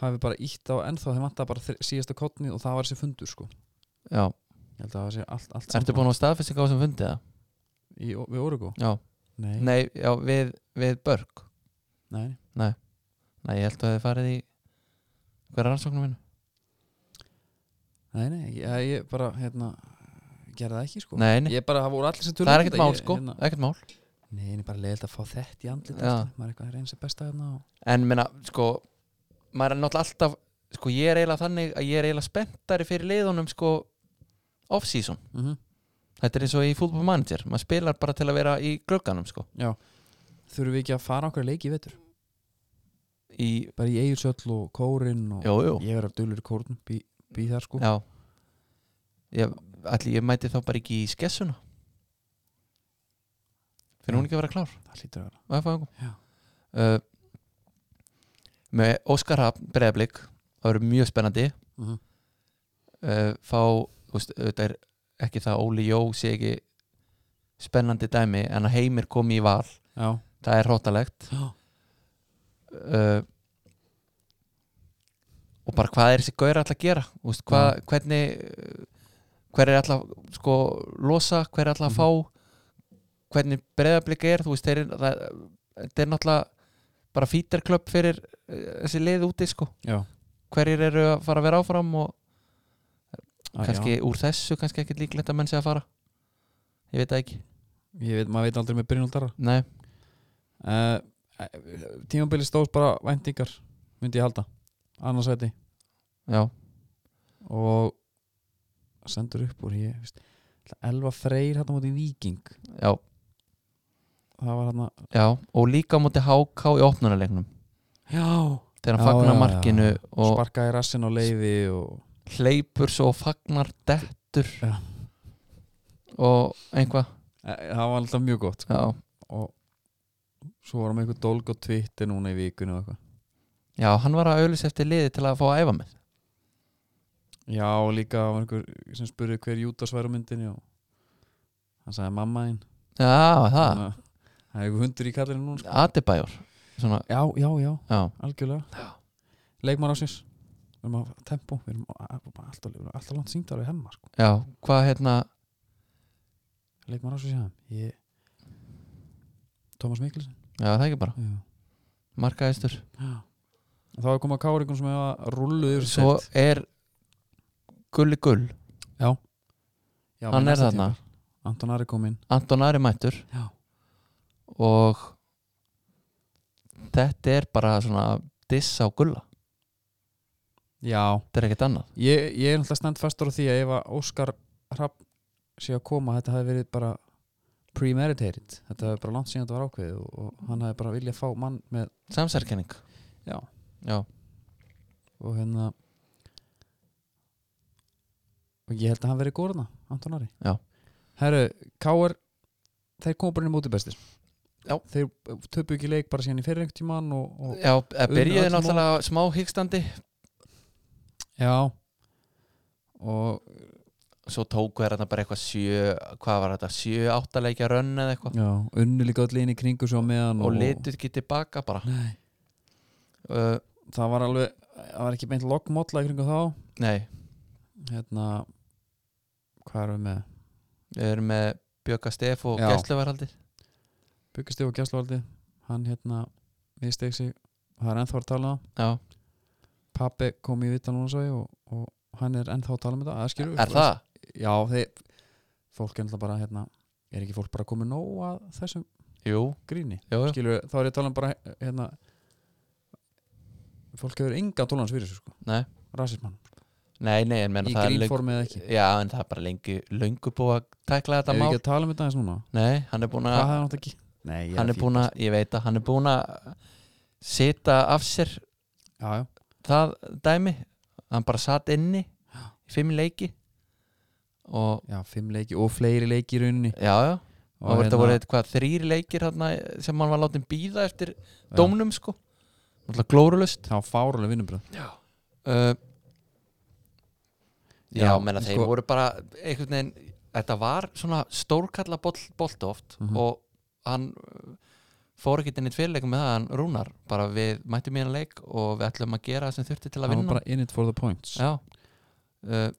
[SPEAKER 1] hafi bara ítt á ennþá þeim vantar bara þri- síðasta kottni og það var þessi fundur sko
[SPEAKER 2] já,
[SPEAKER 1] ég held að það sé allt, allt
[SPEAKER 2] ertu búin að staðfestinga á sem fundið það?
[SPEAKER 1] í, við Origo
[SPEAKER 2] Já,
[SPEAKER 1] nei, nei.
[SPEAKER 2] nei, já, við, við Börg
[SPEAKER 1] nei.
[SPEAKER 2] Nei, ég held að þið farið í hver rannsóknum minn?
[SPEAKER 1] Nei, nei, ég, ég bara, hérna gerði það ekki, sko
[SPEAKER 2] Nei, nei,
[SPEAKER 1] Ég bara, það voru allir sem tölum
[SPEAKER 2] það er ekkert mál
[SPEAKER 1] ég,
[SPEAKER 2] sko,
[SPEAKER 1] hérna,
[SPEAKER 2] ekkert mál
[SPEAKER 1] Nei, ég er bara leiðilt að fá þetta í andlit
[SPEAKER 2] Já.
[SPEAKER 1] alltaf. Maður er eitthvað að reyna sér besta hérna og...
[SPEAKER 2] En minna, sko, maður er náttúrulega alltaf sko, ég er eiginlega þannig að ég er eiginlega spenntari fyrir liðunum sko off-season,
[SPEAKER 1] mm
[SPEAKER 2] þetta er eins og í Football Manager maður spilar bara til að vera í glögganum sko
[SPEAKER 1] Þurfum við ekki að fara okkur að leiki í vetur
[SPEAKER 2] í,
[SPEAKER 1] Bara í eigirsöll og kórin og
[SPEAKER 2] jú, jú,
[SPEAKER 1] Ég er að dölur í kórnum, bý, bý þar, sko
[SPEAKER 2] já ég, allir ég mæti þá bara ekki í skessuna fyrir hún ekki að vera klár
[SPEAKER 1] Það hlýtur að vera
[SPEAKER 2] á FH-ingum.
[SPEAKER 1] Já.
[SPEAKER 2] uh, með Óskar Hafn Breiðablík, það verður mjög spennandi
[SPEAKER 1] mm -hmm.
[SPEAKER 2] uh, fá þú veist, auðvitað er ekki það að Óli Jó sé ekki spennandi dæmi en að Heimir komi í val
[SPEAKER 1] Já,
[SPEAKER 2] það er hróttalegt
[SPEAKER 1] Já.
[SPEAKER 2] uh, og bara hvað er þessi gaur alltaf að gera Þú veist, hvað, hvernig uh, hver er alltaf sko losa, hver er alltaf að fá hvernig breyðablika er þú veist, þeir, eru- það, það er náttúrulega bara fítarklöpp fyrir uh, þessi lið úti sko
[SPEAKER 1] já
[SPEAKER 2] hverjir eru að fara að vera áfram og
[SPEAKER 1] Æ,
[SPEAKER 2] kannski úr þessu kannski ekkert líklegt að menn sé að fara ég veit það ekki
[SPEAKER 1] já. Ég veit, maður veit aldrei með Brynjóldara
[SPEAKER 2] Nei,
[SPEAKER 1] uh, Tímabili stóðs bara væntingar Myndi ég halda Annars veit
[SPEAKER 2] já,
[SPEAKER 1] og sendur upp úr ég veist, ætla, Elva Freyr hérna mútið Víking
[SPEAKER 2] já,
[SPEAKER 1] það var hérna
[SPEAKER 2] já og líka á móti HK í opnunarleiknum
[SPEAKER 1] já,
[SPEAKER 2] þegar
[SPEAKER 1] Já,
[SPEAKER 2] hann fagnar
[SPEAKER 1] já,
[SPEAKER 2] markinu
[SPEAKER 1] já.
[SPEAKER 2] og
[SPEAKER 1] sparkaði rassin á leiði og
[SPEAKER 2] hleypur svo og fagnar dettur
[SPEAKER 1] Já.
[SPEAKER 2] og einhvað
[SPEAKER 1] e, það var alltaf mjög gott sko.
[SPEAKER 2] já,
[SPEAKER 1] og svo varum einhver dólg á Twitter núna í vikunni og eitthvað
[SPEAKER 2] já, hann var að auðlis eftir liði til að fá að æfa með
[SPEAKER 1] já, og líka var einhver sem spurði hver Jútas væri á myndinni og hann sagði mamma þín
[SPEAKER 2] já,
[SPEAKER 1] Þannig
[SPEAKER 2] það,
[SPEAKER 1] að það er einhver hundur í kallinu núna sko.
[SPEAKER 2] Adibajor svona,
[SPEAKER 1] já, já, já,
[SPEAKER 2] já,
[SPEAKER 1] algjörlega leikmann ásins við erum á tempo, við erum á- á- alltaf, við erum alltaf langt síndar við hemmar sko.
[SPEAKER 2] Já, hvað hérna
[SPEAKER 1] leikmaður á svo séðan ég... Tómas Mikkelsen
[SPEAKER 2] Já, það er ekki bara,
[SPEAKER 1] já.
[SPEAKER 2] markaðistur
[SPEAKER 1] Já. En þá er komað káringun sem hefa rulluð yfir
[SPEAKER 2] Svo
[SPEAKER 1] sig.
[SPEAKER 2] er Gulli Gull,
[SPEAKER 1] já,
[SPEAKER 2] hann
[SPEAKER 1] við
[SPEAKER 2] er
[SPEAKER 1] næsta
[SPEAKER 2] þarna
[SPEAKER 1] tímabil. Anton Ari kom inn
[SPEAKER 2] Anton Ari mættur
[SPEAKER 1] já.
[SPEAKER 2] og þetta er bara svona diss á Gulla,
[SPEAKER 1] já,
[SPEAKER 2] þetta er ekkert annað
[SPEAKER 1] ég, ég er náttúrulega stend fastur á því að ef að Óskar Hrapp sé að koma þetta hefði verið bara premeditated þetta hefði bara langt síðan þetta var ákveðið og, og hann hefði bara viljað fá mann með
[SPEAKER 2] Samsærkenning
[SPEAKER 1] Já.
[SPEAKER 2] Já,
[SPEAKER 1] og hérna og ég held að hann verið góðurna Anton Ari
[SPEAKER 2] Já.
[SPEAKER 1] Herru, Káar þeir komu bara inn í móti bestir
[SPEAKER 2] Já.
[SPEAKER 1] þeir töpu ekki leik bara síðan í fyrir einhvern tímann og, og
[SPEAKER 2] Já eða
[SPEAKER 1] Unnu
[SPEAKER 2] byrjuði
[SPEAKER 1] öll
[SPEAKER 2] náttúrulega smá hyggstandi
[SPEAKER 1] já og
[SPEAKER 2] svo tóku þér þetta bara eitthvað sjö hvað var þetta, sjö áttaleikja rönn eða eitthvað
[SPEAKER 1] já, unnu líka öll inn í kringu svo á meðan
[SPEAKER 2] og litu ekki tilbaka bara
[SPEAKER 1] Nei.
[SPEAKER 2] uh,
[SPEAKER 1] það var alveg, það var ekki beint loggmótla í kringu þá
[SPEAKER 2] Nei,
[SPEAKER 1] hérna hvað erum við með,
[SPEAKER 2] við erum með Bjöka Stef og
[SPEAKER 1] Já.
[SPEAKER 2] Gessluvarhaldir
[SPEAKER 1] Byggustíf og Gjaslavaldi hann hérna, misteg sig það er ennþá að tala um það
[SPEAKER 2] Já,
[SPEAKER 1] pappi kom í vita núna svo ég og, og hann er ennþá að tala um þetta að skilur
[SPEAKER 2] er það?
[SPEAKER 1] Já, þeir, fólk er náttúrulega bara hérna, er ekki fólk bara komið nóg að þessum
[SPEAKER 2] Jú,
[SPEAKER 1] gríni
[SPEAKER 2] jú, jú.
[SPEAKER 1] skilur, þá er ég að tala um bara hérna fólk hefur enga tólans fyrir þessu sko
[SPEAKER 2] Nei.
[SPEAKER 1] rasismann,
[SPEAKER 2] Nei, nei, en menn
[SPEAKER 1] í
[SPEAKER 2] það er löngu
[SPEAKER 1] grínformi eða ekki
[SPEAKER 2] Já, en það er bara lengi, löngu búið að tækla þetta
[SPEAKER 1] Ef við
[SPEAKER 2] mál
[SPEAKER 1] ekki að tala um þetta eins núna
[SPEAKER 2] Nei, hann er búin
[SPEAKER 1] Hvað
[SPEAKER 2] að
[SPEAKER 1] hefði hann átt ekki? Nei, ég
[SPEAKER 2] hann er búin að, ég veit að hann er búin að sita af sér
[SPEAKER 1] Já, já,
[SPEAKER 2] það dæmi hann bara satt inni í fimm leiki og
[SPEAKER 1] já, fimm leiki og fleiri leiki í rauninni
[SPEAKER 2] já, já og
[SPEAKER 1] Og hérna-
[SPEAKER 2] þetta voru eitthvað þrýr leikir hana, sem hann var látið býða eftir dómnum sko náttúrulega glórulust
[SPEAKER 1] Það var fárulega vinnubröð
[SPEAKER 2] uh, já,
[SPEAKER 1] Já,
[SPEAKER 2] menna þeir
[SPEAKER 1] sko-
[SPEAKER 2] voru bara einhvern veginn, þetta var svona stórkalla bolt, bolt oft
[SPEAKER 1] Mhm.
[SPEAKER 2] og hann uh, fór ekki inn í tveirleikum með það, hann rúnar bara við mættum í hann leik og við ætlum að gera það sem þurfti til að
[SPEAKER 1] Það var
[SPEAKER 2] vinna
[SPEAKER 1] bara in it for the points
[SPEAKER 2] já uh,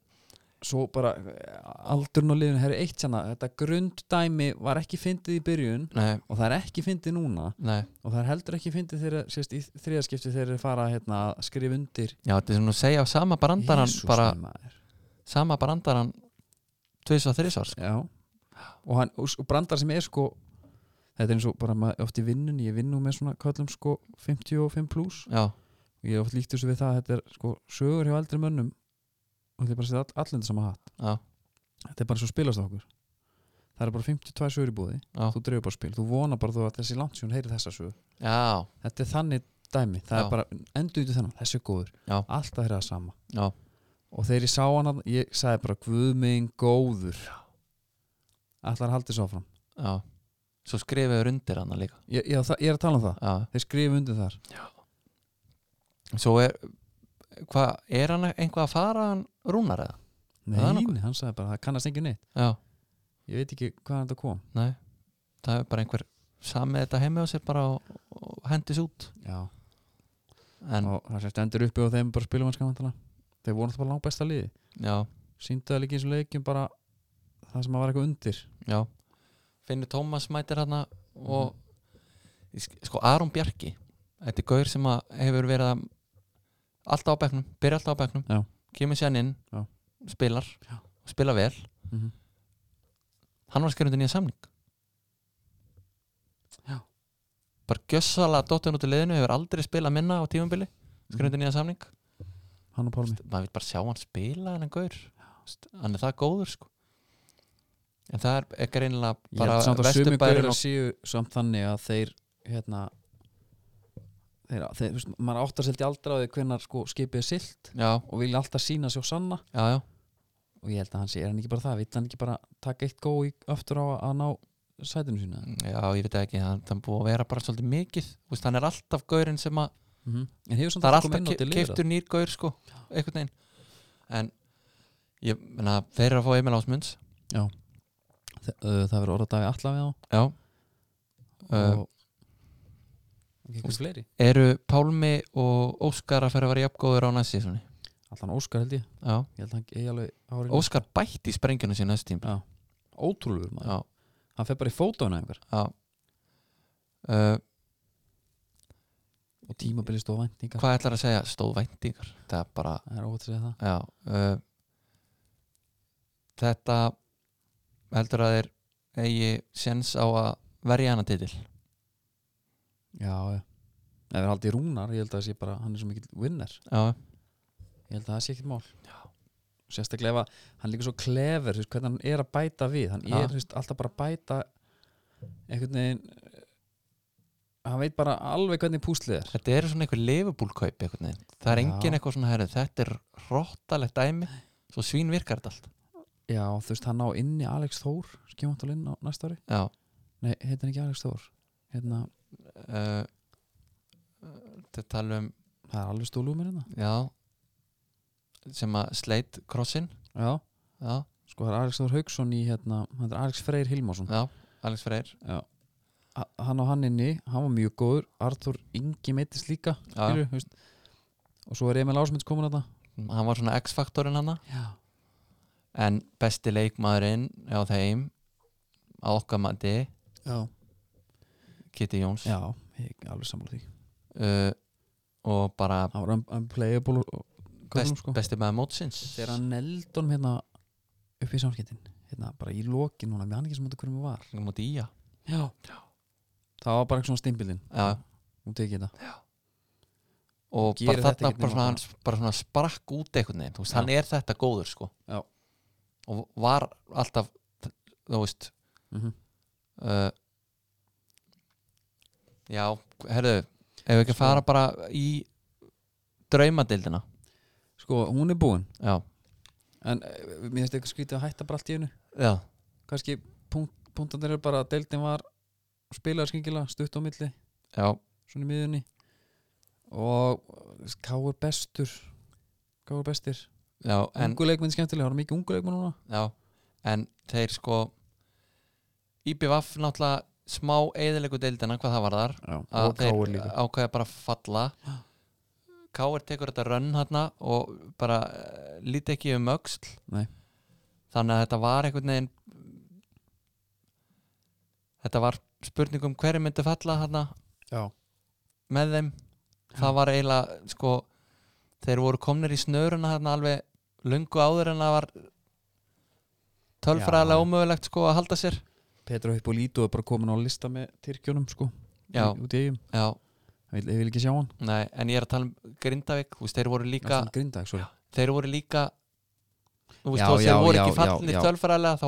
[SPEAKER 1] svo bara eh, aldurinn og liðin herri eitt sérna, þetta grunddæmi var ekki fyndið í byrjun
[SPEAKER 2] nei,
[SPEAKER 1] og það er ekki fyndið núna
[SPEAKER 2] nei,
[SPEAKER 1] og það er heldur ekki fyndið þegar sérst í þriðaskipti þegar þeir fara hérna, að skrifa undir
[SPEAKER 2] já, þetta er svona að segja á sama brandaran
[SPEAKER 1] Jesús
[SPEAKER 2] bara,
[SPEAKER 1] minn maður.
[SPEAKER 2] sama brandaran tvis og þrísvar sko.
[SPEAKER 1] Já. og, hann, og s- og brandar sem er sko þetta er eins og bara maður oft í vinnun ég vinn nú með svona kallum sko 55 plus
[SPEAKER 2] já,
[SPEAKER 1] og ég hef oft líkt þessu við það að þetta er sko sögur hjá aldri mönnum og þetta er bara að setja allindu sama hatt
[SPEAKER 2] já,
[SPEAKER 1] þetta er bara svo spilast okkur það er bara 52 sögur í búði
[SPEAKER 2] Já.
[SPEAKER 1] þú dreifur bara spil, þú vonar bara þú að þessi landsjón heyri þessa sögur
[SPEAKER 2] já
[SPEAKER 1] þetta er þannig dæmi, það
[SPEAKER 2] Já.
[SPEAKER 1] er bara endur út í þennan, þessi er góður,
[SPEAKER 2] Já.
[SPEAKER 1] alltaf er það sama
[SPEAKER 2] Já.
[SPEAKER 1] og þegar ég sá hann þarna, ég sagði bara guðminn góður allar haldið svo fram
[SPEAKER 2] Já, svo skrifaður undir hana líka
[SPEAKER 1] ég, ég, það, ég er að tala um það,
[SPEAKER 2] Já,
[SPEAKER 1] þeir skrifa undir þar
[SPEAKER 2] svo er hvað, er hann einhvað að fara hann rúnar eða?
[SPEAKER 1] nei,
[SPEAKER 2] Það er nokkuð.
[SPEAKER 1] nei, hann sagði bara, það kannast engin neitt
[SPEAKER 2] Já,
[SPEAKER 1] ég veit ekki hvaðan þetta kom
[SPEAKER 2] nei það er bara einhver samið þetta heimi á sér bara og, og hendis út
[SPEAKER 1] Já.
[SPEAKER 2] en,
[SPEAKER 1] og það sést endur uppi og þeim bara spilum hans kannan þeir voru alltaf bara langbesta liði
[SPEAKER 2] já,
[SPEAKER 1] síndu það líka eins og leikjum bara það sem að var eitthvað undir
[SPEAKER 2] já Finnur Tómas mætir hana og mm sko Aron Bjarki þetta er gaur sem að hefur verið að alltaf á bekknum, byrja alltaf á bekknum
[SPEAKER 1] Já.
[SPEAKER 2] kemur sér hann inn,
[SPEAKER 1] Já.
[SPEAKER 2] spilar
[SPEAKER 1] Já.
[SPEAKER 2] og spila vel
[SPEAKER 1] mm
[SPEAKER 2] hann var skrifundur nýja samning
[SPEAKER 1] Já.
[SPEAKER 2] bara gjössalega dottin út í liðinu hefur aldrei spilað minna á tímumbili
[SPEAKER 1] Mhm.
[SPEAKER 2] skrifundur nýja samning
[SPEAKER 1] hann og Pálmi
[SPEAKER 2] maður vil bara sjá hann spila hann gaur Vist, hann er það góður sko en það er ekki reynilega
[SPEAKER 1] Ég held samt
[SPEAKER 2] bara
[SPEAKER 1] að sumi
[SPEAKER 2] vesturbærin
[SPEAKER 1] gaurar
[SPEAKER 2] og
[SPEAKER 1] séu samt þannig að þeir hérna þeir, þeir, þú veist, maður áttar sildi aldrei á því hvernar sko skipið er silt
[SPEAKER 2] já,
[SPEAKER 1] og vilja alltaf sína sér sanna
[SPEAKER 2] já, já,
[SPEAKER 1] og ég held að hann sé, er hann ekki bara það, vill hann ekki bara taka eitt gói aftur á að- að ná sætinu sína
[SPEAKER 2] já, ég veit ekki hann, hann búið að vera bara svolítið mikið Vist, hann er alltaf gaurinn sem að
[SPEAKER 1] en hefur samt
[SPEAKER 2] það er
[SPEAKER 1] komið inn á
[SPEAKER 2] alltaf
[SPEAKER 1] til liðra.
[SPEAKER 2] keiftur nýr gaur sko einhvern veginn en ég, menna, þeir eru að fá Emil Ásmunds
[SPEAKER 1] Þe- uh, það verður orðaði alla við á
[SPEAKER 2] já uh,
[SPEAKER 1] og ekki
[SPEAKER 2] úst-
[SPEAKER 1] fleiri
[SPEAKER 2] eru Pálmi og Óskar að fara að vera jafngóður á næst síðan
[SPEAKER 1] allan Óskar held ég
[SPEAKER 2] já.
[SPEAKER 1] ég held að hann eigi alveg árið
[SPEAKER 2] Óskar bætti í sprengjunum sín þessu tíma
[SPEAKER 1] Já. ótrúlegur maður,
[SPEAKER 2] já,
[SPEAKER 1] hann fer bara í fótána einhver
[SPEAKER 2] já uh,
[SPEAKER 1] og tímabilið stóð væntingar
[SPEAKER 2] Hvað ætlar að segja? Stóð væntingar Það er bara
[SPEAKER 1] það er óvægt að segja það
[SPEAKER 2] já, uh, Þetta heldur að þeir eigi sens á að verja hana titil
[SPEAKER 1] já, já ef er haldið rúnar, ég held að það sé bara hann er svo mikill vinner,
[SPEAKER 2] Já,
[SPEAKER 1] ég held að það sé ekkert mál já. sérstaklega ef að hann er líka svo klefur þú veist, hvernig hann er að bæta við hann
[SPEAKER 2] Já.
[SPEAKER 1] er þú veist, alltaf bara að bæta einhvern veginn eh, hann veit bara alveg hvernig púslið er
[SPEAKER 2] þetta eru svona einhver lifubúlkaup einhvern veginn. Það er
[SPEAKER 1] Já.
[SPEAKER 2] engin eitthvað svona herrið Þetta er rottalegt dæmi Svo svín virkar þetta allt
[SPEAKER 1] já, þú veist, hann á inni Alex Þór skjóðum hann inn á næsta ári
[SPEAKER 2] Já
[SPEAKER 1] nei, heitir hann ekki Alex Þór hérna,
[SPEAKER 2] uh, Þetta tala um
[SPEAKER 1] það er alveg stólu mér hérna
[SPEAKER 2] Já sem að sleit krossin
[SPEAKER 1] já,
[SPEAKER 2] Já,
[SPEAKER 1] sko það er Alex Þór Hauksson í hérna, hann er Alex Freyr Hilmarsson
[SPEAKER 2] já, Alex Freyr
[SPEAKER 1] Ha- hann á hann inni, hann var mjög góður Arthur Ingi meittist líka
[SPEAKER 2] Já.
[SPEAKER 1] skilur, veist, og svo er Emil Ásmunds komin að
[SPEAKER 2] Hann var svona X-faktorinn hann
[SPEAKER 1] það
[SPEAKER 2] En besti leikmaðurinn á þeim á okkar mati
[SPEAKER 1] já,
[SPEAKER 2] Kitty Jóns
[SPEAKER 1] já, ég er alveg sammála því
[SPEAKER 2] uh, og bara
[SPEAKER 1] hann var un- unplayable og- og-
[SPEAKER 2] best,
[SPEAKER 1] köflum, sko.
[SPEAKER 2] besti maður mótsins
[SPEAKER 1] þegar hann neld honum hérna upp í samskettin hérna bara í lokin núna, mér hann ekki sem þetta hverjum það var
[SPEAKER 2] Hann múti í að
[SPEAKER 1] já, það var bara eitthvað svona stimpildin
[SPEAKER 2] Já,
[SPEAKER 1] hún tekið þetta
[SPEAKER 2] og
[SPEAKER 1] Gerir
[SPEAKER 2] bara
[SPEAKER 1] þetta
[SPEAKER 2] þetta
[SPEAKER 1] ekkert
[SPEAKER 2] bara
[SPEAKER 1] nema
[SPEAKER 2] svona, hann bara svona sprakk út einhvern veginn, þú veist,
[SPEAKER 1] Já.
[SPEAKER 2] hann er þetta góður sko
[SPEAKER 1] Já.
[SPEAKER 2] og var alltaf þú veist
[SPEAKER 1] Mhm.
[SPEAKER 2] uh, já, herðu ef við ekki
[SPEAKER 1] Sko.
[SPEAKER 2] fara bara í draumadildina
[SPEAKER 1] sko, hún er búin
[SPEAKER 2] já,
[SPEAKER 1] en eh, mér finnst eitthvað skrítið að hætta bara allt í hennu
[SPEAKER 2] já,
[SPEAKER 1] kannski punkt, punktandir eru bara að deildin var spilaði skringilega, stutt á milli
[SPEAKER 2] já
[SPEAKER 1] svona í miðunni og Káur bestur Káur bestir
[SPEAKER 2] já, en,
[SPEAKER 1] ungu leikmenn skemmtilega, það eru mikið ungu leikmenn núna
[SPEAKER 2] já, en þeir sko IBVF náttúrulega smá eðilegu deildina hvað það var þar
[SPEAKER 1] já, og
[SPEAKER 2] að
[SPEAKER 1] Káur
[SPEAKER 2] þeir
[SPEAKER 1] líka
[SPEAKER 2] ákveða bara að falla Káir tekur þetta rönn hérna og bara uh, líti ekki um öxl
[SPEAKER 1] Nei.
[SPEAKER 2] þannig að þetta var einhvern veginn þetta var spurning um hverju myndi falla hérna
[SPEAKER 1] já,
[SPEAKER 2] með þeim það var eiginlega sko þeir voru komnir í snöruna hérna alveg lungu áður en það var
[SPEAKER 1] Já.
[SPEAKER 2] tölfræðilega ómögulegt sko að halda sér
[SPEAKER 1] Petro Hippolito er bara komin á lista með Tyrkjónum sko,
[SPEAKER 2] já,
[SPEAKER 1] í- út í eigum
[SPEAKER 2] já,
[SPEAKER 1] ég vil, ég vil ekki sjá hann
[SPEAKER 2] nei, en ég er að tala um Grindavík, þú veist, þeir voru líka
[SPEAKER 1] Aston Grindag, sorry
[SPEAKER 2] þeir voru líka þú veist,
[SPEAKER 1] Já,
[SPEAKER 2] þó
[SPEAKER 1] já,
[SPEAKER 2] þeir voru
[SPEAKER 1] já,
[SPEAKER 2] ekki
[SPEAKER 1] já,
[SPEAKER 2] fallinir
[SPEAKER 1] já.
[SPEAKER 2] tölfræðilega þá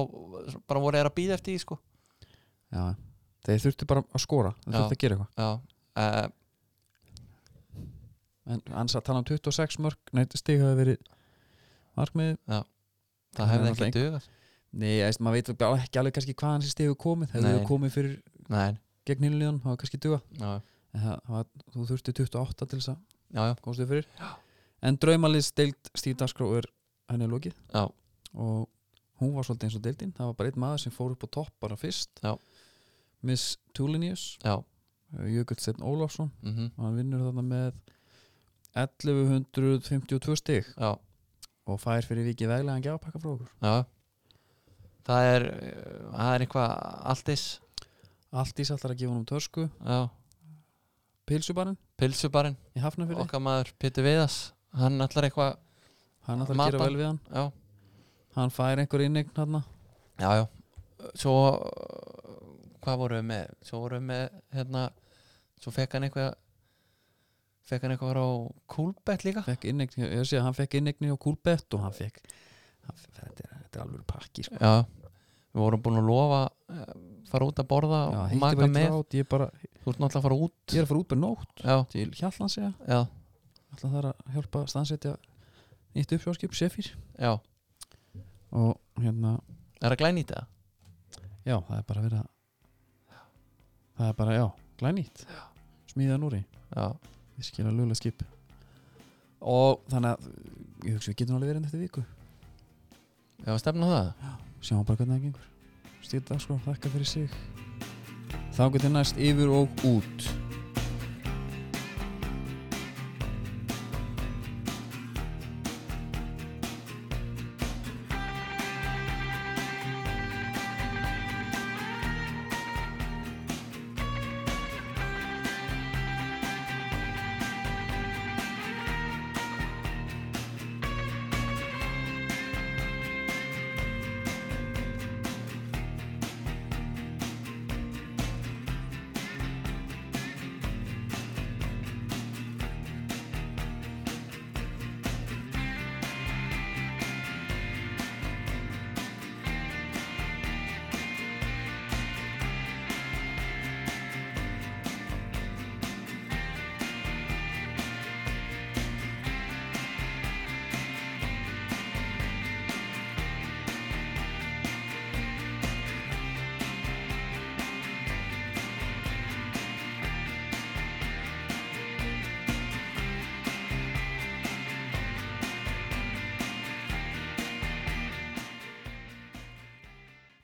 [SPEAKER 2] bara voru þeir að býða eftir því sko
[SPEAKER 1] já. þeir þurftu bara að skora þeir
[SPEAKER 2] Já.
[SPEAKER 1] þurftu að gera eitthvað
[SPEAKER 2] já, uh,
[SPEAKER 1] en hann um satt hann á 26 mörg nei, stig hafi verið markmið
[SPEAKER 2] það
[SPEAKER 1] Það er
[SPEAKER 2] hefði
[SPEAKER 1] náttúrulega
[SPEAKER 2] ekki dugast
[SPEAKER 1] nei, eða, maður veit bara ekki alveg kannski hvaðan þessi stigu komið hefur
[SPEAKER 2] Nei.
[SPEAKER 1] þau komið fyrir
[SPEAKER 2] nei,
[SPEAKER 1] gegn hinliðan, það var kannski duga
[SPEAKER 2] já,
[SPEAKER 1] en það, það var, þú þurfti 28 til þess að
[SPEAKER 2] já, já,
[SPEAKER 1] komstu fyrir en draumalist deild Stíf Daskró er henni er lokið
[SPEAKER 2] já,
[SPEAKER 1] og hún var svolítið eins og deildin það var bara einn maður sem fór upp á topp bara fyrst
[SPEAKER 2] Já.
[SPEAKER 1] Miss Tulinius
[SPEAKER 2] já
[SPEAKER 1] Jökull Steinn Ólafsson
[SPEAKER 2] mm
[SPEAKER 1] og hann vinnur þarna með 1152 stig
[SPEAKER 2] já,
[SPEAKER 1] og fær fyrir vikið veglega en gjafapakka frá okkur
[SPEAKER 2] já það er eh, það er eitthvað alltis
[SPEAKER 1] allt ís allar að gefa hann um törsku
[SPEAKER 2] já,
[SPEAKER 1] pilsubarinn
[SPEAKER 2] pilsubarinn,
[SPEAKER 1] í Hafnafjörði
[SPEAKER 2] okkar maður Pétur Viðas, hann ætlar eitthvað
[SPEAKER 1] hann allar að gera
[SPEAKER 2] Matan.
[SPEAKER 1] vel við hann
[SPEAKER 2] já,
[SPEAKER 1] hann fær einhver innegn hann
[SPEAKER 2] já, já svo, eh, hvað vorum við með svo vorum við með, hérna svo fekk hann eitthvað fekk hann eitthvað frá Kúlbett líka
[SPEAKER 1] fekk innegni, ég sé að hann fekk innegni á Kúlbett og hann fekk hann, fe- þetta, er, þetta er alveg pakki sko.
[SPEAKER 2] já, við vorum búin að lofa eh, fara út að borða
[SPEAKER 1] Já,
[SPEAKER 2] og
[SPEAKER 1] hitti
[SPEAKER 2] maka
[SPEAKER 1] bara illa
[SPEAKER 2] með,
[SPEAKER 1] át, ég, er bara,
[SPEAKER 2] þú ert náttúrulega að fara
[SPEAKER 1] ég
[SPEAKER 2] út
[SPEAKER 1] er að fara út með nótt
[SPEAKER 2] já,
[SPEAKER 1] til Hjallan segja,
[SPEAKER 2] já,
[SPEAKER 1] alltaf það er að hjálpa að stansetja nýtt uppsjóðskip, Sefir
[SPEAKER 2] já
[SPEAKER 1] og hérna,
[SPEAKER 2] er að glæni í þetta?
[SPEAKER 1] já, það er bara verið að það er bara, já, glænýtt smíðan úr í,
[SPEAKER 2] já,
[SPEAKER 1] virkilega lögulega skip og þannig að ég hugsa við getum alveg verið þetta viku
[SPEAKER 2] já, stefna á það
[SPEAKER 1] sjáum bara hvernig það gengur stýrt dagskrá, þakka fyrir sig þá getur næst yfir og út